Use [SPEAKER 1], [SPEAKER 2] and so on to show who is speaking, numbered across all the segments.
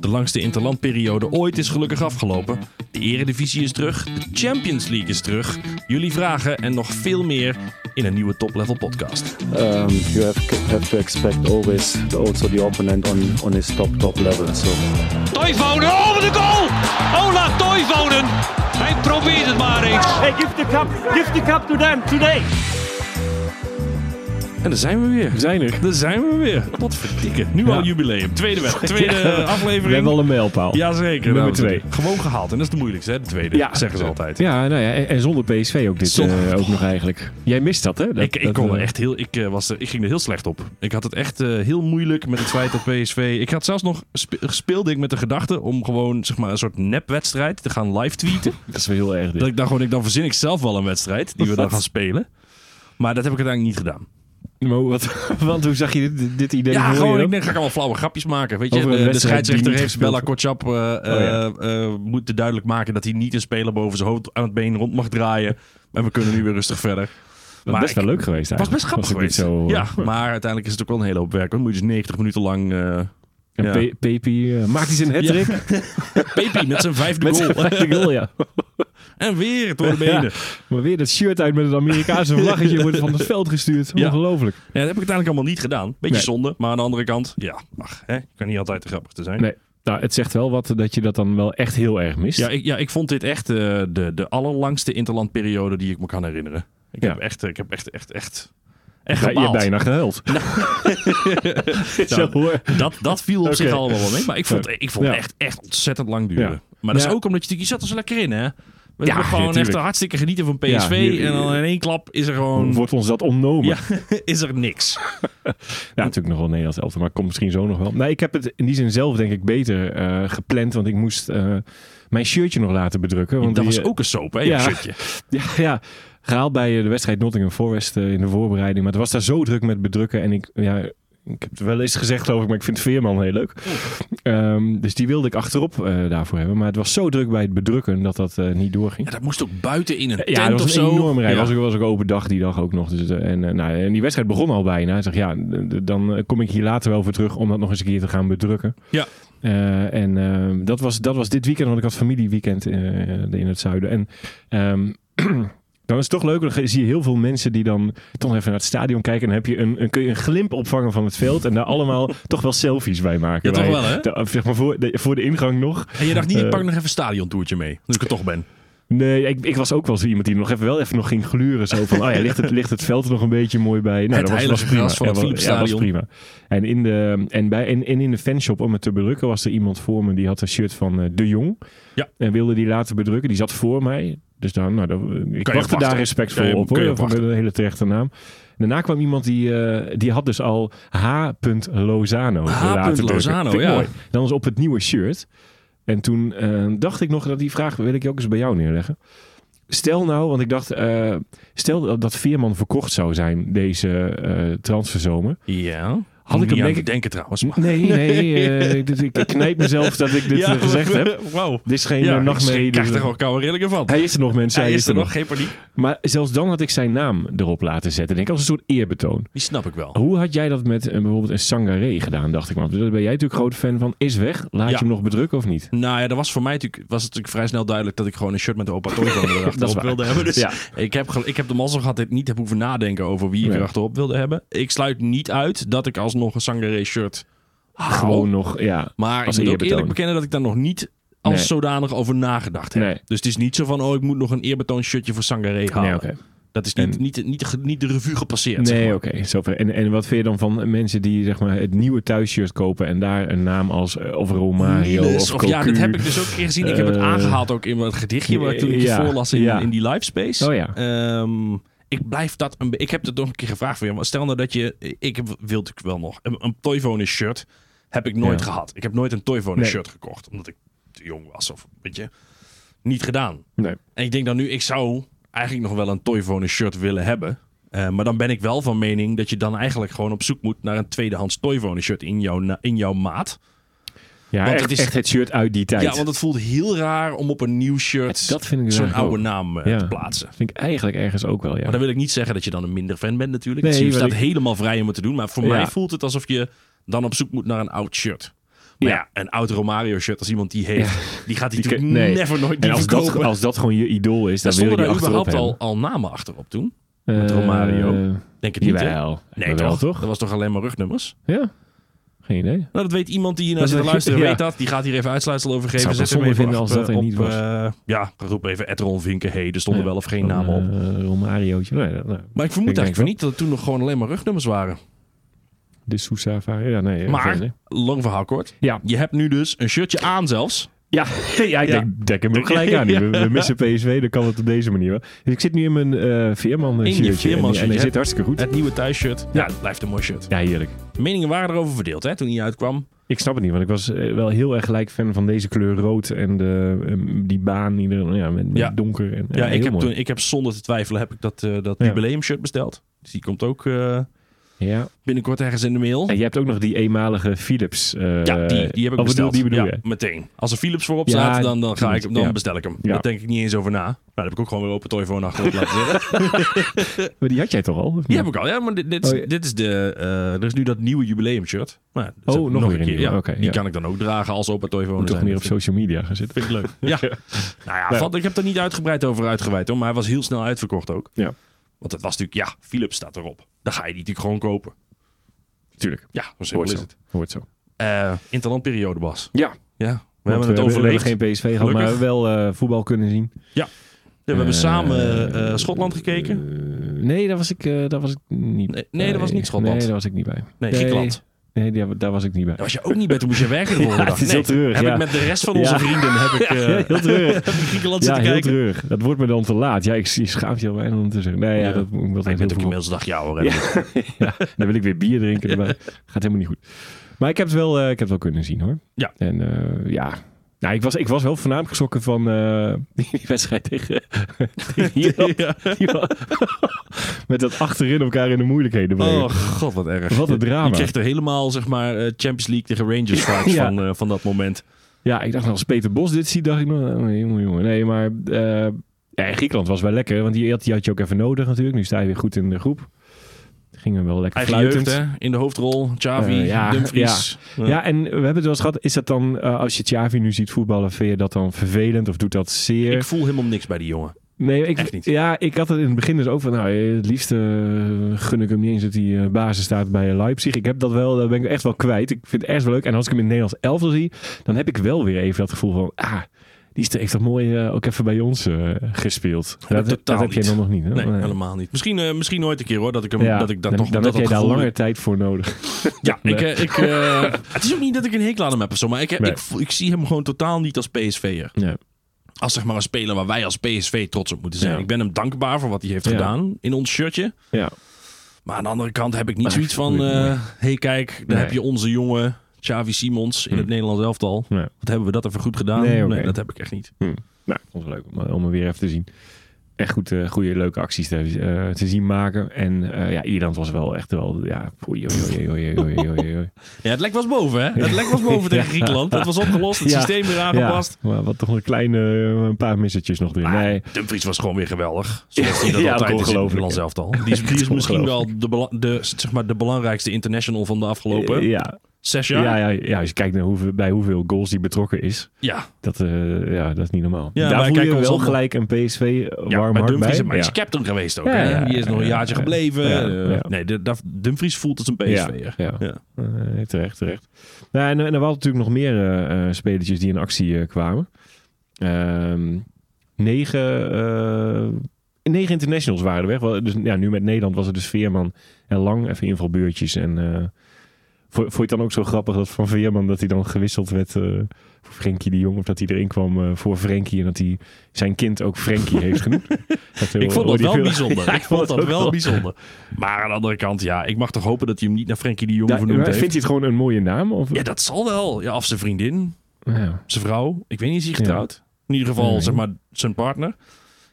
[SPEAKER 1] De langste interlandperiode ooit is gelukkig afgelopen. De Eredivisie is terug, de Champions League is terug. Jullie vragen en nog veel meer in een nieuwe Top Level podcast.
[SPEAKER 2] um, you have, have to expect always also the opponent on, on his top top level. So
[SPEAKER 3] Toivonen, oh wat een goal! Ola Toivonen, hij probeert het maar eens.
[SPEAKER 4] Hey, give the cup, give the cup to them today.
[SPEAKER 1] En daar zijn we weer.
[SPEAKER 5] zijn er.
[SPEAKER 1] Daar zijn we weer. Potverdikke. Nu al jubileum. Tweede, weg, tweede eh,
[SPEAKER 5] We
[SPEAKER 1] aflevering.
[SPEAKER 5] hebben al een mijlpaal.
[SPEAKER 1] Jazeker.
[SPEAKER 5] Nummer
[SPEAKER 1] dames en heren.
[SPEAKER 5] twee.
[SPEAKER 1] Gewoon gehaald. En dat is de moeilijkste, hè? De tweede.
[SPEAKER 5] Ja.
[SPEAKER 1] Zeggen ze altijd.
[SPEAKER 5] Ja, nou ja, en, en zonder PSV ook dit
[SPEAKER 1] Zonder-
[SPEAKER 5] eh, ook nog eigenlijk. Jij mist dat, hè? Dat-
[SPEAKER 1] ik, ik,
[SPEAKER 5] dat,
[SPEAKER 1] kon
[SPEAKER 5] eh,
[SPEAKER 1] er echt heel, ik, eh, was er, ik ging er heel slecht op. Ik had het echt eh, heel moeilijk met het feit dat PSV... Ik had zelfs nog... spe- speelde ik met de gedachte om gewoon zeg maar, een soort nepwedstrijd te gaan live tweeten.
[SPEAKER 5] Dat is wel heel erg dit.
[SPEAKER 1] dat ik dacht gewoon, ik, dan verzin ik zelf wel een wedstrijd die we dan gaan spelen. Maar dat heb ik uiteindelijk niet gedaan.
[SPEAKER 5] Maar hoe- wat, want hoe zag je dit, dit- dit idee
[SPEAKER 1] Ja,
[SPEAKER 5] voor je
[SPEAKER 1] gewoon, ik
[SPEAKER 5] dan?
[SPEAKER 1] denk, ga ik allemaal flauwe grapjes maken. Weet je,
[SPEAKER 5] Over een
[SPEAKER 1] de, de
[SPEAKER 5] wedstrijd die
[SPEAKER 1] scheidsrechter
[SPEAKER 5] niet
[SPEAKER 1] heeft
[SPEAKER 5] gespeeld
[SPEAKER 1] Bella
[SPEAKER 5] wordt. Oh
[SPEAKER 1] Kotschap eh eh, eh, moeten duidelijk maken dat hij niet een speler boven zijn hoofd aan het been rond mag draaien. En we kunnen nu weer rustig verder.
[SPEAKER 5] Dat is
[SPEAKER 1] ik-
[SPEAKER 5] best wel leuk geweest
[SPEAKER 1] Het was best
[SPEAKER 5] eigenlijk.
[SPEAKER 1] grappig
[SPEAKER 5] ik niet
[SPEAKER 1] geweest.
[SPEAKER 5] Zo, eh,
[SPEAKER 1] ja, maar uiteindelijk is het ook wel een hele hoop werk. hoor. Dan moet je dus 90 minuten lang... eh
[SPEAKER 5] En
[SPEAKER 1] ja.
[SPEAKER 5] Pe- Pepi eh, maakt hij zijn hat-trick?
[SPEAKER 1] Pepi met zijn vijfde
[SPEAKER 5] Met zijn
[SPEAKER 1] goal.
[SPEAKER 5] vijfde goal, ja.
[SPEAKER 1] En weer door de benen.
[SPEAKER 5] Ja. Maar weer dat shirt uit met het Amerikaanse vlaggetje wordt van het veld gestuurd.
[SPEAKER 1] Ja.
[SPEAKER 5] Ongelooflijk.
[SPEAKER 1] Ja, dat heb ik uiteindelijk allemaal niet gedaan. Beetje
[SPEAKER 5] Nee.
[SPEAKER 1] zonde, maar aan de andere kant... Ja, ach, hè, ik kan niet altijd te grappig te zijn.
[SPEAKER 5] Nee, nou, het zegt wel wat dat je dat dan wel echt heel erg mist.
[SPEAKER 1] Ja, ik, ja, ik vond dit echt eh, de, de allerlangste interlandperiode die ik me kan herinneren. Ik
[SPEAKER 5] Ja.
[SPEAKER 1] heb echt, eh, ik heb echt, echt, echt, echt
[SPEAKER 5] Ja, je hebt
[SPEAKER 1] gebaald.
[SPEAKER 5] bijna Nou, gehuild. Zo hoor.
[SPEAKER 1] dat, dat viel op
[SPEAKER 5] Oké.
[SPEAKER 1] zich allemaal wel mee. Maar ik vond, ik vond
[SPEAKER 5] Ja.
[SPEAKER 1] echt, echt ontzettend lang duren.
[SPEAKER 5] Ja.
[SPEAKER 1] Maar dat
[SPEAKER 5] Ja.
[SPEAKER 1] is ook omdat je, natuurlijk- je zat er zo lekker in, hè? We
[SPEAKER 5] Ja,
[SPEAKER 1] hebben gewoon
[SPEAKER 5] ja,
[SPEAKER 1] echt
[SPEAKER 5] tuurlijk.
[SPEAKER 1] hartstikke genieten van PSV.
[SPEAKER 5] Ja, je-
[SPEAKER 1] en dan in één klap is er
[SPEAKER 5] Hoe
[SPEAKER 1] gewoon...
[SPEAKER 5] Wordt ons dat ontnomen?
[SPEAKER 1] Ja, is er niks.
[SPEAKER 5] Ja, natuurlijk nog wel Nederlands elftal, maar komt misschien zo nog wel. Nee, ik heb het in die zin zelf denk ik beter eh, gepland, want ik moest eh, mijn shirtje nog laten bedrukken. Want
[SPEAKER 1] dat
[SPEAKER 5] die,
[SPEAKER 1] was
[SPEAKER 5] eh,
[SPEAKER 1] ook een soap, hè?
[SPEAKER 5] ja.
[SPEAKER 1] Ja. shirtje.
[SPEAKER 5] Ja, ja, gehaald bij eh, de wedstrijd Nottingham Forest eh, in de voorbereiding. Maar het was daar zo druk met bedrukken en ik... Ja, ik heb het wel eens gezegd, geloof ik, maar ik vind Veerman heel leuk.
[SPEAKER 1] Oh.
[SPEAKER 5] Ehm, dus die wilde ik achterop eh, daarvoor hebben. Maar het was zo druk bij het bedrukken dat dat eh, niet doorging.
[SPEAKER 1] Ja, dat moest ook buiten in een tent
[SPEAKER 5] Ja, dat
[SPEAKER 1] of
[SPEAKER 5] was een
[SPEAKER 1] zo.
[SPEAKER 5] enorme rij.
[SPEAKER 1] Ja.
[SPEAKER 5] Was, ook, was ook open dag die dag ook nog. Dus, eh, en, eh, nou, en die wedstrijd begon al bijna. Hij zegt, ja, d- d- dan eh, kom ik hier later wel voor terug om dat nog eens een keer te gaan bedrukken.
[SPEAKER 1] Ja.
[SPEAKER 5] Eh, en eh, dat, was, dat was dit weekend, want ik had familieweekend eh, in het zuiden. En ehm, dan is het toch leuk, dan ge- zie je heel veel mensen die dan toch even naar het stadion kijken. En dan heb je een, een, kun je een glimp opvangen van het veld en daar allemaal toch wel selfies bij maken.
[SPEAKER 1] Ja, toch
[SPEAKER 5] Bij-
[SPEAKER 1] wel, hè?
[SPEAKER 5] de- zeg maar voor, de, voor de ingang nog.
[SPEAKER 1] En je dacht niet, ik
[SPEAKER 5] Eh.
[SPEAKER 1] pak nog even een stadiontoertje mee. Nu ik er toch ben.
[SPEAKER 5] Nee, ik, ik was ook wel zo iemand die nog even, wel even nog ging gluren. Zo van, oh ja, ligt het, ligt het veld er nog een beetje mooi bij? Nou,
[SPEAKER 1] Het
[SPEAKER 5] dat was,
[SPEAKER 1] heilige
[SPEAKER 5] was prima.
[SPEAKER 1] gras van het
[SPEAKER 5] ja, wa- ja, was
[SPEAKER 1] Philipsstadion.
[SPEAKER 5] prima. En in de, en bij, en, en in de fanshop, om het te bedrukken, was er iemand voor me. Die had een shirt van eh, De Jong.
[SPEAKER 1] Ja.
[SPEAKER 5] En wilde die laten bedrukken. Die zat voor mij. Dus daar, nou, daar- ik
[SPEAKER 1] op
[SPEAKER 5] wachtte daar
[SPEAKER 1] wachten.
[SPEAKER 5] respectvol
[SPEAKER 1] Kun je-
[SPEAKER 5] op.
[SPEAKER 1] kun je
[SPEAKER 5] Hoor,
[SPEAKER 1] op
[SPEAKER 5] van de hele terechte naam. Daarna kwam iemand die, eh, die had dus al H. Lozano
[SPEAKER 1] H.
[SPEAKER 5] laten drukken.
[SPEAKER 1] Lozano,
[SPEAKER 5] Vind ik
[SPEAKER 1] ja.
[SPEAKER 5] mooi. Dan was op het nieuwe shirt. En toen eh, dacht ik nog dat die vraag wil ik ook eens bij jou neerleggen. Stel nou, want ik dacht, eh, stel dat- dat Veerman verkocht zou zijn deze eh transferzomer.
[SPEAKER 1] Ja.
[SPEAKER 5] Had ik hem denk
[SPEAKER 1] denken,
[SPEAKER 5] ik...
[SPEAKER 1] denken trouwens. maar-
[SPEAKER 5] Nee, nee, eh, ik- ik, ik knijp mezelf dat ik dit eh, gezegd heb.
[SPEAKER 1] Wauw.
[SPEAKER 5] Dit is geen
[SPEAKER 1] Ja,
[SPEAKER 5] eh, nachtmerrie.
[SPEAKER 1] ik krijg
[SPEAKER 5] dus-
[SPEAKER 1] er gewoon koude rillingen van.
[SPEAKER 5] Hij is er nog, mensen.
[SPEAKER 1] Hij is er nog,
[SPEAKER 5] nog.
[SPEAKER 1] geen paniek.
[SPEAKER 5] Maar zelfs dan had ik zijn naam erop laten zetten. Denk ik, als een soort eerbetoon.
[SPEAKER 1] Die snap ik wel.
[SPEAKER 5] Hoe had jij dat met eh, bijvoorbeeld een Sangaré gedaan, dacht ik. Want daar ben jij natuurlijk groot fan van. Is weg, laat
[SPEAKER 1] Ja.
[SPEAKER 5] je hem nog bedrukken of niet?
[SPEAKER 1] Nou ja, dat was voor mij natuurlijk, was het natuurlijk vrij snel duidelijk dat ik gewoon een shirt met de opa Toivonen
[SPEAKER 5] Dat is
[SPEAKER 1] erachterop
[SPEAKER 5] waar.
[SPEAKER 1] wilde hebben. Dus
[SPEAKER 5] Ja.
[SPEAKER 1] ik, heb gel- ik heb de mazzel gehad dat ik niet heb hoeven nadenken over wie ik
[SPEAKER 5] Nee.
[SPEAKER 1] erachterop wilde hebben. Ik sluit niet uit dat ik alsnog een Sangaré shirt haal.
[SPEAKER 5] Gewoon nog, ja.
[SPEAKER 1] Nou. Maar ik
[SPEAKER 5] als
[SPEAKER 1] moet ook
[SPEAKER 5] eerbetoon.
[SPEAKER 1] eerlijk bekennen dat ik daar nog niet als
[SPEAKER 5] Nee.
[SPEAKER 1] zodanig over nagedacht heb.
[SPEAKER 5] Nee.
[SPEAKER 1] Dus het is niet zo van, oh, ik moet nog een eerbetoon shirtje voor Sangaré halen.
[SPEAKER 5] Nee, oké.
[SPEAKER 1] Dat is niet,
[SPEAKER 5] En-
[SPEAKER 1] niet, niet, ge- niet de revue gepasseerd. zeg
[SPEAKER 5] Nee,
[SPEAKER 1] maar.
[SPEAKER 5] oké. zover. En, en wat vind je dan van mensen die zeg maar, het nieuwe thuisshirt kopen en daar een naam als eh, of Romario
[SPEAKER 1] Niels,
[SPEAKER 5] of,
[SPEAKER 1] of ja,
[SPEAKER 5] Cocu.
[SPEAKER 1] dat heb ik dus ook een keer gezien. Ik heb het
[SPEAKER 5] Eh,
[SPEAKER 1] aangehaald ook in mijn gedichtje waar ik toen ik je
[SPEAKER 5] ja,
[SPEAKER 1] voorlas in,
[SPEAKER 5] ja.
[SPEAKER 1] in die live space.
[SPEAKER 5] Oh ja.
[SPEAKER 1] Ehm, ik blijf dat een be- Ik heb dat nog een keer gevraagd voor je. Maar stel nou dat je. Ik heb- wilde ik wel nog. Een, een Toivonen shirt heb ik nooit
[SPEAKER 5] Ja.
[SPEAKER 1] gehad. Ik heb nooit een Toivonen
[SPEAKER 5] Nee.
[SPEAKER 1] shirt gekocht. Omdat ik te jong was of weet je. Niet gedaan.
[SPEAKER 5] Nee.
[SPEAKER 1] En ik denk dan nu, ik zou eigenlijk nog wel een Toivonen shirt willen hebben. Eh, maar dan ben ik wel van mening dat je dan eigenlijk gewoon op zoek moet naar een tweedehands Toivonen shirt in jouw, na- in jouw maat.
[SPEAKER 5] Ja,
[SPEAKER 1] Want
[SPEAKER 5] echt,
[SPEAKER 1] het
[SPEAKER 5] het
[SPEAKER 1] is-
[SPEAKER 5] echt het shirt uit die tijd.
[SPEAKER 1] Ja, want het voelt heel raar om op een nieuw shirt
[SPEAKER 5] dat vind ik dus
[SPEAKER 1] zo'n
[SPEAKER 5] eigenlijk
[SPEAKER 1] oude
[SPEAKER 5] ook.
[SPEAKER 1] naam eh,
[SPEAKER 5] Ja.
[SPEAKER 1] te plaatsen.
[SPEAKER 5] vind ik eigenlijk ergens ook wel, ja.
[SPEAKER 1] Maar dan wil ik niet zeggen dat je dan een minder fan bent natuurlijk.
[SPEAKER 5] Nee,
[SPEAKER 1] Dus je
[SPEAKER 5] maar
[SPEAKER 1] staat
[SPEAKER 5] ik-
[SPEAKER 1] helemaal vrij om het te doen. Maar voor
[SPEAKER 5] Ja.
[SPEAKER 1] mij voelt het alsof je dan op zoek moet naar een oud shirt. Maar
[SPEAKER 5] Ja.
[SPEAKER 1] ja, een oud Romario shirt als iemand die heeft, die gaat hij
[SPEAKER 5] Die kun-
[SPEAKER 1] natuurlijk
[SPEAKER 5] nee.
[SPEAKER 1] never nooit
[SPEAKER 5] En
[SPEAKER 1] meer
[SPEAKER 5] als dat,
[SPEAKER 1] verkopen.
[SPEAKER 5] als dat gewoon je idool is, dan
[SPEAKER 1] Daar
[SPEAKER 5] wil je
[SPEAKER 1] stonden
[SPEAKER 5] die
[SPEAKER 1] daar
[SPEAKER 5] achterop
[SPEAKER 1] überhaupt
[SPEAKER 5] hebben.
[SPEAKER 1] al, al namen achterop toen.
[SPEAKER 5] al
[SPEAKER 1] met Romario. Denk ik niet, hè?
[SPEAKER 5] Eh, Jawel.
[SPEAKER 1] Nee,
[SPEAKER 5] Jawel,
[SPEAKER 1] toch?
[SPEAKER 5] toch?
[SPEAKER 1] Dat was toch alleen maar rugnummers?
[SPEAKER 5] Ja. Geen idee.
[SPEAKER 1] Nou, dat weet iemand die naar
[SPEAKER 5] Dat
[SPEAKER 1] zit te
[SPEAKER 5] weet-
[SPEAKER 1] luisteren,
[SPEAKER 5] ja.
[SPEAKER 1] weet dat. Die gaat hier even uitsluitsel over geven.
[SPEAKER 5] Zou ik
[SPEAKER 1] Zet
[SPEAKER 5] wel
[SPEAKER 1] hem
[SPEAKER 5] zonde
[SPEAKER 1] even
[SPEAKER 5] vinden als
[SPEAKER 1] op,
[SPEAKER 5] dat er
[SPEAKER 1] eh,
[SPEAKER 5] niet
[SPEAKER 1] op,
[SPEAKER 5] was.
[SPEAKER 1] eh, ja, roep even Etron Vinken. Hey, er stonden
[SPEAKER 5] Ja.
[SPEAKER 1] wel of geen namen op.
[SPEAKER 5] Eh, Romariootje. Nee, dat- nou,
[SPEAKER 1] Maar ik vermoed
[SPEAKER 5] ik denk
[SPEAKER 1] eigenlijk
[SPEAKER 5] wel.
[SPEAKER 1] niet dat het toen nog gewoon alleen maar rugnummers waren.
[SPEAKER 5] de Sousa Varia. Ja, nee.
[SPEAKER 1] Maar-
[SPEAKER 5] geen idee.
[SPEAKER 1] Lang verhaal kort.
[SPEAKER 5] Ja.
[SPEAKER 1] Je hebt nu dus een shirtje aan zelfs.
[SPEAKER 5] Ja, ja ik
[SPEAKER 1] Ja.
[SPEAKER 5] denk, denk hem ook gelijk aan. We, we missen PSV, dan kan het op deze manier wel. Dus ik zit nu in mijn eh veerman
[SPEAKER 1] In je
[SPEAKER 5] shirtje. en, die- en hij
[SPEAKER 1] veermansshirtje.
[SPEAKER 5] zit hartstikke goed.
[SPEAKER 1] Het nieuwe thuisshirt. Ja, het blijft een mooi shirt.
[SPEAKER 5] Ja, heerlijk.
[SPEAKER 1] Meningen waren erover verdeeld hè, toen hij uitkwam.
[SPEAKER 5] Ik snap het niet, want ik was eh, wel heel erg gelijk fan van deze kleur rood en de, ehm, die baan die er, ja, met, met
[SPEAKER 1] Ja.
[SPEAKER 5] donker. En, eh,
[SPEAKER 1] Ja, ik, heb
[SPEAKER 5] mooi.
[SPEAKER 1] toen, ik heb zonder te twijfelen heb ik dat, eh dat
[SPEAKER 5] Ja.
[SPEAKER 1] jubileum shirt besteld. Dus die komt ook eh,
[SPEAKER 5] Ja.
[SPEAKER 1] binnenkort ergens in de mail.
[SPEAKER 5] En je hebt ook nog die eenmalige Philips. eh,
[SPEAKER 1] Ja, die, die heb ik
[SPEAKER 5] oh, bedoel-
[SPEAKER 1] besteld.
[SPEAKER 5] Die bedoel
[SPEAKER 1] ja,
[SPEAKER 5] je?
[SPEAKER 1] meteen. Als er Philips voorop
[SPEAKER 5] Ja,
[SPEAKER 1] staat, dan, dan, ga ik, hem- dan
[SPEAKER 5] ja.
[SPEAKER 1] bestel ik hem.
[SPEAKER 5] Ja.
[SPEAKER 1] Daar denk ik niet eens over na. Nou, daar heb ik ook gewoon weer open toyphone achterop laten zitten.
[SPEAKER 5] Maar die had jij toch al? of
[SPEAKER 1] Die
[SPEAKER 5] niet?
[SPEAKER 1] heb ik al, ja. Maar dit, dit, is-
[SPEAKER 5] Oh, ja.
[SPEAKER 1] dit is de... eh, er is nu dat nieuwe jubileum shirt. Nou, dat
[SPEAKER 5] Oh,
[SPEAKER 1] is
[SPEAKER 5] nog weer een nieuwe.
[SPEAKER 1] Ja,
[SPEAKER 5] Oké,
[SPEAKER 1] die
[SPEAKER 5] ja.
[SPEAKER 1] kan ik dan ook dragen als open toyphone
[SPEAKER 5] Moet Oh, toch
[SPEAKER 1] zijn.
[SPEAKER 5] meer op
[SPEAKER 1] Dat
[SPEAKER 5] social media gaan zitten.
[SPEAKER 1] Vind ik leuk. Ja. Nou ja,
[SPEAKER 5] Ja.
[SPEAKER 1] Vat, ik heb er niet uitgebreid over uitgeweid hoor. Maar hij was heel snel uitverkocht ook.
[SPEAKER 5] Ja.
[SPEAKER 1] Want het was natuurlijk... Ja, Philips staat erop. Dan ga je die natuurlijk gewoon kopen.
[SPEAKER 5] Tuurlijk.
[SPEAKER 1] Ja, zo simpel
[SPEAKER 5] Hoort
[SPEAKER 1] is
[SPEAKER 5] zo.
[SPEAKER 1] het.
[SPEAKER 5] Hoort zo.
[SPEAKER 1] Eh, interlandperiode, Bas.
[SPEAKER 5] Ja.
[SPEAKER 1] Ja, we
[SPEAKER 5] Want eh,
[SPEAKER 1] hebben het overleefd.
[SPEAKER 5] We hebben geen PSV gehad, maar
[SPEAKER 1] Gelukkig.
[SPEAKER 5] wel eh, voetbal kunnen zien.
[SPEAKER 1] Ja, we hebben
[SPEAKER 5] Eh,
[SPEAKER 1] samen eh, eh, Schotland
[SPEAKER 5] eh,
[SPEAKER 1] gekeken.
[SPEAKER 5] nee, daar was ik, eh, daar was ik niet
[SPEAKER 1] Nee, nee, dat was niet Schotland.
[SPEAKER 5] Nee, Eh, daar was ik niet bij.
[SPEAKER 1] Nee, Griekenland.
[SPEAKER 5] Nee, daar, daar was ik niet bij.
[SPEAKER 1] Daar was je ook niet bij, toen moest je werken de volgende
[SPEAKER 5] Ja,
[SPEAKER 1] dag.
[SPEAKER 5] het is heel treurig,
[SPEAKER 1] heb
[SPEAKER 5] ja.
[SPEAKER 1] ik met de rest van onze
[SPEAKER 5] Ja.
[SPEAKER 1] vrienden heb ik, eh,
[SPEAKER 5] Ja, heel treurig.
[SPEAKER 1] heb ik Griekenland
[SPEAKER 5] Ja,
[SPEAKER 1] zitten
[SPEAKER 5] heel
[SPEAKER 1] kijken.
[SPEAKER 5] treurig. Dat wordt me dan te laat. Ja, ik, ik schaam je al bijna om te zeggen. Nee, ja,
[SPEAKER 1] Ja.
[SPEAKER 5] dat moet ik wel
[SPEAKER 1] Ik ben
[SPEAKER 5] heel
[SPEAKER 1] ook
[SPEAKER 5] veel-
[SPEAKER 1] inmiddels dag jou hoor.
[SPEAKER 5] Ja. Ja, dan wil ik weer bier drinken. erbij. Gaat helemaal niet goed. Maar ik heb het wel, eh, ik heb het wel kunnen zien hoor.
[SPEAKER 1] Ja.
[SPEAKER 5] En eh, ja. Nou, ik was, ik was wel voornamelijk geschrokken van eh, die wedstrijd tegen, tegen Ierland.
[SPEAKER 1] Ja.
[SPEAKER 5] Die wa- Met dat achterin elkaar in de moeilijkheden brengen.
[SPEAKER 1] Oh god, wat erg.
[SPEAKER 5] Wat een
[SPEAKER 1] Je
[SPEAKER 5] drama.
[SPEAKER 1] kreeg er helemaal zeg maar eh, Champions League tegen Rangers vibes
[SPEAKER 5] Ja.
[SPEAKER 1] van, eh, van dat moment.
[SPEAKER 5] Ja, ik dacht nou, als Peter Bos dit ziet, dacht ik nog, oh, jongen, jongen. Nee, maar eh, ja, Griekenland was wel lekker, want die, had- die had je ook even nodig natuurlijk. Nu sta je weer goed in de groep. Gingen wel lekker
[SPEAKER 1] Eigen
[SPEAKER 5] fluitend.
[SPEAKER 1] jeugd hè, in de hoofdrol. Xavi,
[SPEAKER 5] Eh, ja,
[SPEAKER 1] Dumfries. Eh,
[SPEAKER 5] Ja, en we hebben het wel eens gehad. Is dat dan, eh, als je Xavi nu ziet voetballen, vind je dat dan vervelend of doet dat zeer?
[SPEAKER 1] Ik voel helemaal niks bij die jongen.
[SPEAKER 5] nee, ik,
[SPEAKER 1] echt niet.
[SPEAKER 5] Ja, ik had het in het begin dus ook van, nou, eh, het liefst eh, gun ik hem niet eens dat hij eh, basis staat bij Leipzig. Ik heb dat wel, daar ben ik echt wel kwijt. Ik vind het echt wel leuk. En als ik hem in het Nederlands elftal zie, dan heb ik wel weer even dat gevoel van, ah, die is- heeft toch mooi eh, ook even bij ons eh, gespeeld. Dat, dat,
[SPEAKER 1] totaal
[SPEAKER 5] heb je
[SPEAKER 1] niet.
[SPEAKER 5] dan nog niet. Hè?
[SPEAKER 1] Nee,
[SPEAKER 5] Nee.
[SPEAKER 1] helemaal niet. Misschien, eh, misschien nooit een keer hoor, dat ik hem
[SPEAKER 5] Ja,
[SPEAKER 1] dat ik dat
[SPEAKER 5] dan,
[SPEAKER 1] toch
[SPEAKER 5] dan
[SPEAKER 1] dat
[SPEAKER 5] heb
[SPEAKER 1] dat
[SPEAKER 5] jij daar
[SPEAKER 1] gevoel-
[SPEAKER 5] langer tijd voor nodig.
[SPEAKER 1] Ja,
[SPEAKER 5] Nee.
[SPEAKER 1] ik, eh, ik, eh, het is ook niet dat ik een hekel aan hem heb of zo, maar ik,
[SPEAKER 5] Nee.
[SPEAKER 1] ik, voel- ik zie hem gewoon totaal niet als PSV'er.
[SPEAKER 5] Ja.
[SPEAKER 1] Als zeg maar een speler waar wij als PSV trots op moeten zijn.
[SPEAKER 5] Ja.
[SPEAKER 1] Ik ben hem dankbaar voor wat hij heeft
[SPEAKER 5] Ja.
[SPEAKER 1] gedaan in ons shirtje.
[SPEAKER 5] Ja.
[SPEAKER 1] Maar aan de andere kant heb ik niet zoiets van,
[SPEAKER 5] nee.
[SPEAKER 1] eh, hey kijk, daar
[SPEAKER 5] Nee.
[SPEAKER 1] heb je onze jongen Xavi Simons in het Nederlands elftal.
[SPEAKER 5] Nee.
[SPEAKER 1] Wat hebben we dat even goed gedaan?
[SPEAKER 5] Hm. Nee, oké.
[SPEAKER 1] dat heb ik echt niet.
[SPEAKER 5] Nou, ik vond het leuk om, eh, om hem weer even te zien. Echt goed, eh, goede, leuke acties te, eh, te zien maken. En eh, ja, Ierland was wel echt wel... Ja, oei, oei, oei, oei, oei, oei, oei, oei.
[SPEAKER 1] Ja, het lek was boven, hè? Het lek was boven tegen
[SPEAKER 5] Ja.
[SPEAKER 1] Griekenland. Het was opgelost, het
[SPEAKER 5] Ja.
[SPEAKER 1] systeem weer aangepast. Ah,
[SPEAKER 5] Ja, maar wat toch een kleine... eh, een paar missetjes nog erin. Nee,
[SPEAKER 1] Dumfries was gewoon weer geweldig. Zoals hij dat
[SPEAKER 5] Ja,
[SPEAKER 1] altijd is in het
[SPEAKER 5] ongelooflijk,
[SPEAKER 1] Nederlands
[SPEAKER 5] ja.
[SPEAKER 1] elftal. Die is, die is misschien
[SPEAKER 5] Ongelooflijk.
[SPEAKER 1] wel de, bela- de, zeg maar, de belangrijkste international van de afgelopen
[SPEAKER 5] eh, ja,
[SPEAKER 1] zes jaar.
[SPEAKER 5] ja,
[SPEAKER 1] Ja,
[SPEAKER 5] ja, ja, als je kijkt naar hoeveel, bij hoeveel goals die betrokken is...
[SPEAKER 1] ja.
[SPEAKER 5] Dat, eh, ja, dat is niet normaal.
[SPEAKER 1] Ja,
[SPEAKER 5] Daar
[SPEAKER 1] maar
[SPEAKER 5] voel je
[SPEAKER 1] kijk ons
[SPEAKER 5] wel
[SPEAKER 1] op.
[SPEAKER 5] gelijk een PSV warm
[SPEAKER 1] maar
[SPEAKER 5] hart bij.
[SPEAKER 1] Dumfries maar
[SPEAKER 5] Ja.
[SPEAKER 1] is captain geweest ook.
[SPEAKER 5] Ja,
[SPEAKER 1] hè?
[SPEAKER 5] ja,
[SPEAKER 1] die is nog een
[SPEAKER 5] ja,
[SPEAKER 1] jaartje
[SPEAKER 5] ja,
[SPEAKER 1] gebleven.
[SPEAKER 5] ja,
[SPEAKER 1] Eh,
[SPEAKER 5] ja.
[SPEAKER 1] Nee, de, dat- Dumfries voelt als een PSV'er.
[SPEAKER 5] Ja, ja.
[SPEAKER 1] Ja.
[SPEAKER 5] Eh, terecht, terecht. Nou, en, en er waren natuurlijk nog meer eh, eh, spelertjes die in actie eh, kwamen. Ehm, negen, eh, negen internationals waren er weg. Wel, Dus, ja, nu met Nederland was het dus Veerman en Lang. Even invalbeurtjes. En, eh vond, vond je het dan ook zo grappig dat van Veerman dat hij dan gewisseld werd eh, voor Frenkie de Jong? Of dat hij erin kwam eh, voor Frenkie en dat hij zijn kind ook Frenkie heeft genoemd?
[SPEAKER 1] Ik vond dat wel bijzonder. ik vond dat
[SPEAKER 5] ook
[SPEAKER 1] wel
[SPEAKER 5] wel.
[SPEAKER 1] bijzonder. Maar aan de andere kant, ja, ik mag toch hopen dat hij hem niet naar Frenkie de Jong
[SPEAKER 5] Ja,
[SPEAKER 1] vernoemd
[SPEAKER 5] maar
[SPEAKER 1] heeft.
[SPEAKER 5] vindt hij het gewoon een mooie naam? Of?
[SPEAKER 1] Ja, dat zal wel. Ja, of zijn vriendin.
[SPEAKER 5] Ja.
[SPEAKER 1] zijn vrouw. Ik weet niet, is hij
[SPEAKER 5] Ja.
[SPEAKER 1] getrouwd? In ieder geval,
[SPEAKER 5] Nee.
[SPEAKER 1] zeg maar, zijn partner. Ik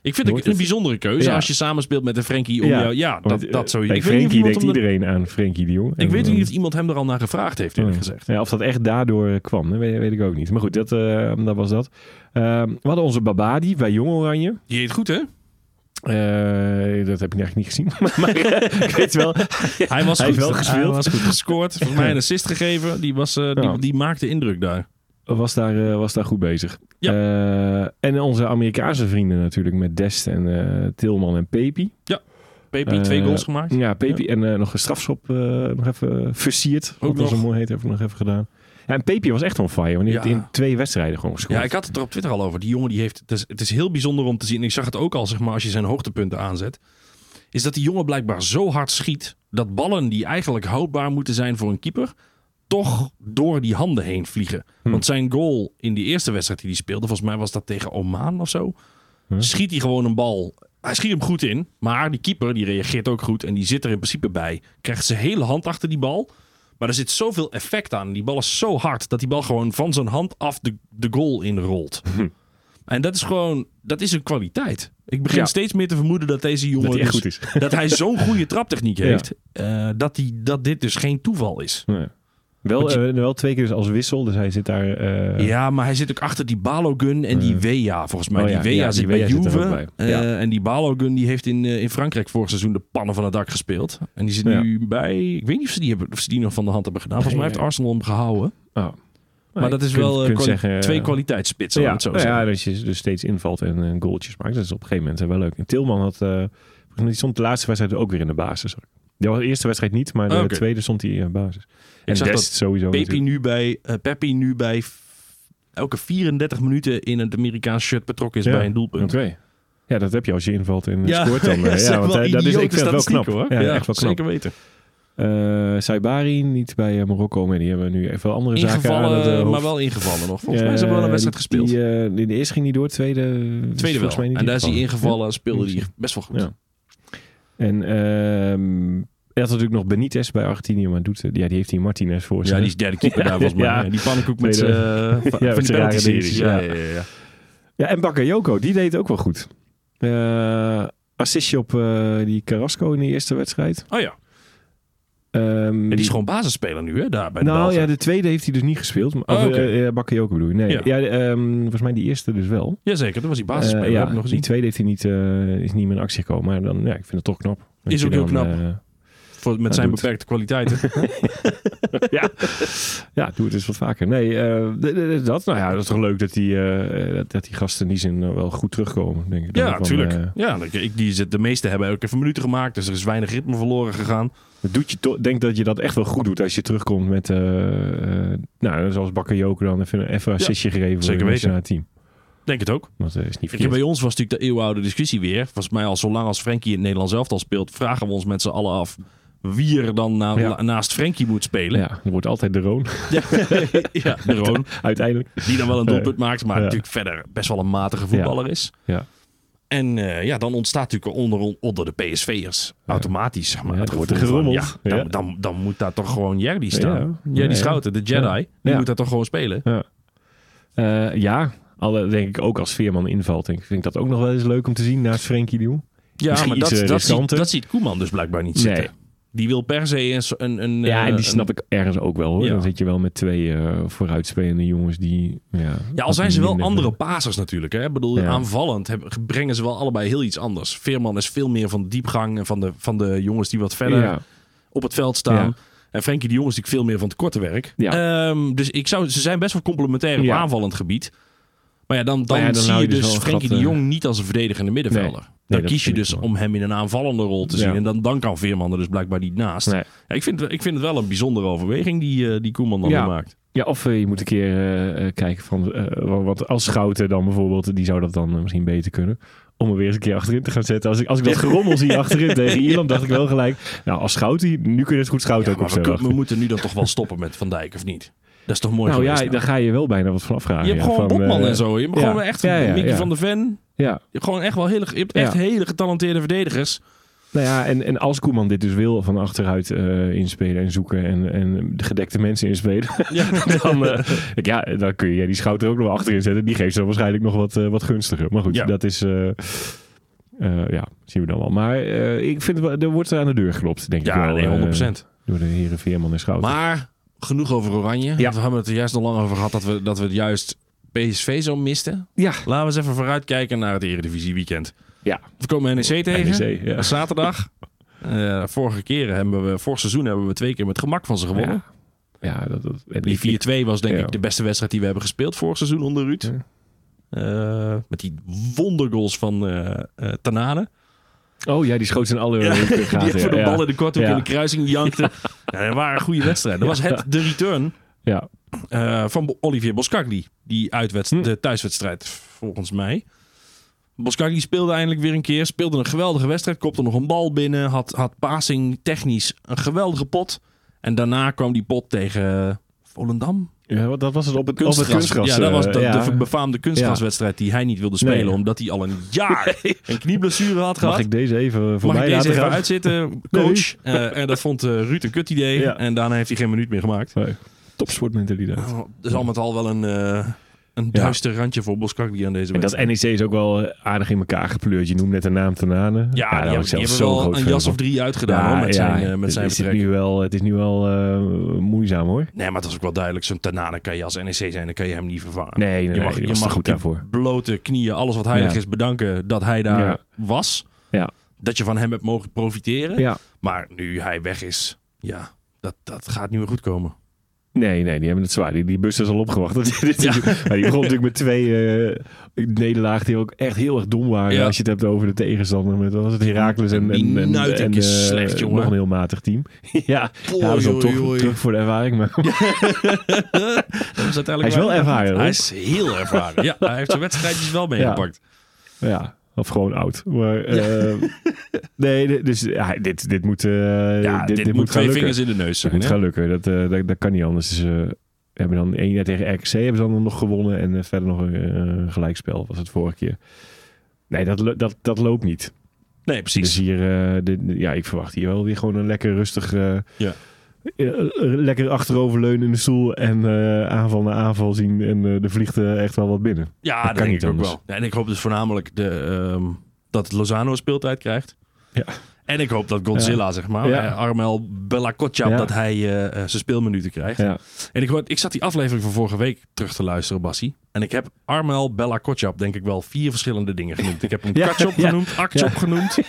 [SPEAKER 1] vind het
[SPEAKER 5] Wordt
[SPEAKER 1] een
[SPEAKER 5] het-
[SPEAKER 1] bijzondere keuze
[SPEAKER 5] Ja.
[SPEAKER 1] als je samenspeelt met een Frenkie om
[SPEAKER 5] Ja.
[SPEAKER 1] jou... Ja, dat,
[SPEAKER 5] Want,
[SPEAKER 1] dat
[SPEAKER 5] eh,
[SPEAKER 1] sowieso.
[SPEAKER 5] Bij
[SPEAKER 1] Ik weet niet of
[SPEAKER 5] Frenkie
[SPEAKER 1] iemand
[SPEAKER 5] deed
[SPEAKER 1] hem er-
[SPEAKER 5] iedereen aan Frenkie de Jong.
[SPEAKER 1] Ik
[SPEAKER 5] En,
[SPEAKER 1] weet
[SPEAKER 5] eh,
[SPEAKER 1] niet of iemand hem er al naar gevraagd heeft, eerlijk
[SPEAKER 5] ja.
[SPEAKER 1] gezegd.
[SPEAKER 5] Ja, of dat echt daardoor eh, kwam, dat weet, weet ik ook niet. Maar goed, dat, eh, dat was dat. Ehm, we hadden onze Babadi bij Jong Oranje.
[SPEAKER 1] Die heet goed, hè?
[SPEAKER 5] Eh, dat heb ik eigenlijk niet gezien. maar eh, ik weet wel.
[SPEAKER 1] Hij was
[SPEAKER 5] Hij
[SPEAKER 1] goed
[SPEAKER 5] heeft wel
[SPEAKER 1] Hij
[SPEAKER 5] gespeeld.
[SPEAKER 1] was goed gescoord. Volgens mij een assist gegeven. Die, was, eh,
[SPEAKER 5] Ja.
[SPEAKER 1] die, die maakte indruk daar.
[SPEAKER 5] Was daar, eh, was daar goed bezig.
[SPEAKER 1] Ja.
[SPEAKER 5] Eh, en onze Amerikaanse vrienden natuurlijk. Met Dest en eh, Tilman en Pepi.
[SPEAKER 1] Pepi,
[SPEAKER 5] Eh,
[SPEAKER 1] twee goals gemaakt.
[SPEAKER 5] Ja, Pepi. En eh, nog een strafschop eh, nog even versierd. Ook
[SPEAKER 1] Ook
[SPEAKER 5] nog.
[SPEAKER 1] nog.
[SPEAKER 5] zo mooi heet. Hebben we nog even gedaan. Ja, en Pepi was echt on fire. Want die
[SPEAKER 1] Ja.
[SPEAKER 5] heeft in twee wedstrijden gewoon gescoord.
[SPEAKER 1] Ja, ik had het er op Twitter al over. Die jongen die heeft. Het is, het is heel bijzonder om te zien. En ik zag het ook al, zeg maar, als je zijn hoogtepunten aanzet. Is dat die jongen blijkbaar zo hard schiet. dat ballen die eigenlijk houdbaar moeten zijn voor een keeper. toch door die handen heen vliegen.
[SPEAKER 5] Hm.
[SPEAKER 1] Want zijn goal in die eerste wedstrijd die hij speelde. volgens mij was dat tegen Oman of zo.
[SPEAKER 5] Mhm.
[SPEAKER 1] Schiet hij gewoon een bal. Hij schiet hem goed in. Maar die keeper die reageert ook goed. en die zit er in principe bij. Krijgt zijn hele hand achter die bal. Maar er zit zoveel effect aan. Die bal is zo hard dat die bal gewoon van zijn hand af de, de goal inrolt.
[SPEAKER 5] Mhm.
[SPEAKER 1] En dat is gewoon, dat is een kwaliteit. Ik begin
[SPEAKER 5] Ja.
[SPEAKER 1] steeds meer te vermoeden dat deze jongen
[SPEAKER 5] hij echt
[SPEAKER 1] dus-
[SPEAKER 5] goed is.
[SPEAKER 1] dat hij zo'n goede traptechniek
[SPEAKER 5] Ja.
[SPEAKER 1] heeft, eh, dat, die, dat dit dus geen toeval is.
[SPEAKER 5] Nee. Wel,
[SPEAKER 1] Want je-
[SPEAKER 5] eh, wel twee keer dus als wissel. Dus hij zit daar... eh,
[SPEAKER 1] Ja, maar hij zit ook achter die Balogun en die Wea, volgens mij.
[SPEAKER 5] Oh ja,
[SPEAKER 1] die Wea
[SPEAKER 5] ja, die
[SPEAKER 1] zit
[SPEAKER 5] Weah
[SPEAKER 1] bij
[SPEAKER 5] zit er
[SPEAKER 1] Juve.
[SPEAKER 5] ook bij. Ja.
[SPEAKER 1] eh, En die Balogun die heeft in, eh, in Frankrijk vorig seizoen de pannen van het dak gespeeld. En die zit
[SPEAKER 5] Ja.
[SPEAKER 1] nu bij... Ik weet niet of ze, die hebben, of ze die nog van de hand hebben gedaan. Volgens mij
[SPEAKER 5] Nee,
[SPEAKER 1] heeft
[SPEAKER 5] nee.
[SPEAKER 1] Arsenal hem gehouden.
[SPEAKER 5] Oh.
[SPEAKER 1] Maar dat is
[SPEAKER 5] je kunt-
[SPEAKER 1] wel eh,
[SPEAKER 5] kunt
[SPEAKER 1] kwali-
[SPEAKER 5] zeggen, eh,
[SPEAKER 1] twee kwaliteitsspitsen,
[SPEAKER 5] Ja,
[SPEAKER 1] laat het zo
[SPEAKER 5] nou
[SPEAKER 1] zeggen.
[SPEAKER 5] ja, dat je dus steeds invalt en eh, goaltjes maakt. Dat is op een gegeven moment eh, wel leuk. En Tilman had, eh, die stond de laatste wedstrijd ook weer in de basis. Die was de eerste wedstrijd niet, maar de
[SPEAKER 1] Ah, oké.
[SPEAKER 5] tweede stond hij in de basis. En
[SPEAKER 1] zag
[SPEAKER 5] Dest
[SPEAKER 1] dat
[SPEAKER 5] sowieso.
[SPEAKER 1] Pepi
[SPEAKER 5] natuurlijk.
[SPEAKER 1] nu bij, eh Peppi nu bij f- elke 34 minuten in het Amerikaans shirt betrokken is
[SPEAKER 5] Ja.
[SPEAKER 1] bij een doelpunt.
[SPEAKER 5] Oké. Ja, dat heb je als je invalt en eh,
[SPEAKER 1] Ja,
[SPEAKER 5] scoort dan. eh,
[SPEAKER 1] dat zijn
[SPEAKER 5] ja, want,
[SPEAKER 1] wel
[SPEAKER 5] eh, dat is, ik
[SPEAKER 1] idiote
[SPEAKER 5] vind het wel knap.
[SPEAKER 1] statistieken,
[SPEAKER 5] Hoor.
[SPEAKER 1] hoor.
[SPEAKER 5] Ja, echt wel knap.
[SPEAKER 1] zeker weten.
[SPEAKER 5] Eh, Saibari niet bij eh, Marokko, maar die hebben nu even andere zaken aan
[SPEAKER 1] Ingevallen,
[SPEAKER 5] het eh,
[SPEAKER 1] maar
[SPEAKER 5] hoofd.
[SPEAKER 1] wel ingevallen nog. Volgens mij
[SPEAKER 5] Eh,
[SPEAKER 1] is er wel een wedstrijd
[SPEAKER 5] die-
[SPEAKER 1] gespeeld.
[SPEAKER 5] die, eh, die- de eerste ging niet door, tweede, eh,
[SPEAKER 1] Tweede
[SPEAKER 5] volgens mij
[SPEAKER 1] wel.
[SPEAKER 5] niet
[SPEAKER 1] En daar is hij
[SPEAKER 5] ingevallen.
[SPEAKER 1] ingevallen, speelde hij best wel goed.
[SPEAKER 5] Ja. En ehm je had natuurlijk nog Benitez bij Argentinië, maar doet, ja, die heeft die Martinez voor zich.
[SPEAKER 1] Ja, die Dus is derde keeper
[SPEAKER 5] Ja,
[SPEAKER 1] daar volgens mij.
[SPEAKER 5] ja.
[SPEAKER 1] Ja, Die pannenkoek met
[SPEAKER 5] Tweede.
[SPEAKER 1] eh, van-
[SPEAKER 5] Ja,
[SPEAKER 1] van
[SPEAKER 5] met
[SPEAKER 1] die
[SPEAKER 5] zijn rare dingetjes,
[SPEAKER 1] penalty-series. Ja,
[SPEAKER 5] ja.
[SPEAKER 1] ja, ja, ja.
[SPEAKER 5] Ja, en Bakayoko, die deed het ook wel goed. Eh assistje op eh, die Carrasco in de eerste wedstrijd.
[SPEAKER 1] Oh ja.
[SPEAKER 5] Ehm,
[SPEAKER 1] En die is gewoon basisspeler nu, hè? Daar bij de
[SPEAKER 5] nou
[SPEAKER 1] Belgen.
[SPEAKER 5] ja, de tweede heeft hij dus niet gespeeld. Maar,
[SPEAKER 1] Oh,
[SPEAKER 5] of,
[SPEAKER 1] oké.
[SPEAKER 5] eh, eh, Bakayoko bedoel je. Nee, ja.
[SPEAKER 1] Ja.
[SPEAKER 5] ehm, volgens mij die eerste dus wel.
[SPEAKER 1] Jazeker, dat was die basisspeler.
[SPEAKER 5] Eh, ja,
[SPEAKER 1] heb ik nog
[SPEAKER 5] die
[SPEAKER 1] gezien.
[SPEAKER 5] tweede heeft hij niet, eh, is niet meer in actie gekomen. Maar dan, ja, ik vind het toch knap. Dat
[SPEAKER 1] Is
[SPEAKER 5] je
[SPEAKER 1] ook heel
[SPEAKER 5] dan,
[SPEAKER 1] knap.
[SPEAKER 5] eh,
[SPEAKER 1] Voor- Met zijn
[SPEAKER 5] doet.
[SPEAKER 1] beperkte kwaliteiten.
[SPEAKER 5] Ja, doe het eens wat vaker. Nee, eh, d- d- d- dat, nou ja, dat is toch leuk dat die, eh, dat- dat die gasten in die zin eh, wel goed terugkomen, denk ik. Dan
[SPEAKER 1] Ja,
[SPEAKER 5] van,
[SPEAKER 1] natuurlijk.
[SPEAKER 5] eh,
[SPEAKER 1] ja, ik- ik- die zit, de meeste hebben elke even minuten gemaakt, dus er is weinig ritme verloren gegaan.
[SPEAKER 5] dat doet je toch- denk dat je dat echt wel goed doet als je terugkomt met, eh, eh, nou, zoals Bakker Joker dan, even, even een assistje gegeven
[SPEAKER 1] zeker
[SPEAKER 5] voor het
[SPEAKER 1] weten.
[SPEAKER 5] nationale team.
[SPEAKER 1] Denk het ook.
[SPEAKER 5] Want eh, is niet
[SPEAKER 1] Ik heb
[SPEAKER 5] verkeerd.
[SPEAKER 1] bij ons was natuurlijk de eeuwenoude discussie weer. Volgens mij al zolang als Frenkie in het Nederlands elftal speelt, vragen we ons met z'n allen af wie er dan na-
[SPEAKER 5] Ja.
[SPEAKER 1] la- naast Frenkie moet spelen.
[SPEAKER 5] Ja, er wordt altijd de Roon,
[SPEAKER 1] Ja, ja de Roon,
[SPEAKER 5] uiteindelijk.
[SPEAKER 1] die dan wel een doelpunt maakt, maar
[SPEAKER 5] Ja.
[SPEAKER 1] natuurlijk verder best wel een matige voetballer is.
[SPEAKER 5] Ja.
[SPEAKER 1] En eh, ja, dan ontstaat natuurlijk onder, onder de PSV'ers automatisch. Zeg maar,
[SPEAKER 5] Ja,
[SPEAKER 1] het
[SPEAKER 5] er wordt
[SPEAKER 1] gevoel van,
[SPEAKER 5] gerommeld.
[SPEAKER 1] ja,
[SPEAKER 5] Ja.
[SPEAKER 1] dan, dan, dan moet daar toch gewoon Jerry staan.
[SPEAKER 5] Ja.
[SPEAKER 1] Ja,
[SPEAKER 5] Ja, ja.
[SPEAKER 1] die Schouten, de Jedi,
[SPEAKER 5] Ja.
[SPEAKER 1] die
[SPEAKER 5] Ja.
[SPEAKER 1] moet daar toch gewoon spelen.
[SPEAKER 5] Eh, ja, alle, denk ik ook als Veerman invalt. Denk, ik vind ik dat ook nog wel eens leuk om te zien naast Frenkie de Jong.
[SPEAKER 1] Ja,
[SPEAKER 5] Misschien
[SPEAKER 1] maar
[SPEAKER 5] iets, eh,
[SPEAKER 1] dat, dat, ziet,
[SPEAKER 5] riskanter.
[SPEAKER 1] dat ziet Koeman dus blijkbaar niet
[SPEAKER 5] Nee.
[SPEAKER 1] zitten. Die wil per se een... so- een, een
[SPEAKER 5] Ja,
[SPEAKER 1] eh,
[SPEAKER 5] en die
[SPEAKER 1] een-
[SPEAKER 5] snap ik ergens ook wel hoor.
[SPEAKER 1] Ja.
[SPEAKER 5] Dan zit je wel met twee eh, vooruitspelende jongens die... Ja,
[SPEAKER 1] Ja, al
[SPEAKER 5] dat
[SPEAKER 1] zijn ze wel
[SPEAKER 5] minder-
[SPEAKER 1] andere pasers natuurlijk. Hè? Ik bedoel,
[SPEAKER 5] Ja.
[SPEAKER 1] aanvallend hebben- brengen ze wel allebei heel iets anders. Veerman is veel meer van de diepgang en van de, van de jongens die wat verder
[SPEAKER 5] Ja,
[SPEAKER 1] op het veld staan.
[SPEAKER 5] Ja.
[SPEAKER 1] En Frenkie de Jong is natuurlijk veel meer van het korte werk.
[SPEAKER 5] Ja.
[SPEAKER 1] Ehm, dus ik zou, ze zijn best wel complementair op
[SPEAKER 5] Ja.
[SPEAKER 1] aanvallend gebied. Maar ja, dan, dan,
[SPEAKER 5] Maar ja, dan
[SPEAKER 1] zie
[SPEAKER 5] hou
[SPEAKER 1] je
[SPEAKER 5] je dus
[SPEAKER 1] dus
[SPEAKER 5] wel een
[SPEAKER 1] Frenkie
[SPEAKER 5] gat,
[SPEAKER 1] de
[SPEAKER 5] eh.
[SPEAKER 1] Jong niet als een verdedigende middenvelder.
[SPEAKER 5] Nee,
[SPEAKER 1] dan
[SPEAKER 5] dat
[SPEAKER 1] kies je
[SPEAKER 5] vind ik
[SPEAKER 1] dus
[SPEAKER 5] wel.
[SPEAKER 1] om hem in een aanvallende rol te
[SPEAKER 5] Ja.
[SPEAKER 1] zien. En dan, dan kan Veerman er dus blijkbaar niet naast.
[SPEAKER 5] Nee.
[SPEAKER 1] Ja, ik, vind, het- ik vind het wel een bijzondere overweging die, eh, die Koeman dan
[SPEAKER 5] Ja.
[SPEAKER 1] weer maakt.
[SPEAKER 5] ja, of eh, je moet een keer eh, eh, kijken van... eh, wa- wat als Schouten dan bijvoorbeeld, die zou dat dan eh, misschien beter kunnen. Om er weer eens een keer achterin te gaan zetten. Als ik, als ik dat gerommel zie achterin tegen Ierland, dacht ik wel gelijk... Nou, als Schouten, nu kun je het goed Schouten ook
[SPEAKER 1] Maar we,
[SPEAKER 5] opstellen.
[SPEAKER 1] kun- we
[SPEAKER 5] achter.
[SPEAKER 1] moeten nu dan toch wel stoppen met Van Dijk, of niet? Dat is toch mooi
[SPEAKER 5] Nou
[SPEAKER 1] geweest,
[SPEAKER 5] ja, daar ga je wel bijna wat van afvragen.
[SPEAKER 1] Je hebt
[SPEAKER 5] ja,
[SPEAKER 1] gewoon
[SPEAKER 5] van,
[SPEAKER 1] Botman
[SPEAKER 5] eh,
[SPEAKER 1] en zo. Je hebt
[SPEAKER 5] ja.
[SPEAKER 1] gewoon echt
[SPEAKER 5] Ja, ja,
[SPEAKER 1] Mickey
[SPEAKER 5] ja.
[SPEAKER 1] van der Ven.
[SPEAKER 5] Ja,
[SPEAKER 1] Je hebt gewoon echt wel hele, je hebt echt
[SPEAKER 5] Ja.
[SPEAKER 1] hele getalenteerde verdedigers.
[SPEAKER 5] Nou ja, en, en als Koeman dit dus wil van achteruit eh, inspelen en zoeken en, en de gedekte mensen inspelen,
[SPEAKER 1] Ja.
[SPEAKER 5] dan, eh, ik, ja, dan kun je ja, die schouder ook nog wel achterin zetten. Die geeft ze dan waarschijnlijk nog wat, eh, wat gunstiger. Maar goed,
[SPEAKER 1] Ja.
[SPEAKER 5] dat is, eh, eh, ja, zien we dan wel. Maar eh, ik vind, wel- er wordt aan de deur geklopt, denk ik
[SPEAKER 1] Ja,
[SPEAKER 5] wel.
[SPEAKER 1] nee,
[SPEAKER 5] eh,
[SPEAKER 1] 100%.
[SPEAKER 5] door de heren Veerman en Schouten.
[SPEAKER 1] Maar genoeg over Oranje.
[SPEAKER 5] Ja.
[SPEAKER 1] We hebben het er juist nog lang over gehad dat we, dat we het juist PSV zo misten.
[SPEAKER 5] ja,
[SPEAKER 1] Laten we eens even vooruitkijken naar het Eredivisie weekend.
[SPEAKER 5] Ja.
[SPEAKER 1] We komen NEC tegen.
[SPEAKER 5] NEC, ja.
[SPEAKER 1] Dat is Zaterdag. Eh, vorige keren hebben we, vorig seizoen hebben we twee keer met gemak van ze gewonnen.
[SPEAKER 5] Ja, ja dat, dat, en die vier.
[SPEAKER 1] Die 4-2 was denk
[SPEAKER 5] Ja.
[SPEAKER 1] ik de beste wedstrijd die we hebben gespeeld vorig seizoen onder Ruud.
[SPEAKER 5] Ja.
[SPEAKER 1] Eh, met die wondergoals van eh eh, Tanane.
[SPEAKER 5] Oh ja, die schoot in alle
[SPEAKER 1] Die
[SPEAKER 5] gaten.
[SPEAKER 1] voor de
[SPEAKER 5] ja.
[SPEAKER 1] bal in de korte hoek
[SPEAKER 5] Ja.
[SPEAKER 1] in de kruising jankte. Ja, dat waren een goede wedstrijd. Dat was het, de return
[SPEAKER 5] Ja.
[SPEAKER 1] eh, van Bo- Olivier Boskagli. Die uitwedst-
[SPEAKER 5] Hm.
[SPEAKER 1] de thuiswedstrijd, volgens mij. Boskagli speelde eindelijk weer een keer. Speelde een geweldige wedstrijd. Kopte nog een bal binnen. Had, had passing technisch een geweldige pot. En daarna kwam die pot tegen eh, Volendam.
[SPEAKER 5] Ja, want dat was het op het kunstgras.
[SPEAKER 1] Kunstgras.
[SPEAKER 5] Op het kunstgras
[SPEAKER 1] ja, dat was
[SPEAKER 5] eh,
[SPEAKER 1] de,
[SPEAKER 5] ja.
[SPEAKER 1] de befaamde kunstgraswedstrijd die hij niet wilde spelen.
[SPEAKER 5] Nee.
[SPEAKER 1] Omdat hij al een jaar een knieblessure had gehad.
[SPEAKER 5] Mag ik deze even voor
[SPEAKER 1] Mag
[SPEAKER 5] mij
[SPEAKER 1] ik deze
[SPEAKER 5] laten
[SPEAKER 1] even
[SPEAKER 5] gaan?
[SPEAKER 1] uitzitten, coach? Eh, en dat vond eh, Ruud een kut idee.
[SPEAKER 5] Ja.
[SPEAKER 1] En daarna heeft hij geen minuut meer gemaakt.
[SPEAKER 5] Nee. Topsportmentaliteit.
[SPEAKER 1] Oh, Dus al met al wel een, eh, een
[SPEAKER 5] Ja.
[SPEAKER 1] duister randje voor Boskakli aan deze
[SPEAKER 5] En dat
[SPEAKER 1] wedstrijd.
[SPEAKER 5] NEC is ook wel eh, aardig in elkaar gepleurd. Je noemt net de naam Tanane.
[SPEAKER 1] Ja,
[SPEAKER 5] daar
[SPEAKER 1] die,
[SPEAKER 5] was
[SPEAKER 1] hebben-
[SPEAKER 5] ik zelf
[SPEAKER 1] die hebben
[SPEAKER 5] zo'n
[SPEAKER 1] wel
[SPEAKER 5] groot
[SPEAKER 1] een
[SPEAKER 5] fan
[SPEAKER 1] jas
[SPEAKER 5] van.
[SPEAKER 1] of drie uitgedaan hoor, met zijn, eh, met
[SPEAKER 5] het,
[SPEAKER 1] zijn
[SPEAKER 5] dus is
[SPEAKER 1] vertrek.
[SPEAKER 5] nu wel, het is nu wel eh, moeizaam hoor.
[SPEAKER 1] Nee, maar het was ook wel duidelijk. Zo'n Tanane kan je als NEC zijn, dan kan je hem niet vervangen.
[SPEAKER 5] Nee, nee,
[SPEAKER 1] Ah, je mag,
[SPEAKER 5] nee, die
[SPEAKER 1] je
[SPEAKER 5] was te
[SPEAKER 1] mag
[SPEAKER 5] goed
[SPEAKER 1] op je
[SPEAKER 5] daarvoor.
[SPEAKER 1] blote knieën, alles wat heilig
[SPEAKER 5] Ja.
[SPEAKER 1] is, bedanken dat hij daar
[SPEAKER 5] Ja.
[SPEAKER 1] was.
[SPEAKER 5] Ja.
[SPEAKER 1] Dat je van hem hebt mogen profiteren.
[SPEAKER 5] Ja.
[SPEAKER 1] Maar nu hij weg is, ja, dat, dat gaat niet meer goed komen.
[SPEAKER 5] Nee, nee, die hebben het zwaar. Die, die bus is al opgewacht. Dit is- Maar die begon natuurlijk met twee eh, nederlagen die ook echt heel erg dom waren.
[SPEAKER 1] Ja.
[SPEAKER 5] Als je het hebt over de tegenstander. Met, wat was het Herakles en,
[SPEAKER 1] Die
[SPEAKER 5] en, en,
[SPEAKER 1] Nuitink
[SPEAKER 5] en,
[SPEAKER 1] is
[SPEAKER 5] eh,
[SPEAKER 1] slecht, jongen.
[SPEAKER 5] nog een heel matig team. ja, ja, dat is dan
[SPEAKER 1] oei,
[SPEAKER 5] toch
[SPEAKER 1] oei.
[SPEAKER 5] terug voor de ervaring. Maar
[SPEAKER 1] Dat is uiteindelijk
[SPEAKER 5] hij is
[SPEAKER 1] waar.
[SPEAKER 5] wel ervaren.
[SPEAKER 1] Hij
[SPEAKER 5] hoor.
[SPEAKER 1] is heel ervaren. ja, hij heeft zijn wedstrijdjes wel meegepakt.
[SPEAKER 5] Ja, of gewoon oud. Maar, eh, nee, di- dus ja, dit, dit moet, eh,
[SPEAKER 1] Ja,
[SPEAKER 5] dit, dit moet gaan
[SPEAKER 1] twee
[SPEAKER 5] lukken.
[SPEAKER 1] vingers in de neus
[SPEAKER 5] Dit
[SPEAKER 1] zijn.
[SPEAKER 5] moet
[SPEAKER 1] hè?
[SPEAKER 5] gaan lukken. Dat, eh, dat, dat kan niet anders. Dus, eh, we hebben dan één jaar tegen RKC hebben ze dan nog gewonnen. En eh, verder nog een eh, gelijkspel was het vorige keer. Nee, dat, lo- dat, dat loopt niet.
[SPEAKER 1] Nee,
[SPEAKER 5] Dus
[SPEAKER 1] precies.
[SPEAKER 5] hier, eh, dit, ja, ik verwacht hier wel weer gewoon een lekker rustig... eh,
[SPEAKER 1] Ja.
[SPEAKER 5] eh, eh, lekker achteroverleunen in de stoel en eh, aanval na aanval zien. En eh, er vliegt eh, echt wel wat binnen.
[SPEAKER 1] Ja, dat,
[SPEAKER 5] dat kan
[SPEAKER 1] denk
[SPEAKER 5] niet
[SPEAKER 1] ik ook
[SPEAKER 5] anders.
[SPEAKER 1] wel. Ja, en ik hoop dus voornamelijk de, ehm, dat Lozano speeltijd krijgt.
[SPEAKER 5] Ja.
[SPEAKER 1] En ik hoop dat Godzilla, zeg maar,
[SPEAKER 5] Ja.
[SPEAKER 1] eh, Armel Bellacoccia,
[SPEAKER 5] Ja.
[SPEAKER 1] dat hij eh, eh, zijn speelminuten krijgt.
[SPEAKER 5] Ja.
[SPEAKER 1] En ik, hoor- ik zat die aflevering van vorige week terug te luisteren, Bassie. En ik heb Armel Bellacoccia, denk ik wel, vier verschillende dingen genoemd. Ik heb hem
[SPEAKER 5] Ja,
[SPEAKER 1] Katjop
[SPEAKER 5] ja,
[SPEAKER 1] genoemd, Akchop
[SPEAKER 5] ja.
[SPEAKER 1] genoemd.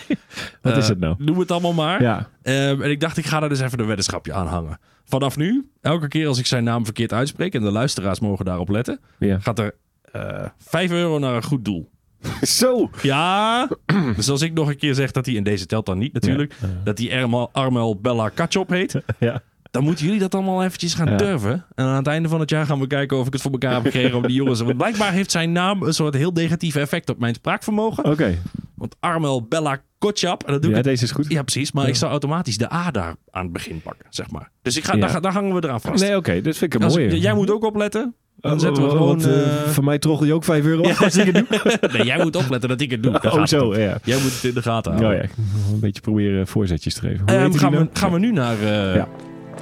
[SPEAKER 5] Wat
[SPEAKER 1] Eh,
[SPEAKER 5] is het nou?
[SPEAKER 1] Noem het allemaal maar.
[SPEAKER 5] Ja,
[SPEAKER 1] Ehm, en ik dacht, ik ga daar dus even een weddenschapje aan hangen. Vanaf nu, elke keer als ik zijn naam verkeerd uitspreek, en de luisteraars mogen daarop letten,
[SPEAKER 5] ja.
[SPEAKER 1] gaat er eh 5 euro naar een goed doel.
[SPEAKER 5] Zo!
[SPEAKER 1] Ja, dus als ik nog een keer zeg dat hij, in deze telt dan niet natuurlijk, dat hij Armel, Armel Bella Katjop heet,
[SPEAKER 5] Ja.
[SPEAKER 1] dan moeten jullie dat allemaal eventjes gaan
[SPEAKER 5] Ja.
[SPEAKER 1] durven. En aan het einde van het jaar gaan we kijken of ik het voor elkaar heb gekregen om die jongens. Want blijkbaar heeft zijn naam een soort heel negatief effect op mijn spraakvermogen.
[SPEAKER 5] Oké.
[SPEAKER 1] Want Armel Bella Kotjap, en dat doe ik
[SPEAKER 5] Ja,
[SPEAKER 1] het
[SPEAKER 5] deze is goed.
[SPEAKER 1] ja, precies. Maar ik zou automatisch de A daar aan het begin pakken, zeg maar. Dus ik ga,
[SPEAKER 5] Ja.
[SPEAKER 1] daar, ga- daar hangen we eraan vast.
[SPEAKER 5] Nee, oké. dat vind ik een
[SPEAKER 1] Als-
[SPEAKER 5] mooie.
[SPEAKER 1] jij moet ook opletten. Dan zetten we
[SPEAKER 5] Wat-
[SPEAKER 1] gewoon...
[SPEAKER 5] wat, eh,
[SPEAKER 1] eh,
[SPEAKER 5] Van mij troggel je ook 5 euro af als ik het doe.
[SPEAKER 1] nee, jij moet opletten dat ik het doe. Daar
[SPEAKER 5] Oh,
[SPEAKER 1] gaat het om.
[SPEAKER 5] zo, ja.
[SPEAKER 1] Jij moet het in de gaten
[SPEAKER 5] Nou
[SPEAKER 1] houden.
[SPEAKER 5] ja, ik moet een beetje proberen voorzetjes te geven. Hoe
[SPEAKER 1] Ehm,
[SPEAKER 5] heette die
[SPEAKER 1] gaan, we,
[SPEAKER 5] nou?
[SPEAKER 1] gaan we nu naar... eh,
[SPEAKER 5] Ja.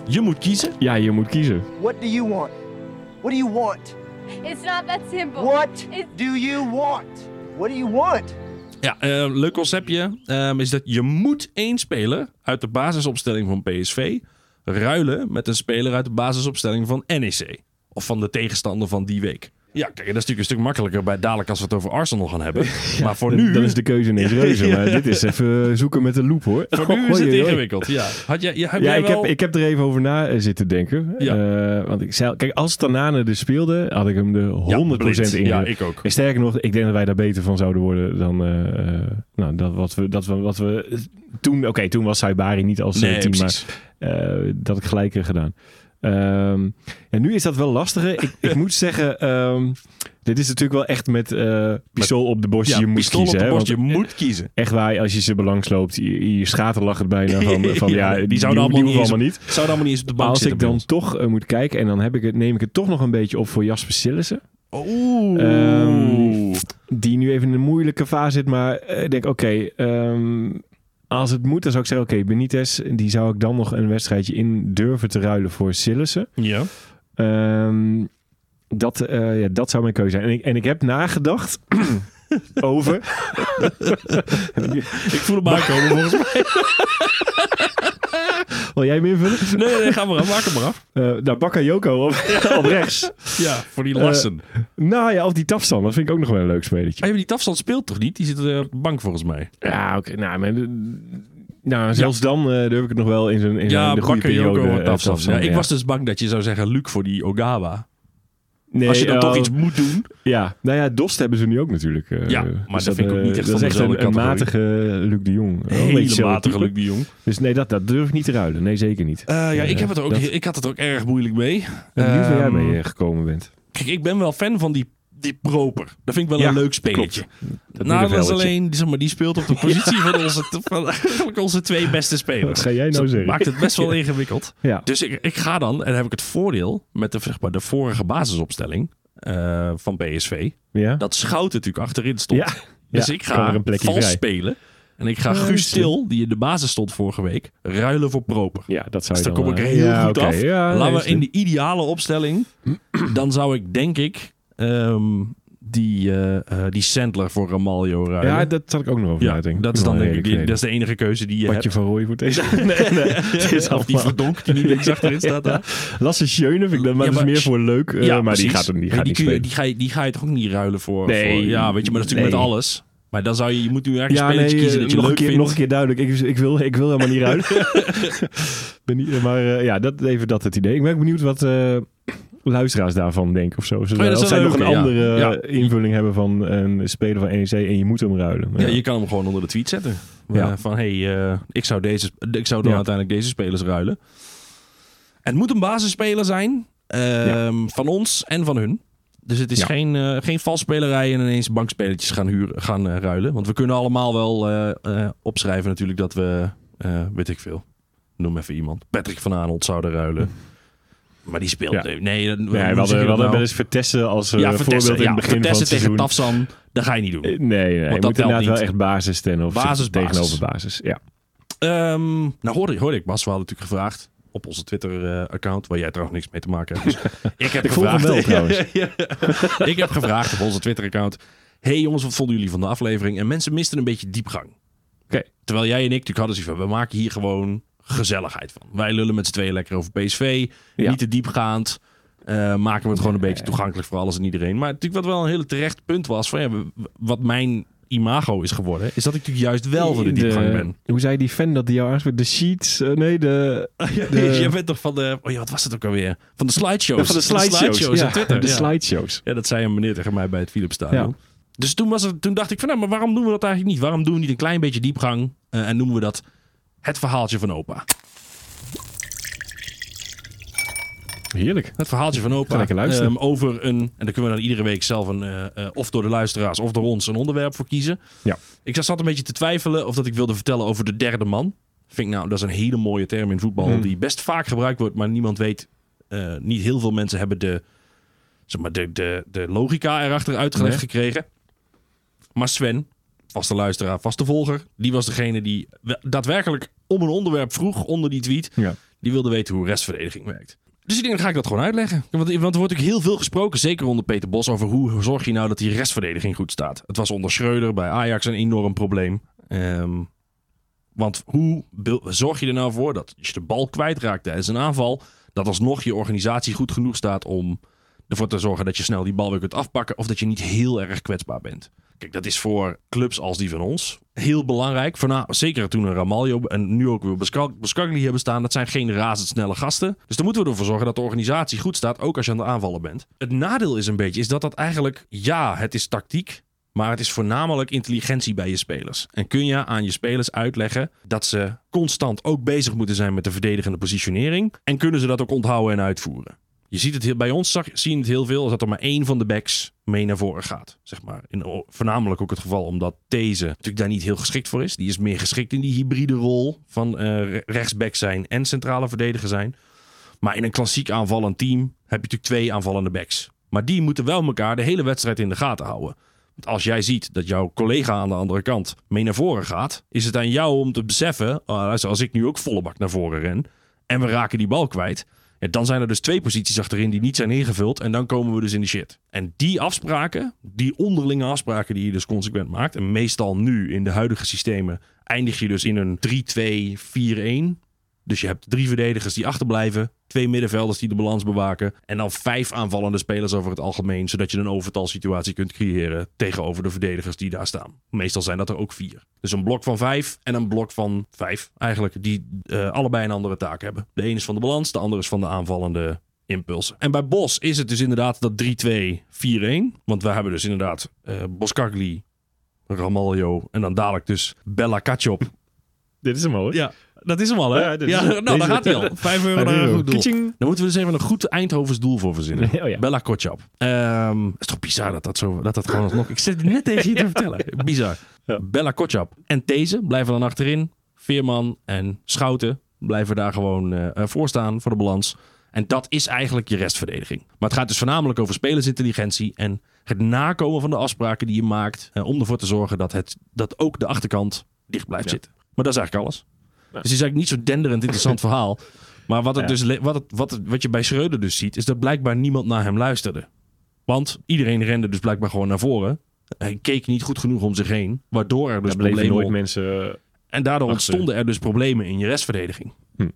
[SPEAKER 1] Je moet kiezen.
[SPEAKER 5] Ja, je moet kiezen.
[SPEAKER 6] What do you want? What do you want?
[SPEAKER 7] It's not that simple.
[SPEAKER 6] What
[SPEAKER 7] It's
[SPEAKER 6] do you want? What do you want?
[SPEAKER 1] Ja, eh, leuk conceptje. ehm, is dat je moet één speler uit de basisopstelling van PSV ruilen met een speler uit de basisopstelling van NEC. Of van de tegenstander van die week. Ja, kijk, dat is natuurlijk een stuk makkelijker bij dadelijk als we het over Arsenal gaan hebben. maar voor
[SPEAKER 5] Dan,
[SPEAKER 1] nu...
[SPEAKER 5] dan is de keuze ineens reuze. Maar dit is even eh, zoeken met de loop, hoor.
[SPEAKER 1] Voor nu is
[SPEAKER 5] Hoi,
[SPEAKER 1] het
[SPEAKER 5] hoi, hoi.
[SPEAKER 1] ingewikkeld. Ja, Had jij, ja, heb
[SPEAKER 5] Ja,
[SPEAKER 1] jij
[SPEAKER 5] ik
[SPEAKER 1] wel...
[SPEAKER 5] heb, ik heb er even over na eh, zitten denken. Eh, want ik zei, kijk, als Tanane dus speelde, had ik hem er 100%
[SPEAKER 1] blind.
[SPEAKER 5] in.
[SPEAKER 1] Ja, ik ook.
[SPEAKER 5] En sterker nog, ik denk dat wij daar beter van zouden worden dan eh, eh, nou, dat wat we, dat we, wat we toen. Oké, toen was Saibari niet als eh,
[SPEAKER 1] Nee,
[SPEAKER 5] team, maar
[SPEAKER 1] precies.
[SPEAKER 5] eh, dat ik gelijk heb gedaan. Ehm, en nu is dat wel lastiger. Ik, ik moet zeggen, ehm, dit is natuurlijk wel echt met eh pistool op de borst.
[SPEAKER 1] ja,
[SPEAKER 5] je moet
[SPEAKER 1] pistool
[SPEAKER 5] kiezen.
[SPEAKER 1] op de
[SPEAKER 5] hè,
[SPEAKER 1] borst,
[SPEAKER 5] want
[SPEAKER 1] je moet kiezen.
[SPEAKER 5] Echt waar, als je ze belangs loopt, je, je schater lacht het bijna van, van ja, die, zouden allemaal,
[SPEAKER 1] eens
[SPEAKER 5] allemaal niet.
[SPEAKER 1] Op, zouden allemaal niet eens op de
[SPEAKER 5] Maar
[SPEAKER 1] bank
[SPEAKER 5] als ik
[SPEAKER 1] zitten.
[SPEAKER 5] dan toch eh, moet kijken en dan heb ik het, neem ik het toch nog een beetje op voor Jasper Sillissen.
[SPEAKER 1] Oeh.
[SPEAKER 5] Ehm, die nu even in een moeilijke fase zit. Maar eh, ik denk, oké, ehm, als het moet, dan zou ik zeggen, oké, Benitez, die zou ik dan nog een wedstrijdje in durven te ruilen voor Sillissen.
[SPEAKER 1] ja.
[SPEAKER 5] Ehm, dat, eh, ja, dat zou mijn keuze zijn. En ik, en ik heb nagedacht over...
[SPEAKER 1] Ik voel hem aankomen volgens mij.
[SPEAKER 5] Wil jij hem invullen?
[SPEAKER 1] Nee, nee, ga maar af. Maak hem maar af.
[SPEAKER 5] Eh nou, Bakayoko op, op rechts.
[SPEAKER 1] Ja, Eh, voor die Larsen. Maar
[SPEAKER 5] Nou ja, of die Tafsan. Dat vind ik ook nog wel een leuk spelletje.
[SPEAKER 1] die Tafstand speelt toch niet? Die zit eh, op de bank volgens mij.
[SPEAKER 5] Ja, oké. nou, maar, eh, nou, zelfs dan eh durf ik het nog wel in zijn in zijn-
[SPEAKER 1] Ja,
[SPEAKER 5] de goede
[SPEAKER 1] Bakker,
[SPEAKER 5] periode.
[SPEAKER 1] Joko en
[SPEAKER 5] eh,
[SPEAKER 1] Tafsan.
[SPEAKER 5] Tafsan,
[SPEAKER 1] Ja, ik
[SPEAKER 5] ja.
[SPEAKER 1] was dus bang dat je zou zeggen Luc voor die Ogawa.
[SPEAKER 5] Nee,
[SPEAKER 1] Als je dan
[SPEAKER 5] eh,
[SPEAKER 1] toch iets moet doen.
[SPEAKER 5] Ja, nou ja, Dost hebben ze nu ook natuurlijk. eh,
[SPEAKER 1] Ja, maar dat vind ik ook
[SPEAKER 5] eh,
[SPEAKER 1] niet echt
[SPEAKER 5] Dat
[SPEAKER 1] van
[SPEAKER 5] is echt
[SPEAKER 1] dezelfde
[SPEAKER 5] een, een matige
[SPEAKER 1] categorie.
[SPEAKER 5] Luc de Jong. Wel een beetje
[SPEAKER 1] Hele
[SPEAKER 5] hetzelfde
[SPEAKER 1] matige
[SPEAKER 5] type.
[SPEAKER 1] Luc de Jong.
[SPEAKER 5] Dus nee, dat, dat durf ik niet te ruilen. Nee, zeker niet.
[SPEAKER 1] Eh, ja, ik, heb het er ook,
[SPEAKER 5] dat-
[SPEAKER 1] ik had het ook erg moeilijk mee.
[SPEAKER 5] Ik ben benieuwd waar jij
[SPEAKER 1] Ehm,
[SPEAKER 5] mee eh, gekomen bent.
[SPEAKER 1] Kijk, ik ben wel fan van die, die proper. Dat vind ik wel
[SPEAKER 5] Ja,
[SPEAKER 1] een leuk spelletje. Nou, dat is
[SPEAKER 5] middenveldje.
[SPEAKER 1] alleen, zeg maar, die speelt op de positie van, onze, van eigenlijk onze twee beste spelers.
[SPEAKER 5] Wat ga jij nou
[SPEAKER 1] dat
[SPEAKER 5] zeggen?
[SPEAKER 1] maakt het best wel ingewikkeld.
[SPEAKER 5] Ja.
[SPEAKER 1] Dus ik, ik ga dan, en dan heb ik het voordeel met de, zeg maar, de vorige basisopstelling eh, van PSV.
[SPEAKER 5] Ja?
[SPEAKER 1] Dat Schouten natuurlijk achterin stond.
[SPEAKER 5] Ja.
[SPEAKER 1] Dus
[SPEAKER 5] Ja,
[SPEAKER 1] ik
[SPEAKER 5] kwam er
[SPEAKER 1] ga
[SPEAKER 5] een plekje
[SPEAKER 1] vals
[SPEAKER 5] vrij.
[SPEAKER 1] spelen. En ik ga
[SPEAKER 5] Ja, dat
[SPEAKER 1] Guus
[SPEAKER 5] is
[SPEAKER 1] Til, die in de basis stond vorige week, ruilen voor proper.
[SPEAKER 5] ja, dat zou
[SPEAKER 1] Dus
[SPEAKER 5] je
[SPEAKER 1] dan kom ik er
[SPEAKER 5] eh,
[SPEAKER 1] heel
[SPEAKER 5] ja,
[SPEAKER 1] goed
[SPEAKER 5] oké,
[SPEAKER 1] af.
[SPEAKER 5] ja, nee, dus
[SPEAKER 1] Laten
[SPEAKER 5] is
[SPEAKER 1] we in
[SPEAKER 5] goed.
[SPEAKER 1] de ideale opstelling, dan zou ik denk ik ehm, die, eh, eh, die Sandler voor Ramaljo ruilen.
[SPEAKER 5] Ja, dat zal ik Oh, ook nog over
[SPEAKER 1] Ja,
[SPEAKER 5] nadenken.
[SPEAKER 1] dat is dan
[SPEAKER 5] Wel
[SPEAKER 1] denk ik, die-
[SPEAKER 5] redelijk
[SPEAKER 1] dat is de enige keuze die je
[SPEAKER 5] Patje
[SPEAKER 1] hebt.
[SPEAKER 5] van Rooij voor deze. nee, nee. Het is
[SPEAKER 1] Of die
[SPEAKER 5] allemaal-
[SPEAKER 1] verdonk die niet links achterin staat. hè?
[SPEAKER 5] Lasse Schöne vind ik dan maar,
[SPEAKER 1] Ja,
[SPEAKER 5] dat is
[SPEAKER 1] maar-
[SPEAKER 5] meer voor leuk. eh, maar
[SPEAKER 1] precies.
[SPEAKER 5] die gaat hem die
[SPEAKER 1] Maar
[SPEAKER 5] gaat niet
[SPEAKER 1] die, kun je,
[SPEAKER 5] spelen.
[SPEAKER 1] die, ga je, die ga je toch ook niet ruilen voor...
[SPEAKER 5] Nee.
[SPEAKER 1] voor- ja, weet je, maar dat is natuurlijk
[SPEAKER 5] Nee.
[SPEAKER 1] met alles. Maar dan zou je, je moet nu ergens een
[SPEAKER 5] nee,
[SPEAKER 1] spelletje kiezen dat je
[SPEAKER 5] nog, een
[SPEAKER 1] leuk
[SPEAKER 5] keer,
[SPEAKER 1] vindt.
[SPEAKER 5] nog een keer duidelijk. Ik, ik, wil, ik wil helemaal niet ruilen. ben niet, maar eh, ja, dat, even dat het idee. Ik ben ook benieuwd wat eh, luisteraars daarvan denken of zo. Of ze-
[SPEAKER 1] dat is
[SPEAKER 5] of
[SPEAKER 1] wel
[SPEAKER 5] zij nog een
[SPEAKER 1] leuk, Oh, ja.
[SPEAKER 5] andere
[SPEAKER 1] Ja.
[SPEAKER 5] eh, invulling hebben van een speler van NEC en je moet hem ruilen.
[SPEAKER 1] Ja, je kan hem gewoon onder de tweet zetten.
[SPEAKER 5] Ja.
[SPEAKER 1] Eh, van, hey, eh, ik, zou deze, ik zou dan
[SPEAKER 5] Ja.
[SPEAKER 1] uiteindelijk deze spelers ruilen. Het moet een basisspeler zijn. ehm, Van ons en van hun. Dus het is
[SPEAKER 5] Ja.
[SPEAKER 1] geen, eh geen valsspelerij en ineens bankspelertjes gaan, huren, gaan eh, ruilen. Want we kunnen allemaal wel eh, eh, opschrijven natuurlijk dat we, eh, weet ik veel, noem even iemand. Patrick van Aanholt zouden ruilen. Maar die speelt...
[SPEAKER 5] Ja.
[SPEAKER 1] Nee, dat,
[SPEAKER 5] Nee, we hadden, we hadden wel
[SPEAKER 1] nou?
[SPEAKER 5] eens Vertessen als eh,
[SPEAKER 1] ja,
[SPEAKER 5] voorbeeld
[SPEAKER 1] Vertessen,
[SPEAKER 5] in
[SPEAKER 1] ja,
[SPEAKER 5] het begin van
[SPEAKER 1] Vertessen
[SPEAKER 5] het
[SPEAKER 1] tegen
[SPEAKER 5] seizoen.
[SPEAKER 1] Tafsan. Dat ga je niet doen.
[SPEAKER 5] Eh, Nee, nee, je
[SPEAKER 1] dat
[SPEAKER 5] moet
[SPEAKER 1] telt
[SPEAKER 5] inderdaad wel
[SPEAKER 1] niet.
[SPEAKER 5] echt basis ten of
[SPEAKER 1] Basis, basis.
[SPEAKER 5] tegenover basis. Ja.
[SPEAKER 1] Ehm, nou, hoorde, hoorde ik Bas, we hadden natuurlijk gevraagd op onze Twitter-account, waar jij trouwens niks mee te maken hebt. Dus ik heb
[SPEAKER 5] volg hem
[SPEAKER 1] gevraagd.
[SPEAKER 5] wel, trouwens.
[SPEAKER 1] Ja, ja. ik heb gevraagd op onze Twitter-account. hey jongens, wat vonden jullie van de aflevering? En mensen misten een beetje diepgang.
[SPEAKER 5] Oké.
[SPEAKER 1] Terwijl jij en ik natuurlijk hadden zoiets van, we maken hier gewoon gezelligheid van. Wij lullen met z'n tweeën lekker over PSV.
[SPEAKER 5] Ja.
[SPEAKER 1] Niet te diepgaand. Eh, maken we het gewoon een beetje toegankelijk voor alles en iedereen. Maar natuurlijk wat wel een hele terecht punt was van ja, we- wat mijn imago is geworden, is dat ik natuurlijk juist wel voor de diepgang ben.
[SPEAKER 5] Hoe zei die fan dat die jou aanspreekt? De sheets? eh, nee, de...
[SPEAKER 1] Ja,
[SPEAKER 5] de-
[SPEAKER 1] Jij bent toch van de... Oh ja, wat was het ook alweer? Van de slideshows.
[SPEAKER 5] Van de slideshows.
[SPEAKER 1] op
[SPEAKER 5] ja,
[SPEAKER 1] Twitter.
[SPEAKER 5] De
[SPEAKER 1] ja.
[SPEAKER 5] slideshows.
[SPEAKER 1] Ja, dat zei een meneer tegen mij bij het Philips Stadion.
[SPEAKER 5] Ja.
[SPEAKER 1] Dus toen, was het, toen dacht ik van... Nou, maar waarom doen we dat eigenlijk niet? Waarom doen we niet een klein beetje diepgang? eh, en noemen we dat het verhaaltje van opa.
[SPEAKER 5] Heerlijk.
[SPEAKER 1] Het verhaaltje van
[SPEAKER 5] Ga
[SPEAKER 1] opa.
[SPEAKER 5] lekker luisteren.
[SPEAKER 1] ehm, over een... En daar kunnen we dan iedere week zelf een... eh, eh, of door de luisteraars of door ons een onderwerp voor kiezen.
[SPEAKER 5] Ja.
[SPEAKER 1] Ik zat een beetje te twijfelen of dat ik wilde vertellen over de derde man. Vind ik nou, dat is een hele mooie term in voetbal
[SPEAKER 5] Mm.
[SPEAKER 1] die best vaak gebruikt wordt, maar niemand weet. eh, niet heel veel mensen hebben de, zeg maar, de, de, de logica erachter uitgelegd
[SPEAKER 5] Nee.
[SPEAKER 1] gekregen. Maar Sven, vaste luisteraar, vaste volger, die was degene die we- daadwerkelijk om een onderwerp vroeg onder die tweet.
[SPEAKER 5] Ja.
[SPEAKER 1] Die wilde weten hoe restverdediging werkt. Dus ik denk, dan ga ik dat gewoon uitleggen. Want, want er wordt ook heel veel gesproken, zeker onder Peter Bos, over hoe zorg je nou dat die restverdediging goed staat. Het was onder Schreuder bij Ajax een enorm probleem. Ehm, want hoe beel- zorg je er nou voor dat als je de bal kwijtraakt tijdens een aanval, dat alsnog je organisatie goed genoeg staat om ervoor te zorgen dat je snel die bal weer kunt afpakken of dat je niet heel erg kwetsbaar bent. Kijk, dat is voor clubs als die van ons heel belangrijk. Voorna, zeker toen een Ramaljo en nu ook weer Bascal- Bascagli hebben staan. Dat zijn geen razendsnelle gasten. Dus dan moeten we ervoor zorgen dat de organisatie goed staat, ook als je aan de aanvallen bent. Het nadeel is een beetje, is dat dat eigenlijk, ja, het is tactiek. Maar het is voornamelijk intelligentie bij je spelers. En kun je aan je spelers uitleggen dat ze constant ook bezig moeten zijn met de verdedigende positionering. En kunnen ze dat ook onthouden en uitvoeren. Je ziet het heel, bij ons zag, zien het heel veel als dat er maar één van de backs mee naar voren gaat. Zeg maar. In, voornamelijk ook het geval omdat deze natuurlijk daar niet heel geschikt voor is. Die is meer geschikt in die hybride rol van eh, re- rechtsback zijn en centrale verdediger zijn. Maar in een klassiek aanvallend team heb je natuurlijk twee aanvallende backs. Maar die moeten wel elkaar de hele wedstrijd in de gaten houden. Want als jij ziet dat jouw collega aan de andere kant mee naar voren gaat, is het aan jou om te beseffen, ah, luister, als ik nu ook volle bak naar voren ren en we raken die bal kwijt, ja, dan zijn er dus twee posities achterin die niet zijn ingevuld en dan komen we dus in de shit. En die afspraken, die onderlinge afspraken die je dus consequent maakt, en meestal nu in de huidige systemen eindig je dus in een 3-2-4-1 Dus je hebt drie verdedigers die achterblijven, twee middenvelders die de balans bewaken en dan vijf aanvallende spelers over het algemeen, zodat je een overtalsituatie kunt creëren tegenover de verdedigers die daar staan. Meestal zijn dat er ook vier. Dus een blok van vijf en een blok van vijf eigenlijk, die eh, allebei een andere taak hebben. De een is van de balans, de ander is van de aanvallende impulsen. En bij Bos is het dus inderdaad dat 3-2-4-1, want we hebben dus inderdaad eh Boskagli, Ramaljo en dan dadelijk dus Bella Kachop
[SPEAKER 5] Dit is hem hoor.
[SPEAKER 1] ja, dat is hem al, hè?
[SPEAKER 5] Ja,
[SPEAKER 1] Ja,
[SPEAKER 5] dit is hem.
[SPEAKER 1] nou,
[SPEAKER 5] Deze-
[SPEAKER 1] daar gaat hij al. Vijf euro naar een goed doel.
[SPEAKER 5] Kitching.
[SPEAKER 1] Dan moeten we dus even een goed Eindhovens doel voor verzinnen.
[SPEAKER 5] Oh ja.
[SPEAKER 1] Bella Kotschap. Ehm is toch bizar dat dat, zo, dat dat gewoon alsnog... Ik zit het net even hier te vertellen. Bizar. Bella Kotschap en These blijven dan achterin. Veerman en Schouten blijven daar gewoon eh, eh, voor staan voor de balans. En dat is eigenlijk je restverdediging. Maar het gaat dus voornamelijk over spelersintelligentie en het nakomen van de afspraken die je maakt. eh, om ervoor te zorgen dat, het, dat ook de achterkant dicht blijft zitten. Maar dat is eigenlijk alles. Dus het is eigenlijk niet zo denderend interessant verhaal. Maar wat, het
[SPEAKER 5] Ja.
[SPEAKER 1] dus, le- wat, het, wat, het, wat je bij Schreuder dus ziet, is dat blijkbaar niemand naar hem luisterde. Want iedereen rende dus blijkbaar gewoon naar voren. Hij keek niet goed genoeg om zich heen. Waardoor er dus
[SPEAKER 5] Daar bleven
[SPEAKER 1] problemen
[SPEAKER 5] nooit
[SPEAKER 1] ont-
[SPEAKER 5] mensen... eh,
[SPEAKER 1] En daardoor
[SPEAKER 5] achter.
[SPEAKER 1] ontstonden er dus problemen in je restverdediging.
[SPEAKER 5] Hm.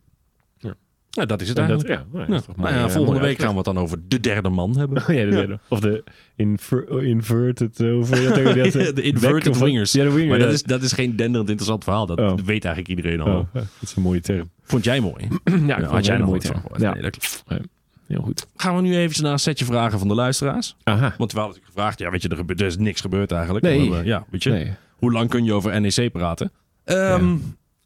[SPEAKER 5] Ja.
[SPEAKER 1] Nou, dat is het
[SPEAKER 5] en dat-
[SPEAKER 1] eigenlijk.
[SPEAKER 5] ja, nou ja,
[SPEAKER 1] Ja.
[SPEAKER 5] dat is toch
[SPEAKER 1] Nou
[SPEAKER 5] mooi,
[SPEAKER 1] ja,
[SPEAKER 5] eh,
[SPEAKER 1] volgende
[SPEAKER 5] mooi
[SPEAKER 1] week gaan we het dan over de derde man hebben.
[SPEAKER 5] Ja, de derde. Of de inver- oh, inverted... eh, Of, ja, tegen dat, eh,
[SPEAKER 1] de
[SPEAKER 5] back
[SPEAKER 1] inverted
[SPEAKER 5] of-
[SPEAKER 1] wingers.
[SPEAKER 5] Ja, de winger.
[SPEAKER 1] maar dat
[SPEAKER 5] ja.
[SPEAKER 1] is, dat is geen denderend interessant verhaal. Dat
[SPEAKER 5] Oh.
[SPEAKER 1] weet eigenlijk iedereen al.
[SPEAKER 5] Oh, dat is een mooie term.
[SPEAKER 1] Vond jij mooi?
[SPEAKER 5] Ja,
[SPEAKER 1] had jij er nooit
[SPEAKER 5] term.
[SPEAKER 1] van gehoord?
[SPEAKER 5] Ja,
[SPEAKER 1] Nee, dat klopt.
[SPEAKER 5] heel goed.
[SPEAKER 1] Gaan we nu even naar een setje vragen van de luisteraars?
[SPEAKER 5] Aha.
[SPEAKER 1] Want we hadden natuurlijk gevraagd, ja, weet je, er, gebeurt, er is niks gebeurd eigenlijk.
[SPEAKER 5] Nee.
[SPEAKER 1] We hebben- ja, weet je,
[SPEAKER 5] Nee.
[SPEAKER 1] hoe lang kun je over NEC praten? Ehm,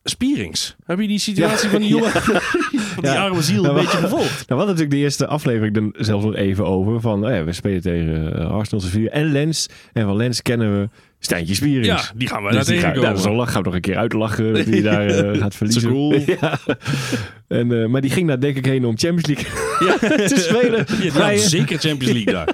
[SPEAKER 1] Spierings, heb je die situatie van die jongen, van die
[SPEAKER 5] Ja.
[SPEAKER 1] arme ziel,
[SPEAKER 5] Ja,
[SPEAKER 1] een
[SPEAKER 5] maar-
[SPEAKER 1] beetje gevolgd?
[SPEAKER 5] Nou, we hadden natuurlijk de eerste aflevering er zelfs nog even over. Van, nou ja, we spelen tegen eh, Arsenal Sevilla en Lens. En van Lens kennen we Stijntje Spierings.
[SPEAKER 1] Ja, die gaan we
[SPEAKER 5] Dus
[SPEAKER 1] daar
[SPEAKER 5] die gaan, nou,
[SPEAKER 1] tegenkomen.
[SPEAKER 5] zo lach gaan we nog een keer uitlachen dat hij daar eh, gaat verliezen.
[SPEAKER 1] cool.
[SPEAKER 5] Ja. En, eh, maar die ging daar denk ik heen om Champions League te spelen.
[SPEAKER 1] Ja, die
[SPEAKER 5] Hij- eh,
[SPEAKER 1] had zeker Champions League daar.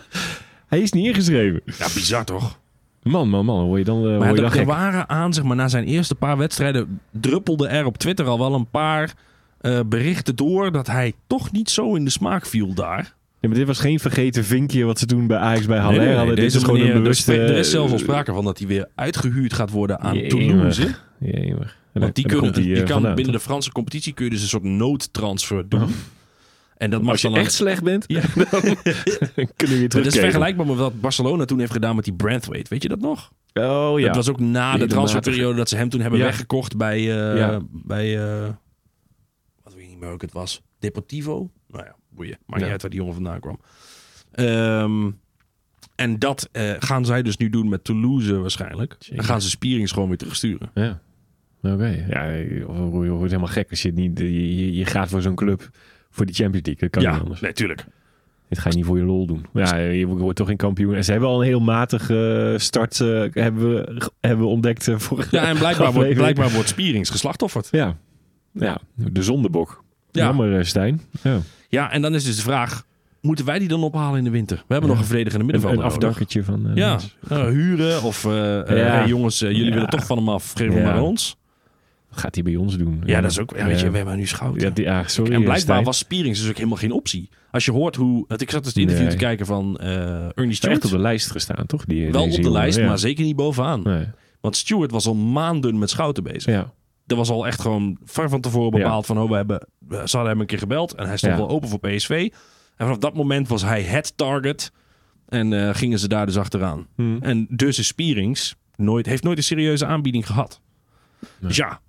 [SPEAKER 5] Hij is niet ingeschreven.
[SPEAKER 1] Ja, bizar toch?
[SPEAKER 5] Man, man, man. Hoor je dan, eh,
[SPEAKER 1] Maar
[SPEAKER 5] hoor je
[SPEAKER 1] er,
[SPEAKER 5] dan
[SPEAKER 1] er
[SPEAKER 5] gek.
[SPEAKER 1] waren aan, zeg maar, na zijn eerste paar wedstrijden druppelde er op Twitter al wel een paar eh, berichten door dat hij toch niet zo in de smaak viel daar.
[SPEAKER 5] Ja, maar dit was geen vergeten vinkje wat ze toen bij Ajax bij Haller hadden. Dit
[SPEAKER 1] deze
[SPEAKER 5] is gewoon een
[SPEAKER 1] meneer, er
[SPEAKER 5] bewuste...
[SPEAKER 1] spe- Er is zelfs al sprake van dat hij weer uitgehuurd gaat worden aan
[SPEAKER 5] Jemig.
[SPEAKER 1] Toulouse.
[SPEAKER 5] Jemig. En dan-
[SPEAKER 1] Want die,
[SPEAKER 5] en dan
[SPEAKER 1] kunnen,
[SPEAKER 5] komt
[SPEAKER 1] die,
[SPEAKER 5] eh,
[SPEAKER 1] kan
[SPEAKER 5] vandaan,
[SPEAKER 1] binnen de Franse competitie kun je dus een soort noodtransfer doen. En dat
[SPEAKER 5] toch?
[SPEAKER 1] mag
[SPEAKER 5] Als je
[SPEAKER 1] dan
[SPEAKER 5] echt slecht bent,
[SPEAKER 1] Ja.
[SPEAKER 5] dan kunnen we je
[SPEAKER 1] Dat is
[SPEAKER 5] terugkeren.
[SPEAKER 1] vergelijkbaar met wat Barcelona toen heeft gedaan met die Branthwaite. Weet je dat nog?
[SPEAKER 5] Oh ja.
[SPEAKER 1] Dat was ook na de
[SPEAKER 5] Regelmatig.
[SPEAKER 1] transferperiode dat ze hem toen hebben
[SPEAKER 5] Ja.
[SPEAKER 1] weggekocht bij... eh,
[SPEAKER 5] Ja.
[SPEAKER 1] bij eh, wat weet ik niet meer hoe het was. Deportivo? Nou ja, boeien. Maakt
[SPEAKER 5] Ja.
[SPEAKER 1] niet uit waar die jongen vandaan kwam. Ehm, en dat eh, gaan zij dus nu doen met Toulouse waarschijnlijk. Dan gaan ze Spierings gewoon weer terugsturen.
[SPEAKER 5] Ja. Oké. Ja, je wordt je wordt helemaal gek als je het niet... Je, je- je gaat voor zo'n club voor die Champions League. Dat kan niet
[SPEAKER 1] Ja,
[SPEAKER 5] anders.
[SPEAKER 1] natuurlijk.
[SPEAKER 5] Dit ga je niet voor je lol doen. Ja, je wordt toch geen kampioen. En ze hebben al een heel matige start eh, hebben, we, hebben we ontdekt eh, vorige
[SPEAKER 1] Ja, en blijkbaar wordt,
[SPEAKER 5] aflevering.
[SPEAKER 1] blijkbaar wordt Spierings geslachtofferd.
[SPEAKER 5] Ja. ja, de zondebok.
[SPEAKER 1] Ja.
[SPEAKER 5] Jammer, eh, Stijn. Ja.
[SPEAKER 1] Ja, en dan is dus de vraag: moeten wij die dan ophalen in de winter? We hebben nog een verdedigende
[SPEAKER 5] Een,
[SPEAKER 1] middenvelder
[SPEAKER 5] een
[SPEAKER 1] nodig.
[SPEAKER 5] afdakkertje van... eh,
[SPEAKER 1] Ja,
[SPEAKER 5] mensen.
[SPEAKER 1] eh, huren of eh, eh,
[SPEAKER 5] Ja.
[SPEAKER 1] hey, jongens, eh, jullie
[SPEAKER 5] Ja.
[SPEAKER 1] willen toch van hem af, geef
[SPEAKER 5] Ja.
[SPEAKER 1] hem maar aan ons. Eh,
[SPEAKER 5] Wat gaat hij bij ons doen?
[SPEAKER 1] Ja, dat is ook, ja, weet je,
[SPEAKER 5] Ja.
[SPEAKER 1] we hebben nu schout.
[SPEAKER 5] Ja, die, ah, sorry.
[SPEAKER 1] en
[SPEAKER 5] eh,
[SPEAKER 1] blijkbaar
[SPEAKER 5] Stijn.
[SPEAKER 1] was Spierings dus ook helemaal geen optie. Als je hoort hoe, want ik zat dus het interview
[SPEAKER 5] Nee.
[SPEAKER 1] te kijken van eh Ernie
[SPEAKER 5] Hij is echt op
[SPEAKER 1] Stewart.
[SPEAKER 5] de lijst gestaan, toch? Die,
[SPEAKER 1] Wel op
[SPEAKER 5] deze
[SPEAKER 1] de
[SPEAKER 5] jongen,
[SPEAKER 1] lijst,
[SPEAKER 5] ja.
[SPEAKER 1] maar zeker niet bovenaan.
[SPEAKER 5] Nee.
[SPEAKER 1] Want Stewart was al maanden met schouten bezig.
[SPEAKER 5] Ja.
[SPEAKER 1] Dat was al echt gewoon ver van tevoren
[SPEAKER 5] Ja.
[SPEAKER 1] bepaald van, oh, we hebben, we- ze hadden hem een keer gebeld en hij stond
[SPEAKER 5] Ja.
[SPEAKER 1] wel open voor PSV. En vanaf dat moment was hij het target en eh, gingen ze daar dus achteraan.
[SPEAKER 5] Hmm.
[SPEAKER 1] En dus is Spierings nooit, heeft nooit een serieuze aanbieding gehad. Dus ja,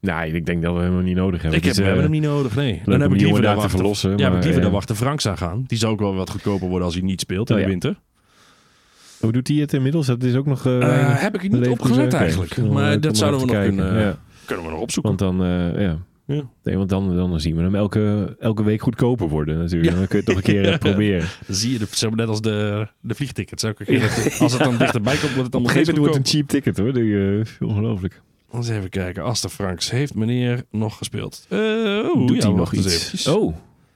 [SPEAKER 5] Nee, ik denk dat we hem niet nodig hebben.
[SPEAKER 1] ik heb,
[SPEAKER 5] Dus,
[SPEAKER 1] we
[SPEAKER 5] eh,
[SPEAKER 1] hebben hem niet nodig, nee.
[SPEAKER 5] om
[SPEAKER 1] Dan heb
[SPEAKER 5] die
[SPEAKER 1] ik
[SPEAKER 5] jongen
[SPEAKER 1] liever
[SPEAKER 5] daar
[SPEAKER 1] daar
[SPEAKER 5] te
[SPEAKER 1] wachten.
[SPEAKER 5] verlossen,
[SPEAKER 1] ja, heb
[SPEAKER 5] maar,
[SPEAKER 1] ik liever
[SPEAKER 5] eh,
[SPEAKER 1] daar wachten Franks aan gaan. Die zou ook wel wat goedkoper worden als hij niet speelt in
[SPEAKER 5] Oh,
[SPEAKER 1] de
[SPEAKER 5] ja.
[SPEAKER 1] winter.
[SPEAKER 5] Hoe doet hij het inmiddels? Dat is ook nog... eh,
[SPEAKER 1] Eh,
[SPEAKER 5] weinig-
[SPEAKER 1] heb ik er
[SPEAKER 5] Leverkusen,
[SPEAKER 1] niet op gelet
[SPEAKER 5] oké.
[SPEAKER 1] eigenlijk.
[SPEAKER 5] Dan, eh,
[SPEAKER 1] Maar
[SPEAKER 5] kom
[SPEAKER 1] dat zouden we
[SPEAKER 5] even
[SPEAKER 1] nog
[SPEAKER 5] kijken.
[SPEAKER 1] kunnen,
[SPEAKER 5] Ja.
[SPEAKER 1] kunnen we nog opzoeken.
[SPEAKER 5] Want dan, eh, ja.
[SPEAKER 1] Ja.
[SPEAKER 5] Nee, want dan, dan zien we hem elke, elke week goedkoper worden natuurlijk. Dan kun je het nog een keer eh, proberen.
[SPEAKER 1] Dan zie je, de, zeg maar net als de, de vliegtickets. Elke keer dat het- als het dan dichterbij komt, wordt het
[SPEAKER 5] Op
[SPEAKER 1] allemaal
[SPEAKER 5] een gegeven moment wordt
[SPEAKER 1] steeds
[SPEAKER 5] het een cheap ticket hoor. Die, eh, ongelooflijk.
[SPEAKER 1] goedkoper. Eens even kijken. Aster Franks, heeft meneer nog gespeeld? Eh, oh,
[SPEAKER 5] Doet
[SPEAKER 1] ja,
[SPEAKER 5] hij nog
[SPEAKER 1] wacht eens
[SPEAKER 5] iets?
[SPEAKER 1] eventjes.
[SPEAKER 5] Oh,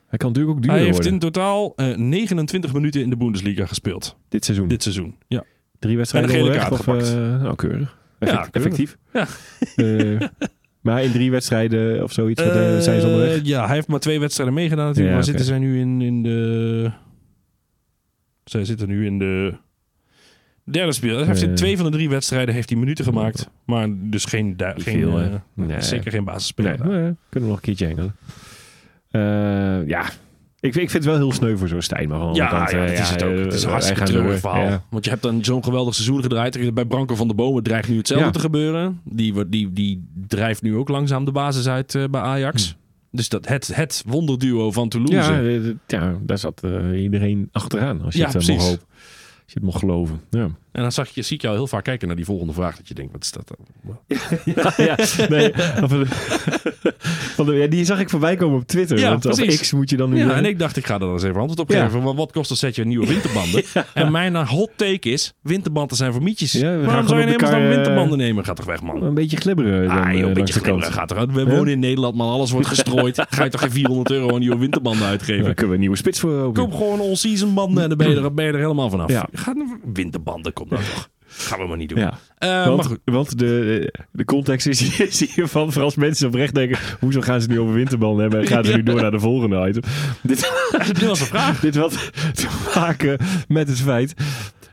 [SPEAKER 5] hij kan natuurlijk ook duurder
[SPEAKER 1] Hij heeft
[SPEAKER 5] worden.
[SPEAKER 1] in totaal eh, 29 minuten in de Bundesliga gespeeld.
[SPEAKER 5] Dit seizoen.
[SPEAKER 1] Dit seizoen. Ja.
[SPEAKER 5] Drie wedstrijden
[SPEAKER 1] en een gele
[SPEAKER 5] onderweg,
[SPEAKER 1] kaart
[SPEAKER 5] of, eh, nou, keurig.
[SPEAKER 1] keurig.
[SPEAKER 5] Effect- Effectief.
[SPEAKER 1] Ja.
[SPEAKER 5] Eh, maar in drie wedstrijden of zoiets wat, eh, zijn ze
[SPEAKER 1] Eh,
[SPEAKER 5] onderweg.
[SPEAKER 1] Ja, hij heeft maar twee wedstrijden meegedaan natuurlijk.
[SPEAKER 5] Ja,
[SPEAKER 1] maar
[SPEAKER 5] oké.
[SPEAKER 1] zitten zij nu in, in de... Zij zitten nu in de Derde speler. Heeft in
[SPEAKER 5] Eh.
[SPEAKER 1] twee van de drie wedstrijden heeft hij minuten gemaakt. Maar dus geen... du- geen
[SPEAKER 5] veel,
[SPEAKER 1] eh,
[SPEAKER 5] hè? Nee.
[SPEAKER 1] Zeker geen basisspeler.
[SPEAKER 5] Nee, nou ja, kunnen we nog een keertje engelen. Eh, ja, ik, ik vind het wel heel sneu voor zo'n Stijn. Maar van de
[SPEAKER 1] Ja,
[SPEAKER 5] andere kant,
[SPEAKER 1] ja,
[SPEAKER 5] eh,
[SPEAKER 1] dat is het ook.
[SPEAKER 5] eh,
[SPEAKER 1] Het is een
[SPEAKER 5] wij
[SPEAKER 1] hartstikke
[SPEAKER 5] gaan
[SPEAKER 1] treurig
[SPEAKER 5] door.
[SPEAKER 1] verhaal.
[SPEAKER 5] Ja.
[SPEAKER 1] Want je hebt dan zo'n geweldig seizoen gedraaid. Eh, Bij Branko van der Bomen dreigt nu hetzelfde
[SPEAKER 5] Ja.
[SPEAKER 1] te gebeuren. Die, wordt- die, die drijft nu ook langzaam de basis uit eh, bij Ajax. Dus dat, het, het wonderduo van Toulouse.
[SPEAKER 5] Hm. Ja, eh, d- ja, daar zat eh, iedereen achteraan. Als je
[SPEAKER 1] Ja,
[SPEAKER 5] het eh, mocht
[SPEAKER 1] precies.
[SPEAKER 5] hopen. Als je het mocht geloven. Ja.
[SPEAKER 1] En dan zag je, zie ik jou heel vaak kijken naar die volgende vraag. Dat je denkt, wat is dat dan?
[SPEAKER 5] ja, nee. Van de- van de- eh, ja, die zag ik voorbij komen op Twitter.
[SPEAKER 1] Ja,
[SPEAKER 5] want op
[SPEAKER 1] precies.
[SPEAKER 5] X moet je dan nu...
[SPEAKER 1] Ja, en ik dacht, ik ga daar eens even antwoord op
[SPEAKER 5] Ja.
[SPEAKER 1] geven. Want wat kost een setje nieuwe winterbanden? En mijn eh, hot take is, winterbanden zijn voor mietjes.
[SPEAKER 5] Ja, we gaan
[SPEAKER 1] Waarom zou
[SPEAKER 5] gewoon
[SPEAKER 1] je
[SPEAKER 5] op
[SPEAKER 1] helemaal
[SPEAKER 5] elkaar,
[SPEAKER 1] dan
[SPEAKER 5] eh,
[SPEAKER 1] winterbanden nemen? Ga toch weg, man.
[SPEAKER 5] Een beetje glibberen. dan,
[SPEAKER 1] Ah,
[SPEAKER 5] eh,
[SPEAKER 1] joh, een
[SPEAKER 5] langs
[SPEAKER 1] beetje
[SPEAKER 5] de kant.
[SPEAKER 1] glibberen gaat eruit. We wonen in Nederland, maar alles wordt gestrooid. Ga je toch geen 400 euro aan nieuwe winterbanden
[SPEAKER 5] Ja,
[SPEAKER 1] uitgeven?
[SPEAKER 5] Dan kunnen we een nieuwe spits voor open.
[SPEAKER 1] Koop gewoon all-season banden en dan ben je er, ben je er helemaal vanaf.
[SPEAKER 5] Ja.
[SPEAKER 1] Ga, winterbanden, kom nou toch. Gaan we maar niet doen.
[SPEAKER 5] Ja.
[SPEAKER 1] Eh, maar
[SPEAKER 5] Want,
[SPEAKER 1] goed.
[SPEAKER 5] want de, eh, de context is, is hiervan, vooral als mensen oprecht denken, hoezo gaan ze nu over winterbanden hebben en gaan ze nu door naar de volgende item. Dit,
[SPEAKER 1] Dit was de vraag.
[SPEAKER 5] dit had te maken met het feit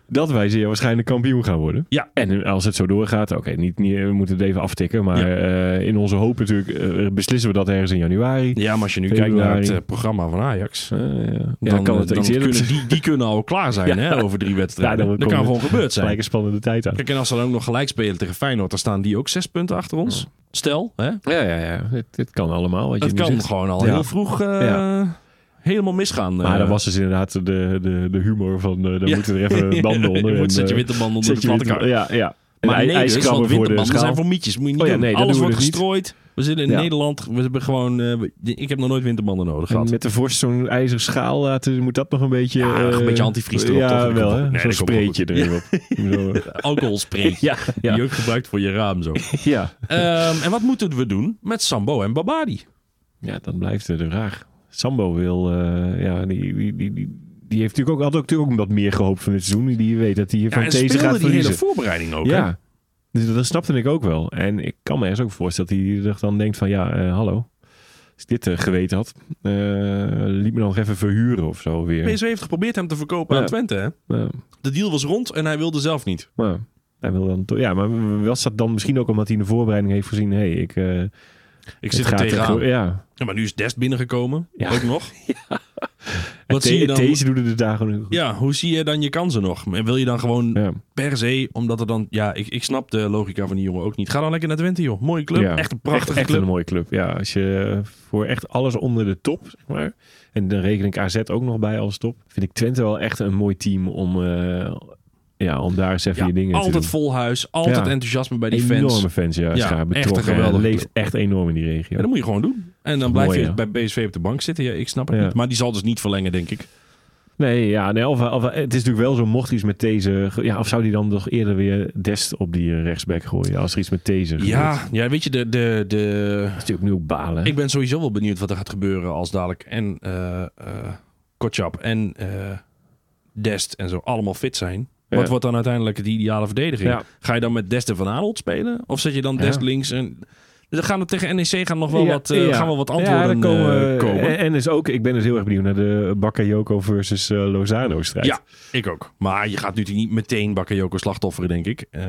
[SPEAKER 5] dat wij zeer waarschijnlijk kampioen gaan worden.
[SPEAKER 1] Ja.
[SPEAKER 5] En als het zo doorgaat, oké, niet, niet, we moeten het even aftikken, maar
[SPEAKER 1] Ja.
[SPEAKER 5] eh, in onze hoop natuurlijk eh, beslissen we dat ergens in januari.
[SPEAKER 1] Ja, maar als je nu
[SPEAKER 5] Februari.
[SPEAKER 1] kijkt naar het eh, programma van Ajax...
[SPEAKER 5] Eh, ja.
[SPEAKER 1] Dan,
[SPEAKER 5] ja, kan het
[SPEAKER 1] dan
[SPEAKER 5] iets eerder
[SPEAKER 1] kunnen die, die kunnen al klaar zijn
[SPEAKER 5] Ja.
[SPEAKER 1] hè, over drie
[SPEAKER 5] Ja,
[SPEAKER 1] wedstrijden.
[SPEAKER 5] dan
[SPEAKER 1] dat
[SPEAKER 5] komen
[SPEAKER 1] kan
[SPEAKER 5] we
[SPEAKER 1] gewoon gebeurd
[SPEAKER 5] gelijk
[SPEAKER 1] zijn.
[SPEAKER 5] een spannende tijd aan.
[SPEAKER 1] Kijk, en als ze dan ook nog gelijk spelen tegen Feyenoord, dan staan die ook zes punten achter ons. Stel, hè?
[SPEAKER 5] Ja, ja, ja. Dit, dit kan allemaal. Wat
[SPEAKER 1] het
[SPEAKER 5] je nu
[SPEAKER 1] kan
[SPEAKER 5] zegt.
[SPEAKER 1] gewoon al
[SPEAKER 5] Ja.
[SPEAKER 1] heel vroeg eh,
[SPEAKER 5] Ja.
[SPEAKER 1] helemaal misgaan.
[SPEAKER 5] Maar
[SPEAKER 1] eh.
[SPEAKER 5] dat was dus inderdaad de, de, de humor van, eh daar
[SPEAKER 1] Ja.
[SPEAKER 5] moeten er even banden onder.
[SPEAKER 1] je
[SPEAKER 5] en,
[SPEAKER 1] moet, zet je
[SPEAKER 5] eh,
[SPEAKER 1] winterband onder
[SPEAKER 5] zet
[SPEAKER 1] de
[SPEAKER 5] je
[SPEAKER 1] platte
[SPEAKER 5] winter-
[SPEAKER 1] kar.
[SPEAKER 5] Ja, ja.
[SPEAKER 1] Maar
[SPEAKER 5] En
[SPEAKER 1] nee, dus,
[SPEAKER 5] ijskrabben
[SPEAKER 1] want
[SPEAKER 5] voor de
[SPEAKER 1] winterbanden
[SPEAKER 5] schaal.
[SPEAKER 1] zijn voor mietjes. Moet je niet
[SPEAKER 5] Oh ja,
[SPEAKER 1] doen.
[SPEAKER 5] nee, dat
[SPEAKER 1] Alles
[SPEAKER 5] doen we
[SPEAKER 1] wordt
[SPEAKER 5] dus niet.
[SPEAKER 1] gestrooid. We zitten in
[SPEAKER 5] Ja.
[SPEAKER 1] Nederland. We hebben gewoon, eh, we- ik heb nog nooit winterbanden nodig
[SPEAKER 5] En
[SPEAKER 1] gehad.
[SPEAKER 5] met de vorst zo'n ijzer schaal laten, eh, moet dat nog een beetje...
[SPEAKER 1] Ja, nog een
[SPEAKER 5] eh,
[SPEAKER 1] beetje antivries erop, toch?
[SPEAKER 5] Ja,
[SPEAKER 1] Dat
[SPEAKER 5] wel
[SPEAKER 1] komt
[SPEAKER 5] hè.
[SPEAKER 1] goed. Nee,
[SPEAKER 5] zo'n
[SPEAKER 1] dat komt wel
[SPEAKER 5] spreetje erin op. Zo.
[SPEAKER 1] Alcoholspray.
[SPEAKER 5] Ja, ja.
[SPEAKER 1] Die je ook gebruikt voor je raam zo.
[SPEAKER 5] ja.
[SPEAKER 1] Ehm, en wat moeten we doen met Sambo en Babadi?
[SPEAKER 5] Ja, dan blijft de vraag. Sambo wil, eh, ja, die, die, die, die, die heeft natuurlijk ook, had ook natuurlijk ook wat meer gehoopt van dit seizoen. Die weet dat hij hier
[SPEAKER 1] Ja,
[SPEAKER 5] van
[SPEAKER 1] en
[SPEAKER 5] deze
[SPEAKER 1] speelde
[SPEAKER 5] gaat
[SPEAKER 1] die
[SPEAKER 5] verliezen.
[SPEAKER 1] hele voorbereiding ook. hè?
[SPEAKER 5] Ja, dus dat snapte ik ook wel. En ik kan me ergens ook voorstellen dat hij er dan denkt van ja, eh, hallo. Als ik dit eh, geweten had, eh, liet me dan nog even verhuren of zo weer.
[SPEAKER 1] PSV heeft geprobeerd hem te verkopen
[SPEAKER 5] Ja.
[SPEAKER 1] aan Twente. Hè?
[SPEAKER 5] Ja,
[SPEAKER 1] De deal was rond en hij wilde zelf niet.
[SPEAKER 5] maar hij wil dan toch- ja, maar was dat dan misschien ook omdat hij in de voorbereiding heeft gezien, hé, hey, ik, eh,
[SPEAKER 1] Ik
[SPEAKER 5] het
[SPEAKER 1] zit er
[SPEAKER 5] gaat
[SPEAKER 1] tegenaan.
[SPEAKER 5] gewoon- Ja,
[SPEAKER 1] Ja, maar nu is Dest binnengekomen.
[SPEAKER 5] Ja.
[SPEAKER 1] Ook nog.
[SPEAKER 5] en
[SPEAKER 1] Wat zie je dan?
[SPEAKER 5] deze doen de dagen nu.
[SPEAKER 1] Ja, hoe zie je dan je kansen nog? En wil je dan gewoon
[SPEAKER 5] Ja.
[SPEAKER 1] per se, omdat er dan... Ja, ik, ik snap de logica van die jongen ook niet. Ga dan lekker naar Twente, joh. Mooie club.
[SPEAKER 5] Ja.
[SPEAKER 1] Echt een prachtige
[SPEAKER 5] echt, echt
[SPEAKER 1] club.
[SPEAKER 5] een mooie club. Ja, als je eh, voor echt alles onder de top, zeg maar. En dan reken ik AZ ook nog bij als top. Vind ik Twente wel echt een mooi team om, eh, ja, om daar eens even
[SPEAKER 1] Ja,
[SPEAKER 5] je dingen te doen.
[SPEAKER 1] altijd vol huis. Altijd
[SPEAKER 5] Ja.
[SPEAKER 1] enthousiasme bij die fans.
[SPEAKER 5] Enorme fans, ja.
[SPEAKER 1] Ja,
[SPEAKER 5] ja
[SPEAKER 1] echt
[SPEAKER 5] betrokken.
[SPEAKER 1] een geweldige
[SPEAKER 5] en leeft
[SPEAKER 1] club.
[SPEAKER 5] echt enorm in die regio.
[SPEAKER 1] Ja, dat moet je gewoon doen. En dan blijf
[SPEAKER 5] mooi,
[SPEAKER 1] je
[SPEAKER 5] ja.
[SPEAKER 1] bij BSV op de bank zitten. Ja, ik snap het
[SPEAKER 5] Ja.
[SPEAKER 1] niet. Maar die zal dus niet verlengen, denk ik.
[SPEAKER 5] Nee, ja, nee of, of- het is natuurlijk wel zo, mocht iets met deze... ge- Ja, of zou die dan toch eerder weer Dest op die eh, rechtsback gooien? Als er iets met deze gebeurt.
[SPEAKER 1] Ja, ja weet je, de, de, de,
[SPEAKER 5] Dat is natuurlijk nu ook balen. hè?
[SPEAKER 1] Ik ben sowieso wel benieuwd wat er gaat gebeuren als dadelijk en eh eh, Kotschap en eh, Dest en zo allemaal fit zijn.
[SPEAKER 5] Ja.
[SPEAKER 1] Wat wordt dan uiteindelijk de ideale verdediging?
[SPEAKER 5] Ja.
[SPEAKER 1] Ga je dan met Dest en Van Aanholt spelen? Of zet je dan
[SPEAKER 5] Ja.
[SPEAKER 1] Dest links en... Er gaan er tegen NEC gaan nog wel
[SPEAKER 5] Ja,
[SPEAKER 1] wat, eh,
[SPEAKER 5] ja.
[SPEAKER 1] gaan wel wat
[SPEAKER 5] Ja,
[SPEAKER 1] antwoorden
[SPEAKER 5] daar komen,
[SPEAKER 1] eh,
[SPEAKER 5] eh,
[SPEAKER 1] komen.
[SPEAKER 5] En, en is ook, ik ben dus heel erg benieuwd naar de Bakayoko versus eh, Lozano strijd.
[SPEAKER 1] ja, ik ook. Maar je gaat natuurlijk niet meteen Bakayoko slachtofferen, denk ik. Eh,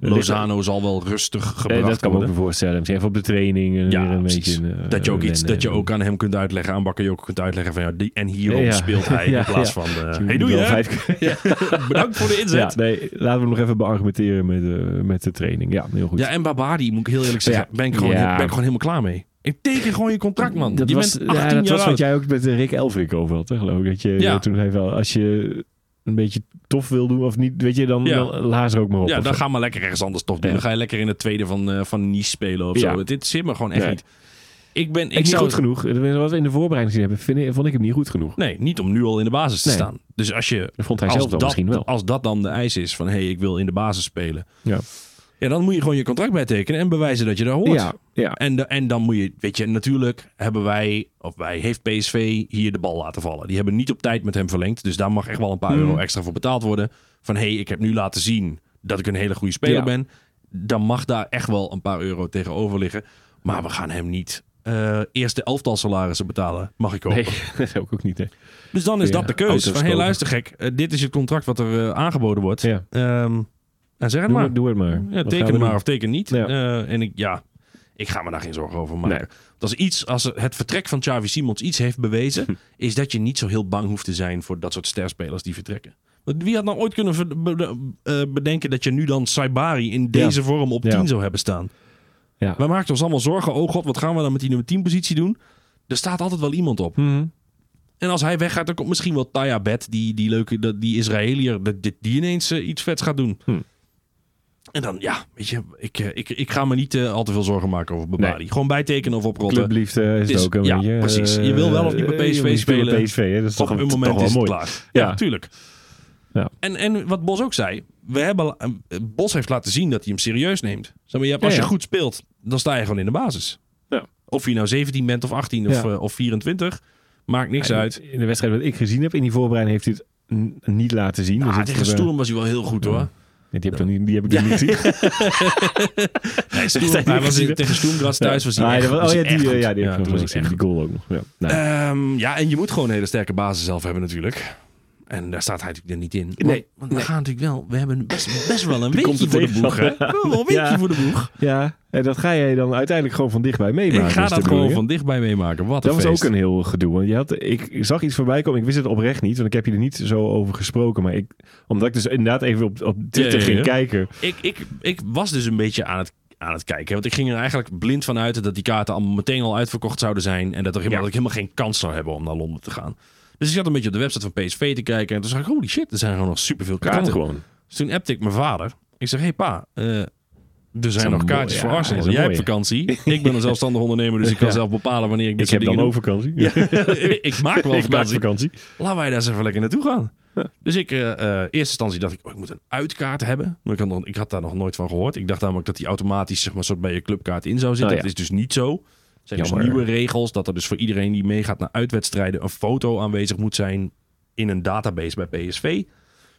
[SPEAKER 1] Lozano zal wel rustig gebracht
[SPEAKER 5] Eh, dat kan ik me ook
[SPEAKER 1] worden.
[SPEAKER 5] me voorstellen. Misschien Even op de training. eh,
[SPEAKER 1] Ja,
[SPEAKER 5] weer een
[SPEAKER 1] precies.
[SPEAKER 5] beetje, eh,
[SPEAKER 1] dat je ook iets
[SPEAKER 5] wennen.
[SPEAKER 1] dat je ook aan hem kunt uitleggen, aan Bakayoko kunt uitleggen van ja, die en hierop
[SPEAKER 5] Ja.
[SPEAKER 1] speelt hij
[SPEAKER 5] Ja,
[SPEAKER 1] in plaats
[SPEAKER 5] ja.
[SPEAKER 1] van eh,
[SPEAKER 5] Je
[SPEAKER 1] hey
[SPEAKER 5] moet
[SPEAKER 1] doe je
[SPEAKER 5] wel
[SPEAKER 1] hè?
[SPEAKER 5] vijf-
[SPEAKER 1] Bedankt voor de
[SPEAKER 5] Ja,
[SPEAKER 1] inzet. Ja,
[SPEAKER 5] nee, laten we hem nog even beargumenteren met, eh, met de training. Ja, heel goed.
[SPEAKER 1] en Babadi, moet ik heel eerlijk zeggen,
[SPEAKER 5] Ja.
[SPEAKER 1] ben, ik gewoon,
[SPEAKER 5] Ja.
[SPEAKER 1] ben ik gewoon helemaal klaar mee. Ik teken gewoon je contract, man.
[SPEAKER 5] Dat
[SPEAKER 1] je
[SPEAKER 5] was,
[SPEAKER 1] bent
[SPEAKER 5] ja,
[SPEAKER 1] 18
[SPEAKER 5] dat
[SPEAKER 1] jaar
[SPEAKER 5] was
[SPEAKER 1] oud.
[SPEAKER 5] wat jij ook met eh, Rick Elfrink over had, hè, geloof ik. Dat je
[SPEAKER 1] Ja.
[SPEAKER 5] dat toen even, als je een beetje tof wil doen of niet, weet je, dan,
[SPEAKER 1] Ja.
[SPEAKER 5] dan laas er ook maar op.
[SPEAKER 1] Ja,
[SPEAKER 5] of
[SPEAKER 1] dan
[SPEAKER 5] zo.
[SPEAKER 1] ga maar lekker ergens anders toch doen.
[SPEAKER 5] Ja.
[SPEAKER 1] Dan ga je lekker in het tweede van, eh, van Nice spelen of
[SPEAKER 5] Ja.
[SPEAKER 1] zo. Dit zit me gewoon echt
[SPEAKER 5] Nee.
[SPEAKER 1] niet. Ik ben ik
[SPEAKER 5] niet
[SPEAKER 1] zou-
[SPEAKER 5] goed genoeg. Wat we in de voorbereiding gezien hebben, vind ik- vond ik hem niet goed genoeg.
[SPEAKER 1] Nee, niet om nu al in de basis te
[SPEAKER 5] Nee.
[SPEAKER 1] staan. Dus als je
[SPEAKER 5] Dat vond hij
[SPEAKER 1] als
[SPEAKER 5] zelf dan
[SPEAKER 1] dat,
[SPEAKER 5] misschien wel.
[SPEAKER 1] als dat dan de eis is van hé, hey, ik wil in de basis spelen.
[SPEAKER 5] Ja.
[SPEAKER 1] Ja, dan moet je gewoon je contract bijtekenen en bewijzen dat je daar hoort.
[SPEAKER 5] Ja, ja.
[SPEAKER 1] En, da- en dan moet je, weet je, natuurlijk hebben wij, of wij, heeft PSV hier de bal laten vallen. Die hebben niet op tijd met hem verlengd. Dus daar mag echt wel een
[SPEAKER 5] Mhm.
[SPEAKER 1] paar euro extra voor betaald worden. Van hé, hey, ik heb nu laten zien dat ik een hele goede speler
[SPEAKER 5] Ja.
[SPEAKER 1] ben. Dan mag daar echt wel een paar euro tegenover liggen. Maar we gaan hem niet eh eerste elftal salarissen betalen. Mag ik ook.
[SPEAKER 5] Nee, dat ook, ook niet. Hè.
[SPEAKER 1] Dus dan is
[SPEAKER 5] Weer
[SPEAKER 1] dat de keuze.
[SPEAKER 5] auto's
[SPEAKER 1] Van, hey,
[SPEAKER 5] kopen.
[SPEAKER 1] luister gek, eh, dit is het contract wat er eh, aangeboden wordt.
[SPEAKER 5] Ja.
[SPEAKER 1] Ehm, nou, zeg het
[SPEAKER 5] Doe,
[SPEAKER 1] maar.
[SPEAKER 5] maar, doe het maar.
[SPEAKER 1] Ja,
[SPEAKER 5] Wat gaan we
[SPEAKER 1] teken maar
[SPEAKER 5] doen?
[SPEAKER 1] of teken niet.
[SPEAKER 5] Ja.
[SPEAKER 1] Eh, en ik, ja, ik ga me daar geen zorgen over maken.
[SPEAKER 5] Nee.
[SPEAKER 1] Dat is iets, als het vertrek van Xavi Simons iets heeft bewezen,
[SPEAKER 5] Hm.
[SPEAKER 1] is dat je niet zo heel bang hoeft te zijn voor dat soort sterspelers die vertrekken. Want Wie had nou ooit kunnen ver- be- eh, bedenken dat je nu dan Saibari in deze vorm op
[SPEAKER 5] Ja.
[SPEAKER 1] 10 zou hebben staan?
[SPEAKER 5] Ja.
[SPEAKER 1] Wij maakten ons allemaal zorgen. Oh god, wat gaan we dan met die nummer 10 positie doen? Er staat altijd wel iemand op.
[SPEAKER 5] Mhm.
[SPEAKER 1] En als hij weggaat, dan komt misschien wel Taya Bet, die, die leuke, dat- die Israëliër, dat- die, die ineens eh, iets vets gaat doen.
[SPEAKER 5] Hm.
[SPEAKER 1] En dan, ja, weet je, ik, eh, ik, ik ga me niet eh, al te veel zorgen maken over Babadi.
[SPEAKER 5] Nee.
[SPEAKER 1] Gewoon bijtekenen of oprotten.
[SPEAKER 5] Clubliefde is het
[SPEAKER 1] eh, is-
[SPEAKER 5] ook een
[SPEAKER 1] ja,
[SPEAKER 5] beetje. eh,
[SPEAKER 1] precies. Je wil wel of niet bij
[SPEAKER 5] eh, je
[SPEAKER 1] PSV
[SPEAKER 5] wil niet spelen
[SPEAKER 1] spelen.
[SPEAKER 5] bij PSV, hè? dat is
[SPEAKER 1] Op
[SPEAKER 5] toch
[SPEAKER 1] een
[SPEAKER 5] toch
[SPEAKER 1] moment
[SPEAKER 5] wel
[SPEAKER 1] is het
[SPEAKER 5] mooi.
[SPEAKER 1] klaar.
[SPEAKER 5] Ja.
[SPEAKER 1] Ja, tuurlijk.
[SPEAKER 5] Ja.
[SPEAKER 1] En, en wat Bos ook zei, we hebben, eh, Bos heeft laten zien dat hij hem serieus neemt. Zeg maar, je hebt- als
[SPEAKER 5] Ja,
[SPEAKER 1] je
[SPEAKER 5] ja.
[SPEAKER 1] goed speelt, dan sta je gewoon in de basis.
[SPEAKER 5] Ja.
[SPEAKER 1] Of je nou 17 bent of 18 of,
[SPEAKER 5] Ja.
[SPEAKER 1] eh, of 24, maakt niks
[SPEAKER 5] Ja,
[SPEAKER 1] uit.
[SPEAKER 5] In de wedstrijd wat ik gezien heb in die voorbereiding heeft hij het n- niet laten zien. Dus
[SPEAKER 1] Ah,
[SPEAKER 5] het-
[SPEAKER 1] tegen
[SPEAKER 5] we-
[SPEAKER 1] Sturm was hij wel heel goed hoor.
[SPEAKER 5] Nee, die heb ik nog niet, die heb ik nog niet gezien.
[SPEAKER 1] Nee, Stoem-
[SPEAKER 5] Zegt hij
[SPEAKER 1] hij
[SPEAKER 5] niet
[SPEAKER 1] was
[SPEAKER 5] gezien,
[SPEAKER 1] in-
[SPEAKER 5] hè?
[SPEAKER 1] tegen Stoemgras thuis was hij
[SPEAKER 5] Ah,
[SPEAKER 1] echt,
[SPEAKER 5] dat was-
[SPEAKER 1] was
[SPEAKER 5] Oh ja,
[SPEAKER 1] hij echt
[SPEAKER 5] die, eh,
[SPEAKER 1] goed.
[SPEAKER 5] ja, die heb ik
[SPEAKER 1] toen
[SPEAKER 5] nog
[SPEAKER 1] was
[SPEAKER 5] gezien.
[SPEAKER 1] hij echt
[SPEAKER 5] Die goal ook nog. Ja. Nou,
[SPEAKER 1] goed. Ehm, ja, en je moet gewoon een hele sterke basis zelf hebben natuurlijk. En daar staat hij natuurlijk er niet in. Want-
[SPEAKER 5] Nee.
[SPEAKER 1] Want we gaan natuurlijk wel... We hebben best, best wel een
[SPEAKER 5] komt
[SPEAKER 1] weekje
[SPEAKER 5] de
[SPEAKER 1] voor de boeg, hè? We
[SPEAKER 5] tegenstander.
[SPEAKER 1] hebben wel een weekje
[SPEAKER 5] Ja.
[SPEAKER 1] voor de boeg.
[SPEAKER 5] Ja, en dat ga jij dan uiteindelijk gewoon van dichtbij meemaken.
[SPEAKER 1] Ik ga
[SPEAKER 5] is de
[SPEAKER 1] dat gewoon
[SPEAKER 5] bedoeling,
[SPEAKER 1] van dichtbij meemaken. Wat een
[SPEAKER 5] hè? Dat was
[SPEAKER 1] feest.
[SPEAKER 5] ook een heel gedoe. Want je had, ik zag iets voorbij komen. Ik wist het oprecht niet, want ik heb je er niet zo over gesproken. Maar ik, omdat ik dus inderdaad even op, op Twitter
[SPEAKER 1] Ja, ja,
[SPEAKER 5] ging
[SPEAKER 1] ja.
[SPEAKER 5] kijken.
[SPEAKER 1] ik, ik, ik was dus een beetje aan het, aan het kijken. Want ik ging er eigenlijk blind van uit dat die kaarten allemaal meteen al uitverkocht zouden zijn. En dat, er helemaal, dat ik helemaal geen kans zou hebben om naar Londen te gaan. Dus ik zat een beetje op de website van PSV te kijken. En toen zag ik, holy shit, er zijn gewoon nog superveel
[SPEAKER 5] Kan
[SPEAKER 1] kaarten.
[SPEAKER 5] gewoon.
[SPEAKER 1] Dus toen appte ik mijn vader. Ik zeg, hé hey pa, eh, er zijn
[SPEAKER 5] een
[SPEAKER 1] nog kaartjes
[SPEAKER 5] mooie-
[SPEAKER 1] voor
[SPEAKER 5] ja,
[SPEAKER 1] Arsenal.
[SPEAKER 5] dat is
[SPEAKER 1] Jij
[SPEAKER 5] een
[SPEAKER 1] hebt vakantie. ik ben een zelfstandig ondernemer, dus ik kan
[SPEAKER 5] Ja.
[SPEAKER 1] zelf bepalen wanneer ik dit
[SPEAKER 5] Ik heb
[SPEAKER 1] soort
[SPEAKER 5] dan
[SPEAKER 1] dingen
[SPEAKER 5] overvakantie.
[SPEAKER 1] doe. ik maak wel
[SPEAKER 5] ik maak
[SPEAKER 1] vakantie.
[SPEAKER 5] vakantie.
[SPEAKER 1] Laten wij daar eens even lekker naartoe gaan. Dus ik, eh eh, eerste instantie dacht ik, oh, ik moet een uitkaart hebben. Maar ik had, nog- ik had daar nog nooit van gehoord. Ik dacht namelijk dat die automatisch zeg maar, soort bij je clubkaart in zou zitten.
[SPEAKER 5] Oh, ja.
[SPEAKER 1] Dat is dus niet zo. Er zijn dus
[SPEAKER 5] Jammer.
[SPEAKER 1] nieuwe regels dat er dus voor iedereen die meegaat naar uitwedstrijden een foto aanwezig moet zijn in een database bij PSV. Dus
[SPEAKER 5] Oh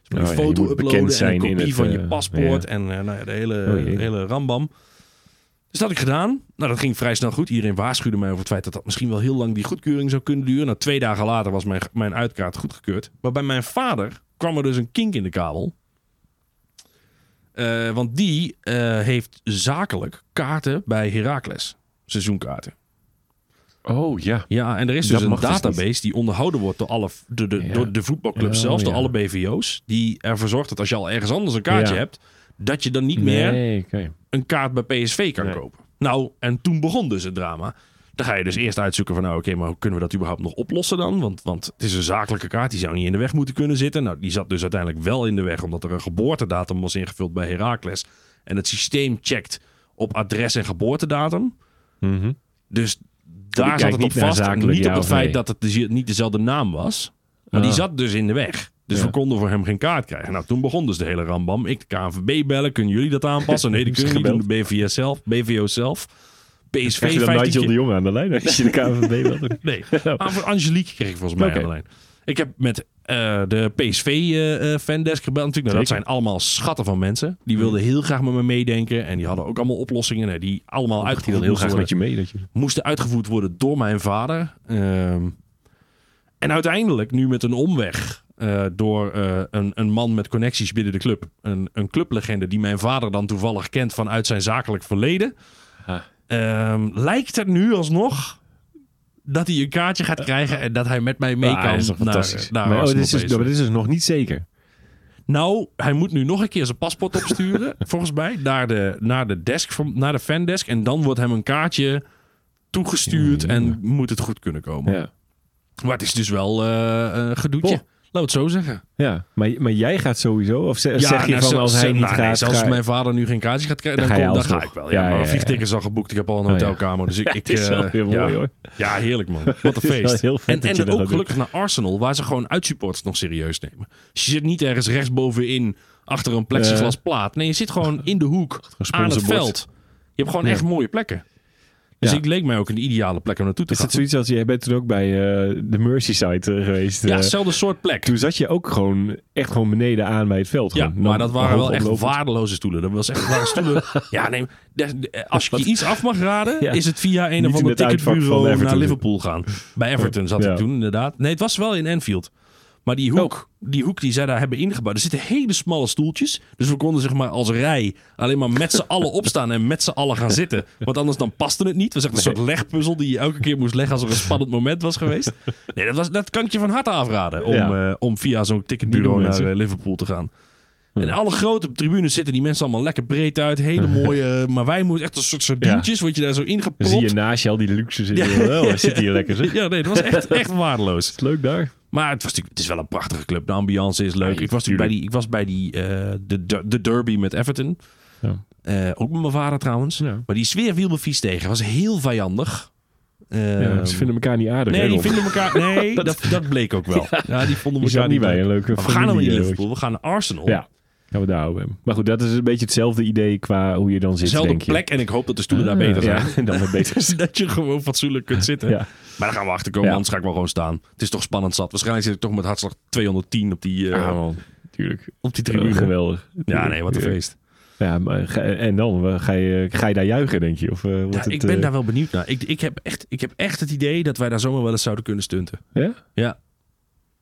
[SPEAKER 1] moet
[SPEAKER 5] ja,
[SPEAKER 1] je
[SPEAKER 5] je
[SPEAKER 1] foto
[SPEAKER 5] moet bekend
[SPEAKER 1] uploaden en
[SPEAKER 5] zijn
[SPEAKER 1] een
[SPEAKER 5] in
[SPEAKER 1] kopie
[SPEAKER 5] het,
[SPEAKER 1] van je
[SPEAKER 5] eh,
[SPEAKER 1] paspoort en eh, nou ja, de, hele,
[SPEAKER 5] Oh jee.
[SPEAKER 1] de hele rambam. Dus dat had ik gedaan. Nou, dat ging vrij snel goed. Iedereen waarschuwde mij over het feit dat dat misschien wel heel lang die goedkeuring zou kunnen duren. Nou, twee dagen later was mijn, mijn uitkaart goedgekeurd. Maar bij mijn vader kwam er dus een kink in de kabel. Eh, want die eh, heeft zakelijk kaarten bij Heracles. Seizoenkaarten.
[SPEAKER 5] Oh ja.
[SPEAKER 1] Ja, en er is
[SPEAKER 5] Dat
[SPEAKER 1] dus een
[SPEAKER 5] mag dus niet.
[SPEAKER 1] database die onderhouden wordt door, alle, door, de,
[SPEAKER 5] Ja.
[SPEAKER 1] door de voetbalclubs
[SPEAKER 5] Oh,
[SPEAKER 1] zelf, door
[SPEAKER 5] ja.
[SPEAKER 1] alle BVO's. Die ervoor zorgt dat als je al ergens anders een kaartje
[SPEAKER 5] Ja.
[SPEAKER 1] hebt, dat je dan niet meer
[SPEAKER 5] Nee, oké.
[SPEAKER 1] een kaart bij PSV kan
[SPEAKER 5] Nee.
[SPEAKER 1] kopen. Nou, en toen begon dus het drama. Dan ga je
[SPEAKER 5] Mm.
[SPEAKER 1] dus eerst uitzoeken van, nou oké, maar hoe kunnen we dat überhaupt nog oplossen dan? Want, want het is een zakelijke kaart, die zou niet in de weg moeten kunnen zitten. Nou, die zat dus uiteindelijk wel in de weg, omdat er een geboortedatum was ingevuld bij Heracles. En het systeem checkt op adres en geboortedatum.
[SPEAKER 5] Mhm.
[SPEAKER 1] Dus
[SPEAKER 5] kijkt
[SPEAKER 1] daar zat het
[SPEAKER 5] niet
[SPEAKER 1] op
[SPEAKER 5] naar
[SPEAKER 1] vast.
[SPEAKER 5] zakelijk,
[SPEAKER 1] Niet
[SPEAKER 5] ja
[SPEAKER 1] op het
[SPEAKER 5] of
[SPEAKER 1] feit
[SPEAKER 5] nee.
[SPEAKER 1] dat het dus niet dezelfde naam was. Maar die
[SPEAKER 5] Ah.
[SPEAKER 1] zat dus in de weg. Dus
[SPEAKER 5] Ja.
[SPEAKER 1] we konden voor hem geen kaart krijgen. Nou, toen begon dus de hele rambam. Ik de KNVB bellen. Kunnen jullie dat aanpassen? Nee, dat kunnen we niet doen. De BVS zelf. BVO zelf. PSV
[SPEAKER 5] Krijg je dan
[SPEAKER 1] 15
[SPEAKER 5] Nigel de
[SPEAKER 1] keer-
[SPEAKER 5] Jong aan de lijn? Als je de KVB wel doet.
[SPEAKER 1] Nee, aan voor Angelique kreeg ik volgens mij
[SPEAKER 5] Oké.
[SPEAKER 1] aan de lijn. Ik heb met eh, de PSV-fandesk eh, gebeld natuurlijk. Nou, dat
[SPEAKER 5] Zeker.
[SPEAKER 1] zijn allemaal schatten van mensen. Die wilden heel graag met me meedenken. En die hadden ook allemaal oplossingen. nou, Die allemaal
[SPEAKER 5] Gaat hij dan
[SPEAKER 1] uitgevoerd
[SPEAKER 5] heel
[SPEAKER 1] moesten
[SPEAKER 5] graag
[SPEAKER 1] worden
[SPEAKER 5] met je mee? Dat je...
[SPEAKER 1] moesten uitgevoerd worden door mijn vader. Ehm, en uiteindelijk, nu met een omweg, eh, door eh, een, een man met connecties binnen de club. Een, een clublegende die mijn vader dan toevallig kent vanuit zijn zakelijk verleden.
[SPEAKER 5] Ah.
[SPEAKER 1] Ehm, lijkt het nu alsnog dat hij een kaartje gaat krijgen en dat hij met mij mee
[SPEAKER 5] Eh, Ah,
[SPEAKER 1] kan
[SPEAKER 5] dat is toch
[SPEAKER 1] naar,
[SPEAKER 5] fantastisch.
[SPEAKER 1] naar
[SPEAKER 5] maar oh, dit
[SPEAKER 1] Arsenal
[SPEAKER 5] is, dus-
[SPEAKER 1] PSV.
[SPEAKER 5] maar dit is dus nog niet zeker.
[SPEAKER 1] Nou, hij moet nu nog een keer zijn paspoort opsturen, volgens mij, naar de, naar de desk, van, naar de fandesk. En dan wordt hem een kaartje toegestuurd en moet het goed kunnen komen.
[SPEAKER 5] Ja.
[SPEAKER 1] Maar het is dus wel eh, een gedoetje.
[SPEAKER 5] Oh.
[SPEAKER 1] Laten we het zo zeggen.
[SPEAKER 5] Ja, maar, maar jij gaat sowieso? Of ze- zeg je
[SPEAKER 1] nou,
[SPEAKER 5] van
[SPEAKER 1] zelfs-
[SPEAKER 5] als hij
[SPEAKER 1] nou,
[SPEAKER 5] niet
[SPEAKER 1] nee,
[SPEAKER 5] gaat...
[SPEAKER 1] zelfs
[SPEAKER 5] ga-
[SPEAKER 1] als mijn vader nu geen kaartje gaat krijgen,
[SPEAKER 5] Dan
[SPEAKER 1] dan,
[SPEAKER 5] ga
[SPEAKER 1] kom,
[SPEAKER 5] je
[SPEAKER 1] dan
[SPEAKER 5] alsnog.
[SPEAKER 1] ga ik wel. Ja,
[SPEAKER 5] Ja,
[SPEAKER 1] maar
[SPEAKER 5] ja, ja.
[SPEAKER 1] vliegtickets al geboekt. Ik heb al een
[SPEAKER 5] ja.
[SPEAKER 1] hotelkamer. Dus ik, ik,
[SPEAKER 5] Het is
[SPEAKER 1] eh,
[SPEAKER 5] wel weer mooi
[SPEAKER 1] ja.
[SPEAKER 5] hoor.
[SPEAKER 1] Ja, heerlijk man. Wat een
[SPEAKER 5] is wel
[SPEAKER 1] feest.
[SPEAKER 5] heel vet
[SPEAKER 1] en
[SPEAKER 5] dat
[SPEAKER 1] en
[SPEAKER 5] je dat
[SPEAKER 1] ook
[SPEAKER 5] gaat doen.
[SPEAKER 1] gelukkig naar Arsenal, waar ze gewoon uitsupporters nog serieus nemen. Dus je zit niet ergens rechtsbovenin achter een plexiglas plaat. Nee, je zit gewoon in de hoek aan het
[SPEAKER 5] sponsorbord.
[SPEAKER 1] veld. Je hebt gewoon echt mooie plekken. Dus
[SPEAKER 5] Ja.
[SPEAKER 1] ik leek mij ook een ideale plek om naartoe te
[SPEAKER 5] Is
[SPEAKER 1] gaan.
[SPEAKER 5] het zoiets als jij bent toen ook bij eh, de Merseyside eh, geweest?
[SPEAKER 1] ja,
[SPEAKER 5] eh,
[SPEAKER 1] hetzelfde soort plek.
[SPEAKER 5] toen zat je ook gewoon echt gewoon beneden aan bij het veld.
[SPEAKER 1] Ja,
[SPEAKER 5] gewoon.
[SPEAKER 1] maar
[SPEAKER 5] Dan
[SPEAKER 1] dat waren
[SPEAKER 5] hoog
[SPEAKER 1] wel echt
[SPEAKER 5] oplopend.
[SPEAKER 1] waardeloze stoelen. Dat was echt waren stoelen. ja, nee, de- de- als je je iets af mag raden,
[SPEAKER 5] Ja.
[SPEAKER 1] is het via een
[SPEAKER 5] Niet
[SPEAKER 1] of
[SPEAKER 5] in
[SPEAKER 1] ander
[SPEAKER 5] het uitvak van
[SPEAKER 1] ticketbureau naar
[SPEAKER 5] Everton.
[SPEAKER 1] Liverpool gaan. Bij Everton zat
[SPEAKER 5] Ja.
[SPEAKER 1] ik toen inderdaad. Nee, het was wel in Anfield. Maar die hoek,
[SPEAKER 5] Oh.
[SPEAKER 1] die hoek die zij daar hebben ingebouwd, er zitten hele smalle stoeltjes. Dus we konden zeg maar als rij alleen maar met z'n allen opstaan en met z'n allen gaan zitten. Want anders dan paste het niet. Het was echt een soort legpuzzel die je elke keer moest leggen als er een spannend moment was geweest. Nee, dat, was, dat kan ik je van harte afraden om,
[SPEAKER 5] Ja.
[SPEAKER 1] eh, om via zo'n ticketbureau
[SPEAKER 5] Die doen
[SPEAKER 1] naar
[SPEAKER 5] mensen.
[SPEAKER 1] eh, Liverpool te gaan. En alle grote tribunes zitten die mensen allemaal lekker breed uit. Hele mooie. eh, maar wij moeten echt een soort sardientjes. Word je daar zo
[SPEAKER 5] Dan zie je
[SPEAKER 1] ingepropt.
[SPEAKER 5] naast je al die luxe zitten.
[SPEAKER 1] Ja.
[SPEAKER 5] Ja. zit hier lekker zeg.
[SPEAKER 1] Ja, nee, dat was echt, echt waardeloos.
[SPEAKER 5] Is leuk daar.
[SPEAKER 1] Maar het, was, natuurlijk- het is wel een prachtige club. De ambiance is leuk.
[SPEAKER 5] Ja,
[SPEAKER 1] ik, was natuurlijk bij die, ik was bij die, eh, de, der- de derby met Everton.
[SPEAKER 5] Ja.
[SPEAKER 1] Eh, ook met mijn vader trouwens.
[SPEAKER 5] Ja.
[SPEAKER 1] Maar die sfeer viel me vies tegen. was heel vijandig. Eh,
[SPEAKER 5] Ja, ze vinden elkaar niet aardig.
[SPEAKER 1] nee,
[SPEAKER 5] hè,
[SPEAKER 1] die
[SPEAKER 5] Rob?
[SPEAKER 1] vinden elkaar... Nee, dat, dat, bleek ook wel. Ja, die vonden elkaar
[SPEAKER 5] Die zijn
[SPEAKER 1] niet
[SPEAKER 5] niet bij
[SPEAKER 1] leuk.
[SPEAKER 5] een leuke
[SPEAKER 1] Maar we gaan nou in
[SPEAKER 5] familie, eh,
[SPEAKER 1] Liverpool. We gaan naar Arsenal.
[SPEAKER 5] Ja, gaan we daar over hebben. Maar goed, dat is een beetje hetzelfde idee qua hoe je dan zit,
[SPEAKER 1] Zelfde
[SPEAKER 5] denk je.
[SPEAKER 1] plek. En ik hoop dat de stoelen daar beter zijn.
[SPEAKER 5] Ja, en dan weer beter.
[SPEAKER 1] Dus dat je gewoon fatsoenlijk kunt zitten.
[SPEAKER 5] Ja.
[SPEAKER 1] Maar daar gaan we achter komen,
[SPEAKER 5] Ja.
[SPEAKER 1] anders ga ik wel gewoon staan. Het is toch spannend zat. Waarschijnlijk zit ik toch met hartslag 210 op die, eh,
[SPEAKER 5] Ja, man. Tuurlijk.
[SPEAKER 1] op die
[SPEAKER 5] Ah, Tribune.
[SPEAKER 1] tribune.
[SPEAKER 5] geweldig.
[SPEAKER 1] Ja, nee, wat een feest.
[SPEAKER 5] Ja, maar ga- en dan eh, ga je, ga je daar juichen, denk je? Of, eh, wordt
[SPEAKER 1] Ja,
[SPEAKER 5] het,
[SPEAKER 1] ik ben
[SPEAKER 5] eh,
[SPEAKER 1] daar wel benieuwd naar. Ik, ik, heb echt, ik heb echt het idee dat wij daar zomaar wel eens zouden kunnen stunten.
[SPEAKER 5] Ja?
[SPEAKER 1] Ja.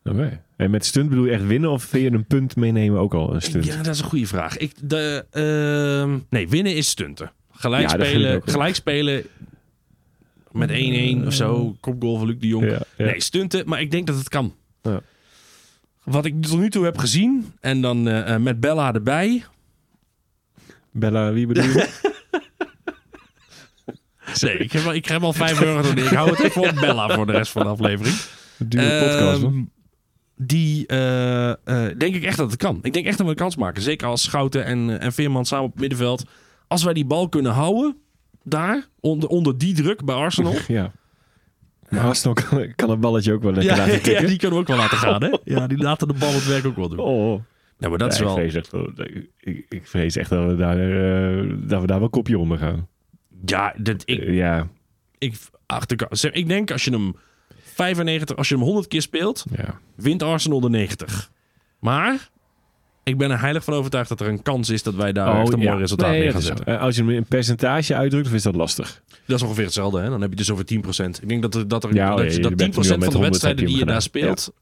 [SPEAKER 5] Oké. En met stunt bedoel je echt winnen of vind je een punt meenemen ook al een stunt?
[SPEAKER 1] Ja, dat is een goede vraag. Ik, de, ehm, nee, winnen is stunten. Gelijk
[SPEAKER 5] Ja, dat vind ik
[SPEAKER 1] spelen,
[SPEAKER 5] ook wel.
[SPEAKER 1] gelijk spelen met 1-1 of zo. Kopgoal van Luc de Jong.
[SPEAKER 5] Ja, ja.
[SPEAKER 1] Nee, stunten, maar ik denk dat het kan.
[SPEAKER 5] Ja.
[SPEAKER 1] Wat ik tot nu toe heb gezien, en dan eh, eh, met Bella erbij.
[SPEAKER 5] Bella, wie bedoel je?
[SPEAKER 1] Nee, ik heb, wel- ik heb al 5 euro. door. Ik hou het even op Bella voor de rest van de aflevering.
[SPEAKER 5] Dure podcast,
[SPEAKER 1] Ehm,
[SPEAKER 5] man.
[SPEAKER 1] Die eh, eh, denk ik echt dat het kan. Ik denk echt dat we een kans maken. Zeker als Schouten en, eh, en Veerman samen op het middenveld. Als wij die bal kunnen houden, daar, onder, onder die druk bij Arsenal.
[SPEAKER 5] Ja. Maar Arsenal kan, kan een balletje ook wel lekker laten tikken.
[SPEAKER 1] die kunnen we ook wel laten gaan, hè? Ja, die laten de bal het werk ook wel doen.
[SPEAKER 5] Oh,
[SPEAKER 1] Nou, maar dat is
[SPEAKER 5] Ja,
[SPEAKER 1] wel...
[SPEAKER 5] Ik vrees echt, wel- ik, ik vrees echt dat, we daar, eh, dat we daar wel kopje onder gaan.
[SPEAKER 1] Ja, dat, ik,
[SPEAKER 5] Eh, ja,
[SPEAKER 1] ik, achter, zeg, ik denk als je hem 95, als je hem 100 keer speelt,
[SPEAKER 5] ja.
[SPEAKER 1] wint Arsenal de 90. Maar ik ben er heilig van overtuigd dat er een kans is dat wij daar echt Oh, een mooi
[SPEAKER 5] Oh, ja.
[SPEAKER 1] resultaat
[SPEAKER 5] Nee,
[SPEAKER 1] mee gaan
[SPEAKER 5] dat is
[SPEAKER 1] zetten.
[SPEAKER 5] zo. Eh, als je hem in percentage uitdrukt, of is dat lastig?
[SPEAKER 1] Dat is ongeveer hetzelfde, hè? Dan heb je dus over 10%. Ik denk dat, er, dat, er,
[SPEAKER 5] Ja, oh ja,
[SPEAKER 1] dat, je-
[SPEAKER 5] je
[SPEAKER 1] dat
[SPEAKER 5] bent nu
[SPEAKER 1] 10%
[SPEAKER 5] al
[SPEAKER 1] van
[SPEAKER 5] met
[SPEAKER 1] de
[SPEAKER 5] 100
[SPEAKER 1] wedstrijden
[SPEAKER 5] heb
[SPEAKER 1] die
[SPEAKER 5] je
[SPEAKER 1] je daar
[SPEAKER 5] hem
[SPEAKER 1] speelt,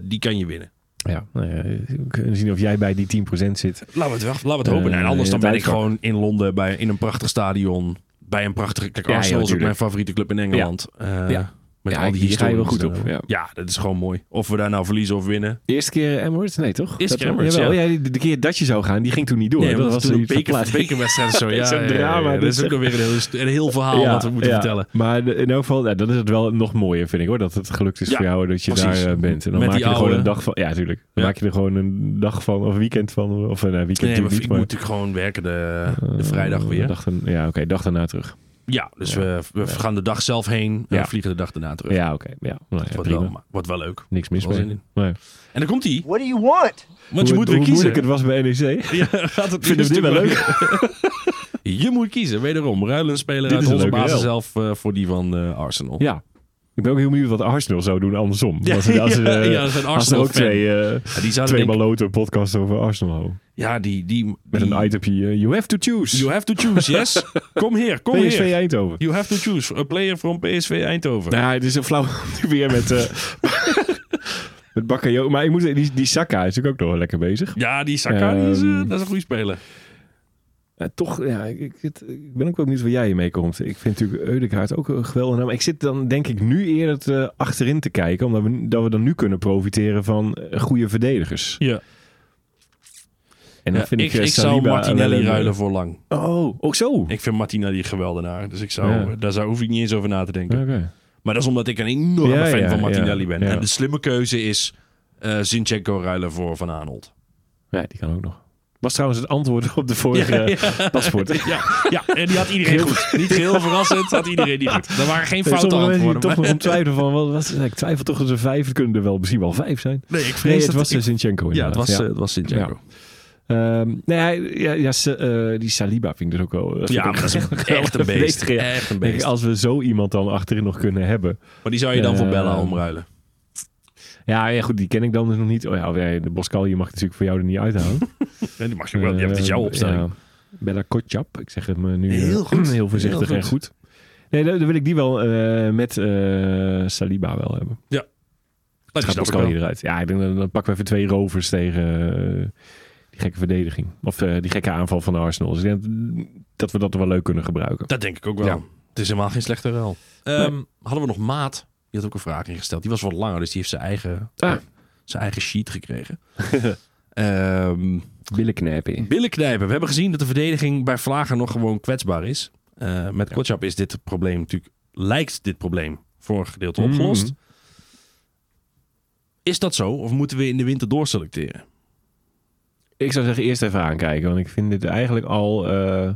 [SPEAKER 1] eh, die kan je winnen.
[SPEAKER 5] Ja. Nou ja, we kunnen zien of jij bij die 10% zit.
[SPEAKER 1] Laten we het, laten we het hopen.
[SPEAKER 5] Eh,
[SPEAKER 1] en anders
[SPEAKER 5] in
[SPEAKER 1] dan ben
[SPEAKER 5] het
[SPEAKER 1] ik
[SPEAKER 5] uitvak.
[SPEAKER 1] gewoon in Londen bij, in een prachtig stadion. Bij een prachtige... Kijk,
[SPEAKER 5] Ja, ja,
[SPEAKER 1] Arsenal is ook
[SPEAKER 5] natuurlijk.
[SPEAKER 1] mijn favoriete club in Engeland. Eh,
[SPEAKER 5] Ja.
[SPEAKER 1] Met
[SPEAKER 5] Ja,
[SPEAKER 1] al die
[SPEAKER 5] hier ga je wel
[SPEAKER 1] historische-
[SPEAKER 5] goed op, ja.
[SPEAKER 1] ja, dat is gewoon mooi. Of we daar nou verliezen of winnen.
[SPEAKER 5] Eerste keer Emirates? Nee, toch?
[SPEAKER 1] Eerste keer Emirates,
[SPEAKER 5] jawel. Oh,
[SPEAKER 1] ja.
[SPEAKER 5] ja. de, de keer dat je zou gaan, die ging toen niet door.
[SPEAKER 1] Nee, dat was toen een
[SPEAKER 5] iets
[SPEAKER 1] beker,
[SPEAKER 5] verplaatst.
[SPEAKER 1] bekerwedstrijd. of Zo, ja,
[SPEAKER 5] Zo'n
[SPEAKER 1] ja, ja,
[SPEAKER 5] drama,
[SPEAKER 1] ja. Dat
[SPEAKER 5] dit.
[SPEAKER 1] is ook nog weer een heel, een heel verhaal
[SPEAKER 5] Ja,
[SPEAKER 1] wat we moeten
[SPEAKER 5] ja.
[SPEAKER 1] vertellen.
[SPEAKER 5] Maar de- in elk geval, ja, dan is het wel nog mooier, vind ik hoor. Dat het gelukt is
[SPEAKER 1] Ja,
[SPEAKER 5] voor jou dat je
[SPEAKER 1] precies.
[SPEAKER 5] daar eh, bent. En dan
[SPEAKER 1] Met
[SPEAKER 5] maak
[SPEAKER 1] die
[SPEAKER 5] je er gewoon
[SPEAKER 1] oude-
[SPEAKER 5] een dag van. Ja, tuurlijk.
[SPEAKER 1] Ja.
[SPEAKER 5] Dan maak je er gewoon een dag van, of een weekend van. Of een eh, weekend
[SPEAKER 1] Nee, maar ik
[SPEAKER 5] natuurlijk
[SPEAKER 1] moet
[SPEAKER 5] niet,
[SPEAKER 1] natuurlijk gewoon werken de,
[SPEAKER 5] maar,
[SPEAKER 1] de
[SPEAKER 5] eh,
[SPEAKER 1] vrijdag weer.
[SPEAKER 5] dag dan- ja, oké, dag daarna terug.
[SPEAKER 1] Ja, dus we, we gaan de dag zelf heen en
[SPEAKER 5] Ja.
[SPEAKER 1] we vliegen de dag daarna terug.
[SPEAKER 5] Ja, oké. ja, nou ja,
[SPEAKER 1] wordt,
[SPEAKER 5] prima.
[SPEAKER 1] wel, maar- wordt wel leuk.
[SPEAKER 5] Niks mis
[SPEAKER 1] Wel
[SPEAKER 5] mee.
[SPEAKER 1] zin in.
[SPEAKER 5] Nee.
[SPEAKER 1] En dan komt hij,
[SPEAKER 6] What do you want?
[SPEAKER 1] want je moet
[SPEAKER 5] hoe hoe
[SPEAKER 1] weer kiezen.
[SPEAKER 5] moeilijk het was bij E NEC.
[SPEAKER 1] Ja, gaat het
[SPEAKER 5] Vinden we dit wel leuk?
[SPEAKER 1] Je moet kiezen, wederom. Ruilen een speler
[SPEAKER 5] Dit
[SPEAKER 1] uit
[SPEAKER 5] is een
[SPEAKER 1] onze
[SPEAKER 5] leuke
[SPEAKER 1] basis
[SPEAKER 5] ruil.
[SPEAKER 1] zelf eh, voor die van eh, Arsenal.
[SPEAKER 5] Ja. Ik ben ook heel benieuwd wat Arsenal zou doen andersom. Als, ze- als, ze-
[SPEAKER 1] ja, ja, dat is een
[SPEAKER 5] als er ook
[SPEAKER 1] Arsenal-fan.
[SPEAKER 5] twee, eh
[SPEAKER 1] Ja, die zouden
[SPEAKER 5] twee
[SPEAKER 1] denken-
[SPEAKER 5] maloten podcasts over Arsenal houden.
[SPEAKER 1] ja, die, die,
[SPEAKER 5] Met
[SPEAKER 1] die-
[SPEAKER 5] een itempje, eh, you have to choose.
[SPEAKER 1] You have to choose, yes? kom hier, kom
[SPEAKER 5] PSV
[SPEAKER 1] hier.
[SPEAKER 5] Eindhoven.
[SPEAKER 1] You have to choose. A player from PSV Eindhoven.
[SPEAKER 5] Nou, ja, het is een flauw nu weer met, eh met Bakayoko. Maar ik moet, die, die Saka is natuurlijk ook nog wel lekker bezig.
[SPEAKER 1] Ja, die Saka, die is, eh,
[SPEAKER 5] Ehm.
[SPEAKER 1] dat is een goede speler.
[SPEAKER 5] Eh, toch, ja, ik, ik, het- ik ben ook wel benieuwd waar jij hiermee komt. Ik vind natuurlijk Eudegaard ook een geweldige naam. Ik zit dan denk ik nu eerder te, achterin te kijken. Omdat we, dat we dan nu kunnen profiteren van eh, goede verdedigers.
[SPEAKER 1] Ja.
[SPEAKER 5] En dan
[SPEAKER 1] Ja,
[SPEAKER 5] vind ik,
[SPEAKER 1] ik, ik,
[SPEAKER 5] eh,
[SPEAKER 1] zou
[SPEAKER 5] Saliba wel
[SPEAKER 1] Martinelli
[SPEAKER 5] een-
[SPEAKER 1] ruilen voor Lang.
[SPEAKER 5] Oh, ook zo?
[SPEAKER 1] Ik vind Martinelli geweldenaar. Dus ik zou,
[SPEAKER 5] Ja.
[SPEAKER 1] daar zou, hoef ik niet eens over na te denken.
[SPEAKER 5] Oké.
[SPEAKER 1] Maar dat is omdat ik een enorme
[SPEAKER 5] Ja,
[SPEAKER 1] fan
[SPEAKER 5] ja,
[SPEAKER 1] van Martinelli
[SPEAKER 5] ja,
[SPEAKER 1] ben.
[SPEAKER 5] ja.
[SPEAKER 1] En de slimme keuze is eh Zinchenko ruilen voor Van Aanholt.
[SPEAKER 5] Ja, die kan ook nog. Was trouwens het antwoord op de vorige eh, paspoort.
[SPEAKER 1] Ja, ja, en die had iedereen goed. Niet heel verrassend, had iedereen die goed. Er waren geen
[SPEAKER 5] Nee,
[SPEAKER 1] foute
[SPEAKER 5] sommige mensen die
[SPEAKER 1] antwoorden.
[SPEAKER 5] toch
[SPEAKER 1] maar-
[SPEAKER 5] nog om twijfelen van, wat, wat, ik twijfel toch dat er vijf, het kunnen er wel misschien wel vijf zijn.
[SPEAKER 1] Nee, ik
[SPEAKER 5] Nee,
[SPEAKER 1] vrees
[SPEAKER 5] het
[SPEAKER 1] dat...
[SPEAKER 5] was eh, dus-
[SPEAKER 1] ik-
[SPEAKER 5] Zinchenko
[SPEAKER 1] ja, het was,
[SPEAKER 5] inderdaad.
[SPEAKER 1] eh, het was Zinchenko.
[SPEAKER 5] Ehm, nou ja, ja, ja, Sa- eh, die Saliba vind ik dus ook wel... vind ik
[SPEAKER 1] Ja,
[SPEAKER 5] ook
[SPEAKER 1] maar dat is echt een beest.
[SPEAKER 5] verdediger, ja.
[SPEAKER 1] Echt een
[SPEAKER 5] Ik denk,
[SPEAKER 1] beest.
[SPEAKER 5] als we zo iemand dan achterin nog kunnen hebben.
[SPEAKER 1] Maar die zou je dan voor
[SPEAKER 5] Eh,
[SPEAKER 1] Bella omruilen.
[SPEAKER 5] Ja, ja, goed, die ken ik dan dus nog niet. Oh ja, ja, de Boscal, je mag natuurlijk voor jou er niet uithalen.
[SPEAKER 1] Ja, die mag je wel. dat is jouw
[SPEAKER 5] Eh,
[SPEAKER 1] opstelling.
[SPEAKER 5] ja. Bella Kotjap, ik zeg het me nu eh,
[SPEAKER 1] Heel goed.
[SPEAKER 5] heel voorzichtig
[SPEAKER 1] Heel
[SPEAKER 5] en goed. Nee, dan, dan wil ik die wel eh, met eh, Saliba wel hebben.
[SPEAKER 1] Dat
[SPEAKER 5] Gaat
[SPEAKER 1] snap ik
[SPEAKER 5] Pascal
[SPEAKER 1] wel.
[SPEAKER 5] hier eruit. Ja, ik denk, dan, dan pakken we even twee rovers tegen eh, die gekke verdediging. Of eh, die gekke aanval van Arsenal. Dus ik denk dat- dat we dat wel leuk kunnen gebruiken.
[SPEAKER 1] Dat denk ik ook wel.
[SPEAKER 5] Ja.
[SPEAKER 1] Het is helemaal geen slechte ruil. Ehm, Hadden we nog Maat. Die had ook een vraag ingesteld. Die was wat langer, dus die heeft zijn eigen,
[SPEAKER 5] Ah.
[SPEAKER 1] zijn eigen sheet gekregen. Ehm
[SPEAKER 5] Billenknijpen.
[SPEAKER 1] billen knijpen. We hebben gezien dat de verdediging bij Vlagen nog gewoon kwetsbaar is. Eh, met Kotschap is dit probleem natuurlijk... Lijkt dit probleem voor een gedeelte
[SPEAKER 5] Mhm.
[SPEAKER 1] opgelost. Is dat zo? Of moeten we in de winter doorselecteren?
[SPEAKER 5] Ik zou zeggen eerst even aankijken, want ik vind dit eigenlijk al eh,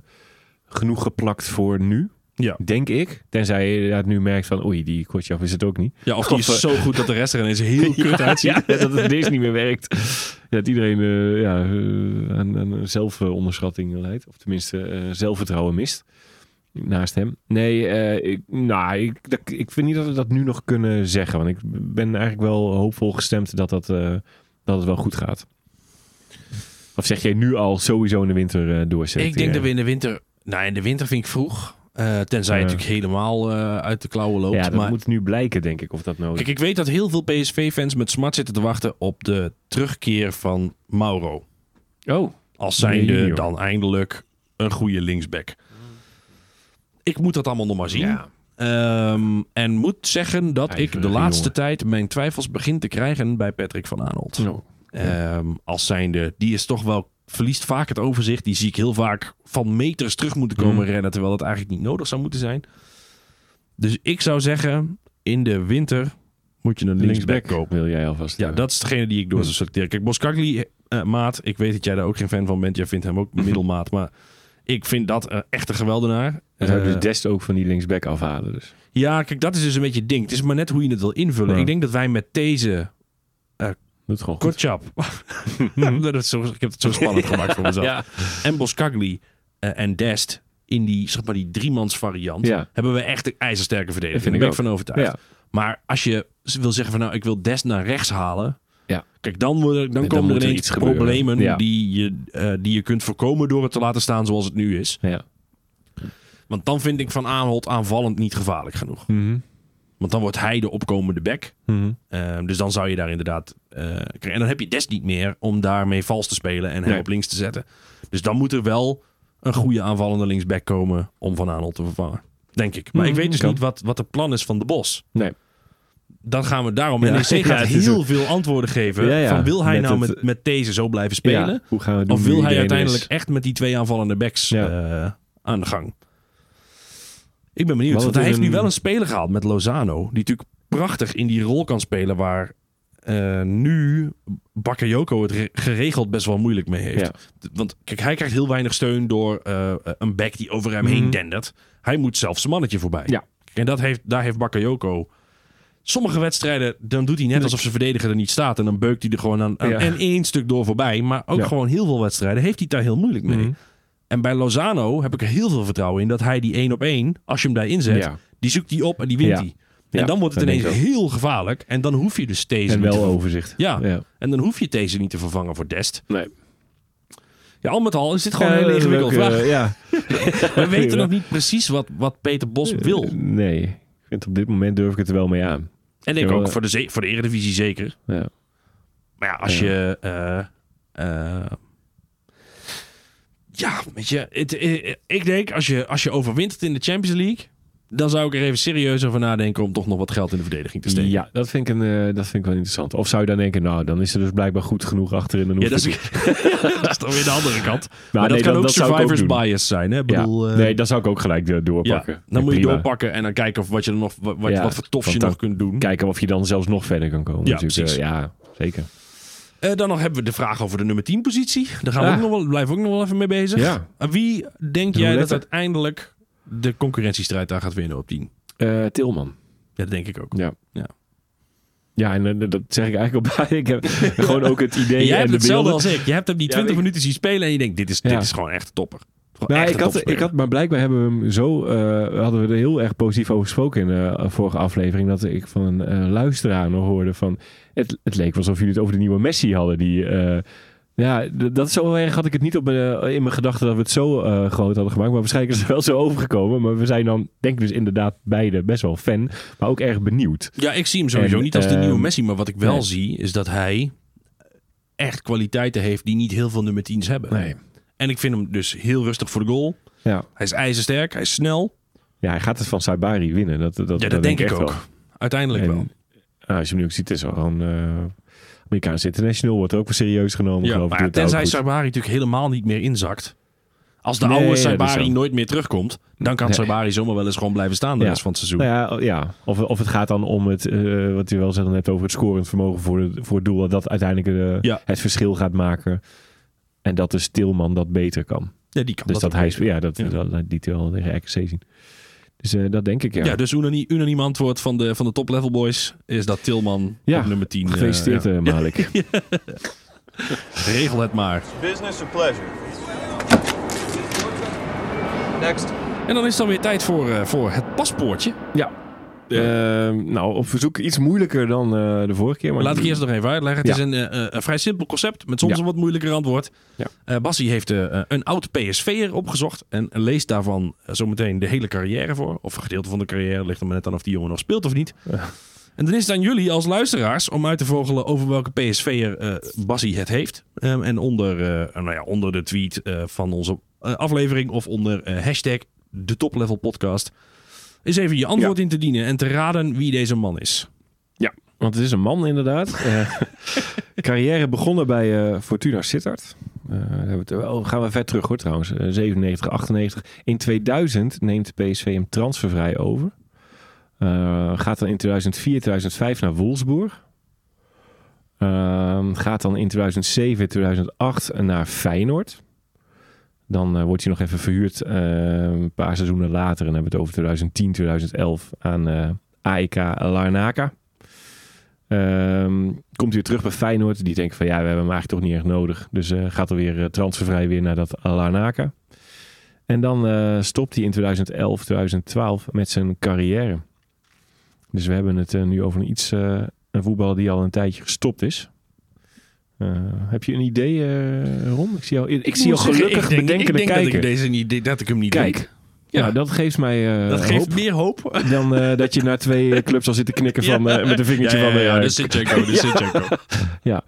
[SPEAKER 5] genoeg geplakt voor nu.
[SPEAKER 1] Ja.
[SPEAKER 5] Denk ik. Tenzij je inderdaad nu merkt van, oei, die Kotjaf is het ook niet.
[SPEAKER 1] Ja, of die is
[SPEAKER 5] Of, eh,
[SPEAKER 1] zo goed dat de rest er ineens heel kut uitziet.
[SPEAKER 5] Ja, dat het deze niet meer werkt. Dat iedereen eh, ja, eh, aan, aan een zelfonderschatting leidt. Of tenminste eh, zelfvertrouwen mist. Naast hem. Nee, eh, ik, nou, ik, dat- ik vind niet dat we dat nu nog kunnen zeggen. Want ik ben eigenlijk wel hoopvol gestemd dat, dat, eh, dat het wel goed gaat. Of zeg jij nu al sowieso in de winter eh doorzetten?
[SPEAKER 1] Ik denk dat we in de winter... Nou, in de winter vind ik vroeg. Eh, tenzij
[SPEAKER 5] Ja.
[SPEAKER 1] het natuurlijk helemaal eh, uit de klauwen loopt.
[SPEAKER 5] Ja, dat
[SPEAKER 1] maar
[SPEAKER 5] moet nu blijken, denk ik, of dat nodig
[SPEAKER 1] Kijk,
[SPEAKER 5] is.
[SPEAKER 1] ik weet dat heel veel PSV-fans met smart zitten te wachten op de terugkeer van Mauro.
[SPEAKER 5] Oh,
[SPEAKER 1] Als
[SPEAKER 5] Meneer
[SPEAKER 1] zijnde
[SPEAKER 5] Junior.
[SPEAKER 1] dan eindelijk een goede linksback. Ik moet dat allemaal nog maar zien.
[SPEAKER 5] Ja.
[SPEAKER 1] Ehm, en moet zeggen dat ik de
[SPEAKER 5] Ijverige
[SPEAKER 1] laatste
[SPEAKER 5] jongen.
[SPEAKER 1] tijd mijn twijfels begin te krijgen bij Patrick van Arnold.
[SPEAKER 5] zo.
[SPEAKER 1] Ehm, als zijnde, die is toch wel, verliest vaak het overzicht. Die zie ik heel vaak van meters terug moeten komen
[SPEAKER 5] Hmm.
[SPEAKER 1] rennen. Terwijl dat eigenlijk niet nodig zou moeten zijn. Dus ik zou zeggen, in de winter moet je een linksback kopen.
[SPEAKER 5] wil jij alvast.
[SPEAKER 1] Ja,
[SPEAKER 5] eh,
[SPEAKER 1] dat is degene die ik door zou selecteren. Kijk, Boskakli, eh, maat, ik weet dat jij daar ook geen fan van bent. Jij vindt hem ook middelmaat. maar ik vind dat eh, echt een geweldenaar.
[SPEAKER 5] Dan zou je
[SPEAKER 1] Eh,
[SPEAKER 5] dus Dest ook van die linksback afhalen. Dus.
[SPEAKER 1] ja, kijk, dat is dus een beetje het ding. Het is maar net hoe je het wil invullen.
[SPEAKER 5] Ja.
[SPEAKER 1] Ik denk dat wij met deze
[SPEAKER 5] Doe het gewoon goed.
[SPEAKER 1] Kotchap. Dat is zo- ik heb het zo spannend gemaakt voor mezelf. En Boskagli eh, en Dest in die, zeg maar, die driemans variant...
[SPEAKER 5] Ja.
[SPEAKER 1] hebben we echt een ijzersterke verdediging.
[SPEAKER 5] Dat
[SPEAKER 1] Daar
[SPEAKER 5] vind
[SPEAKER 1] ben ik
[SPEAKER 5] ik
[SPEAKER 1] van overtuigd.
[SPEAKER 5] Ja.
[SPEAKER 1] Maar als je z- wil zeggen van nou, ik wil Dest naar rechts halen...
[SPEAKER 5] Ja.
[SPEAKER 1] Kijk, dan, worden, dan
[SPEAKER 5] dan
[SPEAKER 1] komen
[SPEAKER 5] moet
[SPEAKER 1] er
[SPEAKER 5] er
[SPEAKER 1] ineens
[SPEAKER 5] iets gebeuren.
[SPEAKER 1] problemen
[SPEAKER 5] Ja.
[SPEAKER 1] die, je, eh, die je kunt voorkomen door het te laten staan zoals het nu is.
[SPEAKER 5] Ja.
[SPEAKER 1] Want dan vind ik Van Aanholt aanvallend niet gevaarlijk genoeg.
[SPEAKER 5] Mhm.
[SPEAKER 1] Want dan wordt hij de opkomende back. Ehm, dus dan zou je daar inderdaad. eh, krijgen. en dan heb je Des niet meer om daarmee vals te spelen en hem
[SPEAKER 5] Nee.
[SPEAKER 1] op links te zetten. Dus dan moet er wel een goede aanvallende linksback komen om Van Aanholt te vervangen. Denk ik. Maar
[SPEAKER 5] Mhm,
[SPEAKER 1] ik weet dus
[SPEAKER 5] kan.
[SPEAKER 1] niet wat, wat het plan is van de Bos.
[SPEAKER 5] Nee.
[SPEAKER 1] Dan gaan we daarom.
[SPEAKER 5] Ja.
[SPEAKER 1] NEC gaat
[SPEAKER 5] Ja, het is
[SPEAKER 1] heel veel antwoorden geven.
[SPEAKER 5] Ja, ja.
[SPEAKER 1] Van wil hij
[SPEAKER 5] Met
[SPEAKER 1] nou
[SPEAKER 5] het-
[SPEAKER 1] met, met deze zo blijven spelen?
[SPEAKER 5] Hoe gaan we het doen?
[SPEAKER 1] Of
[SPEAKER 5] nu
[SPEAKER 1] wil hij
[SPEAKER 5] iedereen
[SPEAKER 1] uiteindelijk
[SPEAKER 5] is?
[SPEAKER 1] echt met die twee aanvallende backs
[SPEAKER 5] Ja.
[SPEAKER 1] eh, aan de gang? Ik ben benieuwd.
[SPEAKER 5] Wat
[SPEAKER 1] Want hij
[SPEAKER 5] is
[SPEAKER 1] heeft
[SPEAKER 5] een-
[SPEAKER 1] nu wel een speler gehaald met Lozano. Die natuurlijk prachtig in die rol kan spelen waar eh, nu Bakayoko het re- geregeld best wel moeilijk mee heeft.
[SPEAKER 5] Ja.
[SPEAKER 1] Want kijk, hij krijgt heel weinig steun door eh, een back die over hem heen
[SPEAKER 5] Mhm.
[SPEAKER 1] dendert. Hij moet zelfs zijn mannetje voorbij.
[SPEAKER 5] Ja.
[SPEAKER 1] En dat heeft, daar heeft Bakayoko... Sommige wedstrijden, dan doet hij net alsof zijn verdediger er niet staat. En dan beukt hij er gewoon aan, aan
[SPEAKER 5] Ja.
[SPEAKER 1] en één stuk door voorbij. Maar ook
[SPEAKER 5] Ja.
[SPEAKER 1] gewoon heel veel wedstrijden heeft hij het daar heel moeilijk mee.
[SPEAKER 5] Mhm.
[SPEAKER 1] En bij Lozano heb ik er heel veel vertrouwen in dat hij die één op één, als je hem daar inzet,
[SPEAKER 5] Ja.
[SPEAKER 1] die zoekt hij op en die wint
[SPEAKER 5] Ja.
[SPEAKER 1] hij. En
[SPEAKER 5] Ja,
[SPEAKER 1] dan wordt het
[SPEAKER 5] dat
[SPEAKER 1] ineens
[SPEAKER 5] denk ik
[SPEAKER 1] heel gevaarlijk. En dan hoef je dus deze niet
[SPEAKER 5] En
[SPEAKER 1] te
[SPEAKER 5] wel
[SPEAKER 1] vervangen.
[SPEAKER 5] overzicht.
[SPEAKER 1] Ja.
[SPEAKER 5] ja.
[SPEAKER 1] En dan hoef je deze niet te vervangen voor Dest.
[SPEAKER 5] Nee.
[SPEAKER 1] Ja, al met al is dit gewoon een hele
[SPEAKER 5] Eh,
[SPEAKER 1] ingewikkelde
[SPEAKER 5] leuke,
[SPEAKER 1] vraag.
[SPEAKER 5] eh, ja.
[SPEAKER 1] We weten nog niet precies wat, wat Peter Bos
[SPEAKER 5] eh,
[SPEAKER 1] wil.
[SPEAKER 5] Nee. Ik vind op dit moment durf ik het er wel mee aan.
[SPEAKER 1] En ik
[SPEAKER 5] Ja,
[SPEAKER 1] ook
[SPEAKER 5] wel.
[SPEAKER 1] voor de, ze- voor de Eredivisie zeker.
[SPEAKER 5] Ja.
[SPEAKER 1] Maar ja, als
[SPEAKER 5] Ja.
[SPEAKER 1] je... eh, eh, ja, weet je. het- eh, ik denk, als je, als je overwintert in de Champions League... dan zou ik er even serieus over nadenken... om toch nog wat geld in de verdediging te steken.
[SPEAKER 5] ja, dat vind, ik een, eh, dat vind ik wel interessant. Of zou je dan denken, nou, dan is er dus blijkbaar goed genoeg achterin. Dan hoef
[SPEAKER 1] Ja, dat, is,
[SPEAKER 5] ik niet.
[SPEAKER 1] dat is dan weer de andere kant. Maar,
[SPEAKER 5] Maar
[SPEAKER 1] dat
[SPEAKER 5] nee,
[SPEAKER 1] kan
[SPEAKER 5] dan-
[SPEAKER 1] ook
[SPEAKER 5] dat zou ik ook
[SPEAKER 1] survivors
[SPEAKER 5] doen.
[SPEAKER 1] bias zijn. Hè? Ik Bedoel,
[SPEAKER 5] ja.
[SPEAKER 1] eh,
[SPEAKER 5] Nee, dat zou ik ook gelijk eh,
[SPEAKER 1] ja,
[SPEAKER 5] doorpakken. Ja,
[SPEAKER 1] Dan moet je
[SPEAKER 5] prima.
[SPEAKER 1] doorpakken en dan kijken of wat, je er nog, wat, wat,
[SPEAKER 5] Ja,
[SPEAKER 1] wat voor tofs je
[SPEAKER 5] want dan-
[SPEAKER 1] nog kunt doen.
[SPEAKER 5] Kijken of je dan zelfs nog verder kan komen.
[SPEAKER 1] Ja,
[SPEAKER 5] natuurlijk.
[SPEAKER 1] precies.
[SPEAKER 5] Eh, ja, zeker.
[SPEAKER 1] Eh, dan nog hebben we de vraag over de nummer 10 positie. Daar gaan we
[SPEAKER 5] Ja.
[SPEAKER 1] ook nog wel, blijven we ook nog wel even mee bezig.
[SPEAKER 5] Ja.
[SPEAKER 1] En wie denk
[SPEAKER 5] De
[SPEAKER 1] jij dat
[SPEAKER 5] roulette.
[SPEAKER 1] uiteindelijk de concurrentiestrijd daar gaat winnen op 10?
[SPEAKER 5] Eh, Tilman.
[SPEAKER 1] Ja, dat denk ik ook.
[SPEAKER 5] Ja.
[SPEAKER 1] Ja.
[SPEAKER 5] Ja, en eh, dat zeg ik eigenlijk al bij. Ik heb gewoon ook het idee.
[SPEAKER 1] En jij
[SPEAKER 5] en
[SPEAKER 1] hebt
[SPEAKER 5] de
[SPEAKER 1] hetzelfde
[SPEAKER 5] beelden.
[SPEAKER 1] als ik. Je hebt hem die 20
[SPEAKER 5] ik-
[SPEAKER 1] minuten zien spelen en je denkt, dit is,
[SPEAKER 5] Ja.
[SPEAKER 1] dit is gewoon echt een topper. Gewoon
[SPEAKER 5] Nou,
[SPEAKER 1] echt
[SPEAKER 5] ik
[SPEAKER 1] een
[SPEAKER 5] had,
[SPEAKER 1] topspeler.
[SPEAKER 5] ik had, maar blijkbaar hebben we hem zo, eh, hadden we er heel erg positief over gesproken in eh, de vorige aflevering. Dat ik van een eh, luisteraar nog hoorde van, het, het leek wel alsof jullie het over de nieuwe Messi hadden. Die, eh, ja, d- dat zo erg had ik het niet op mijn, eh, in mijn gedachten dat we het zo eh, groot hadden gemaakt. Maar waarschijnlijk is het wel zo overgekomen. Maar we zijn dan, denk ik dus inderdaad beide best wel fan, maar ook erg benieuwd.
[SPEAKER 1] Ja, ik zie hem sowieso
[SPEAKER 5] En,
[SPEAKER 1] niet als de
[SPEAKER 5] ehm,
[SPEAKER 1] nieuwe Messi. Maar wat ik wel
[SPEAKER 5] nee.
[SPEAKER 1] zie, is dat hij echt kwaliteiten heeft die niet heel veel nummer 10's hebben. En ik vind hem dus heel rustig voor de goal.
[SPEAKER 5] Ja,
[SPEAKER 1] Hij is ijzersterk, hij is snel.
[SPEAKER 5] ja hij gaat het van Saibari winnen. Dat, dat,
[SPEAKER 1] Ja, dat,
[SPEAKER 5] dat
[SPEAKER 1] denk ik
[SPEAKER 5] echt
[SPEAKER 1] ook.
[SPEAKER 5] wel.
[SPEAKER 1] Uiteindelijk
[SPEAKER 5] En,
[SPEAKER 1] wel.
[SPEAKER 5] ah, als je hem nu ook ziet, is er gewoon... eh Amerikaanse international wordt er ook wel serieus genomen.
[SPEAKER 1] Ja,
[SPEAKER 5] geloof ik,
[SPEAKER 1] maar
[SPEAKER 5] doet het
[SPEAKER 1] tenzij
[SPEAKER 5] ook goed.
[SPEAKER 1] Saibari natuurlijk helemaal niet meer inzakt. Als de
[SPEAKER 5] Nee,
[SPEAKER 1] oude
[SPEAKER 5] dat is
[SPEAKER 1] Saibari
[SPEAKER 5] zo.
[SPEAKER 1] nooit meer terugkomt, dan kan
[SPEAKER 5] Nee.
[SPEAKER 1] Saibari zomaar wel eens gewoon blijven staan de
[SPEAKER 5] Ja.
[SPEAKER 1] rest van het seizoen.
[SPEAKER 5] Nou ja, o- ja. Of, of het gaat dan om het, eh, wat u wel zegt net over het scorend vermogen voor, de, voor het doel. Dat dat uiteindelijk eh,
[SPEAKER 1] Ja.
[SPEAKER 5] het verschil gaat maken. En dat de Tilman dat beter kan.
[SPEAKER 1] Ja, die kan
[SPEAKER 5] Dus dat,
[SPEAKER 1] ook
[SPEAKER 5] hij,
[SPEAKER 1] beter.
[SPEAKER 5] spe- ja, dat,
[SPEAKER 1] Ja.
[SPEAKER 5] dat laat die wel tegen RKC zien. Dus eh, dat denk ik, ja.
[SPEAKER 1] Ja, dus unaniem, unaniem antwoord van de, van de top level boys is dat Tilman
[SPEAKER 5] Ja,
[SPEAKER 1] op nummer 10. eh,
[SPEAKER 5] Gefeliciteerd,
[SPEAKER 1] ja.
[SPEAKER 5] eh, Malik.
[SPEAKER 1] Regel het maar.
[SPEAKER 8] Business or pleasure?
[SPEAKER 1] En dan is het dan weer tijd voor, eh, voor het paspoortje.
[SPEAKER 5] Ja. Eh, nou, op verzoek iets moeilijker dan eh, de vorige keer. Maar
[SPEAKER 1] Maar laat ik eerst nog even uitleggen. Het
[SPEAKER 5] Ja.
[SPEAKER 1] is een, eh, eh, een vrij simpel concept met soms
[SPEAKER 5] Ja.
[SPEAKER 1] een wat moeilijker antwoord.
[SPEAKER 5] Ja.
[SPEAKER 1] Eh, Bassie heeft eh, een oud PSV'er opgezocht en leest daarvan eh, zometeen de hele carrière voor. Of een gedeelte van de carrière, ligt er maar net aan of die jongen nog speelt of niet. En dan is het aan jullie als luisteraars om uit te vogelen over welke PSV'er eh Bassie het heeft. Ehm, en onder, eh, nou ja, onder de tweet eh, van onze eh, aflevering of onder eh, hashtag de toplevel podcast... Is even je antwoord in te dienen en te raden wie deze man is.
[SPEAKER 5] Ja, want het is een man inderdaad. Eh, carrière begonnen bij eh, Fortuna Sittard. Eh, daar hebben we het- oh, gaan we ver terug hoor trouwens. Eh, 97, 98. In 2000 neemt PSV hem transfervrij over. Eh, gaat dan in 2004, 2005 naar Wolfsburg. Ehm, gaat dan in 2007, 2008 naar Feyenoord. Dan eh, wordt hij nog even verhuurd eh, een paar seizoenen later. En dan hebben we het over 2010, 2011 aan eh, AEK Larnaca. Ehm, komt weer terug bij Feyenoord. Die denken van ja, we hebben hem eigenlijk toch niet echt nodig. Dus eh, gaat er weer eh, transfervrij weer naar dat Larnaca. En dan eh, stopt hij in 2011, 2012 met zijn carrière. Dus we hebben het eh, nu over een iets, eh, een voetballer die al een tijdje gestopt is. Eh, heb je een idee, eh Ron? Ik zie jou, ik, ik zie jou
[SPEAKER 1] moet zeggen,
[SPEAKER 5] gelukkig
[SPEAKER 1] ik denk,
[SPEAKER 5] bedenkende
[SPEAKER 1] ik denk
[SPEAKER 5] kijken.
[SPEAKER 1] Dat ik, deze niet, dat ik hem niet
[SPEAKER 5] Kijk.
[SPEAKER 1] denk.
[SPEAKER 5] ja.
[SPEAKER 1] Ja.
[SPEAKER 5] dat geeft mij eh,
[SPEAKER 1] Dat geeft
[SPEAKER 5] hoop
[SPEAKER 1] meer hoop.
[SPEAKER 5] dan eh, dat je naar twee eh, clubs zal zitten knikken van,
[SPEAKER 1] Ja.
[SPEAKER 5] eh, met een vingertje
[SPEAKER 1] ja,
[SPEAKER 5] van... eh,
[SPEAKER 1] ja, Dus- dat is Zinchenko, dat is Zinchenko.
[SPEAKER 5] Ja.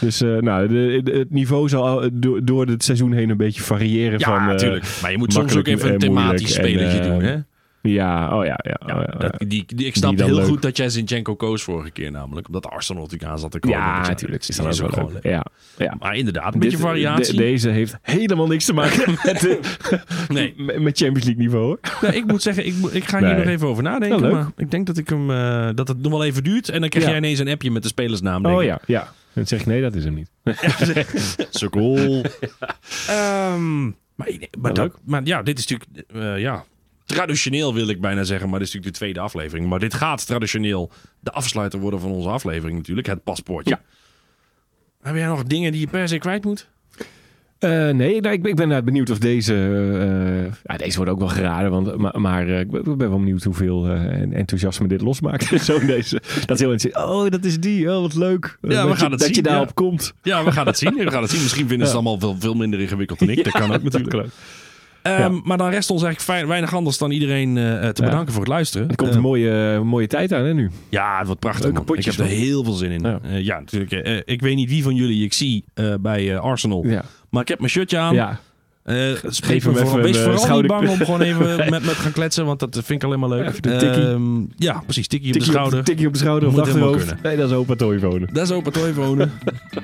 [SPEAKER 5] Dus eh, nou, de- de- het niveau zal al do- door het seizoen heen een beetje variëren.
[SPEAKER 1] Ja,
[SPEAKER 5] van, eh,
[SPEAKER 1] natuurlijk. maar je moet soms ook
[SPEAKER 5] makkelijk
[SPEAKER 1] even een
[SPEAKER 5] en moeilijk
[SPEAKER 1] thematisch
[SPEAKER 5] en,
[SPEAKER 1] spelletje
[SPEAKER 5] eh,
[SPEAKER 1] doen. Hè?
[SPEAKER 5] ja, oh ja. ja, oh ja,
[SPEAKER 1] Dat- die, die, ik snap
[SPEAKER 5] dan
[SPEAKER 1] heel
[SPEAKER 5] leuk.
[SPEAKER 1] goed dat jij Zinchenko koos vorige keer namelijk. Omdat Arsenal natuurlijk aan zat te komen.
[SPEAKER 5] ja,
[SPEAKER 1] Dus
[SPEAKER 5] natuurlijk. Is
[SPEAKER 1] die
[SPEAKER 5] dan ook wel leuk.
[SPEAKER 1] leuk.
[SPEAKER 5] Ja, ja.
[SPEAKER 1] Maar inderdaad, een beetje
[SPEAKER 5] Dit- eh,
[SPEAKER 1] variatie.
[SPEAKER 5] de- deze heeft helemaal niks te maken met, de-
[SPEAKER 1] Nee.
[SPEAKER 5] met met Champions League niveau. hoor.
[SPEAKER 1] Nee, ik moet zeggen, ik, moet- ik ga
[SPEAKER 5] Nee.
[SPEAKER 1] hier nog even over nadenken.
[SPEAKER 5] Wel leuk.
[SPEAKER 1] maar ik denk dat, ik hem, eh, dat het nog wel even duurt. En dan krijg
[SPEAKER 5] Ja.
[SPEAKER 1] jij ineens een appje met de spelersnaam. denk
[SPEAKER 5] Oh
[SPEAKER 1] ik.
[SPEAKER 5] ja, ja. En dan zeg ik nee, dat is hem niet.
[SPEAKER 1] Sukkel. Ehm, maar, maar,
[SPEAKER 5] leuk.
[SPEAKER 1] dat- maar ja, dit is natuurlijk... eh, ja, traditioneel wil ik bijna zeggen, maar dit is natuurlijk de tweede aflevering. Maar dit gaat traditioneel de afsluiter worden van onze aflevering natuurlijk. Het paspoortje.
[SPEAKER 5] Ja.
[SPEAKER 1] Heb jij nog dingen die je per se kwijt moet?
[SPEAKER 5] Eh, nee, nou, ik, ben- ik ben inderdaad benieuwd of deze... eh, ja, deze wordt ook wel geraden, want, maar, maar eh, ik ben ik ben wel benieuwd hoeveel eh, en- enthousiasme dit losmaakt. Zo in deze. Dat is heel interessant. Oh, dat is die. Oh, wat leuk.
[SPEAKER 1] we
[SPEAKER 5] dat je,
[SPEAKER 1] gaan het
[SPEAKER 5] dat je
[SPEAKER 1] zien, ja.
[SPEAKER 5] daarop komt.
[SPEAKER 1] Ja, we gaan het zien. We gaan het zien. Misschien vinden ze het allemaal veel, veel minder ingewikkeld dan ik. dat kan ook natuurlijk. Ehm, Maar dan rest ons eigenlijk fijn- weinig anders dan iedereen eh, te
[SPEAKER 5] Ja.
[SPEAKER 1] bedanken voor het luisteren. Ehm,
[SPEAKER 5] Er komt een mooie, eh, mooie tijd aan hè, nu.
[SPEAKER 1] Ja, het wordt prachtig.
[SPEAKER 5] Leuke
[SPEAKER 1] man.
[SPEAKER 5] potjes,
[SPEAKER 1] ik heb er
[SPEAKER 5] man.
[SPEAKER 1] heel veel zin in.
[SPEAKER 5] Ja.
[SPEAKER 1] Ja, ja natuurlijk. eh, ik weet niet wie van jullie ik zie eh, bij eh, Arsenal.
[SPEAKER 5] Ja.
[SPEAKER 1] Maar ik heb mijn shirtje aan.
[SPEAKER 5] Ja.
[SPEAKER 1] Eh, spreek
[SPEAKER 5] hem
[SPEAKER 1] me vooral,
[SPEAKER 5] even
[SPEAKER 1] wees
[SPEAKER 5] een, eh,
[SPEAKER 1] vooral
[SPEAKER 5] schouder-
[SPEAKER 1] niet bang om gewoon even met me te gaan kletsen. Want dat vind ik alleen maar leuk.
[SPEAKER 5] Even een tikkie.
[SPEAKER 1] Ehm, ja, precies. Tikkie op de
[SPEAKER 5] Tikkie op,
[SPEAKER 1] schouder.
[SPEAKER 5] tikkie op de schouder of
[SPEAKER 1] Moet helemaal
[SPEAKER 5] achterhoofd.
[SPEAKER 1] kunnen.
[SPEAKER 5] Nee, dat is opa toyfonen.
[SPEAKER 1] Dat is open tooi wonen.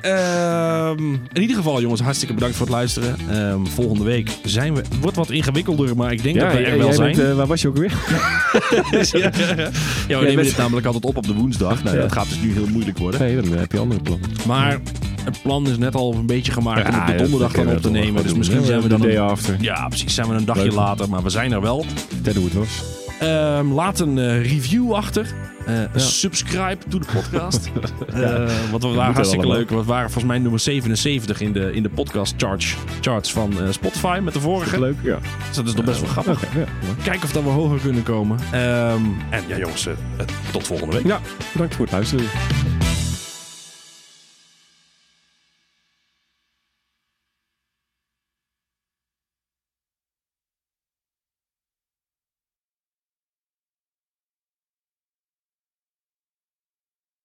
[SPEAKER 1] Ehm, in ieder geval, jongens, hartstikke bedankt voor het luisteren. Ehm, volgende week zijn we. Het wordt wat ingewikkelder, maar ik denk dat we er wel zijn.
[SPEAKER 5] eh, waar was je ook weer?
[SPEAKER 1] ja, we nemen
[SPEAKER 5] bent-
[SPEAKER 1] dit namelijk altijd op op de woensdag. Nou,
[SPEAKER 5] Ja.
[SPEAKER 1] Dat gaat dus nu heel moeilijk worden.
[SPEAKER 5] Nee, dan eh, heb je andere plannen.
[SPEAKER 1] Maar het plan is net al een beetje gemaakt om het de donderdag dan op te nemen. Dus misschien zijn we dan
[SPEAKER 5] De day
[SPEAKER 1] een,
[SPEAKER 5] after.
[SPEAKER 1] ja, precies, zijn we een dagje
[SPEAKER 5] Leuk.
[SPEAKER 1] later. Maar we zijn er wel.
[SPEAKER 5] Dat doen we het los.
[SPEAKER 1] Ehm, laat een eh, review achter. Eh, Subscribe to de podcast. Eh, want we waren
[SPEAKER 5] moet
[SPEAKER 1] hartstikke
[SPEAKER 5] allemaal.
[SPEAKER 1] leuk. We waren volgens mij nummer 77 in de, in de podcast charts, charts van eh, Spotify met de vorige.
[SPEAKER 5] Leuk, ja.
[SPEAKER 1] Dus dat is nog best wel grappig.
[SPEAKER 5] Oké, ja.
[SPEAKER 1] Kijken of dat we
[SPEAKER 5] 哎
[SPEAKER 1] hoger kunnen komen. Ehm, en ja jongens, eh, eh, tot volgende week.
[SPEAKER 5] ja, bedankt voor het luisteren.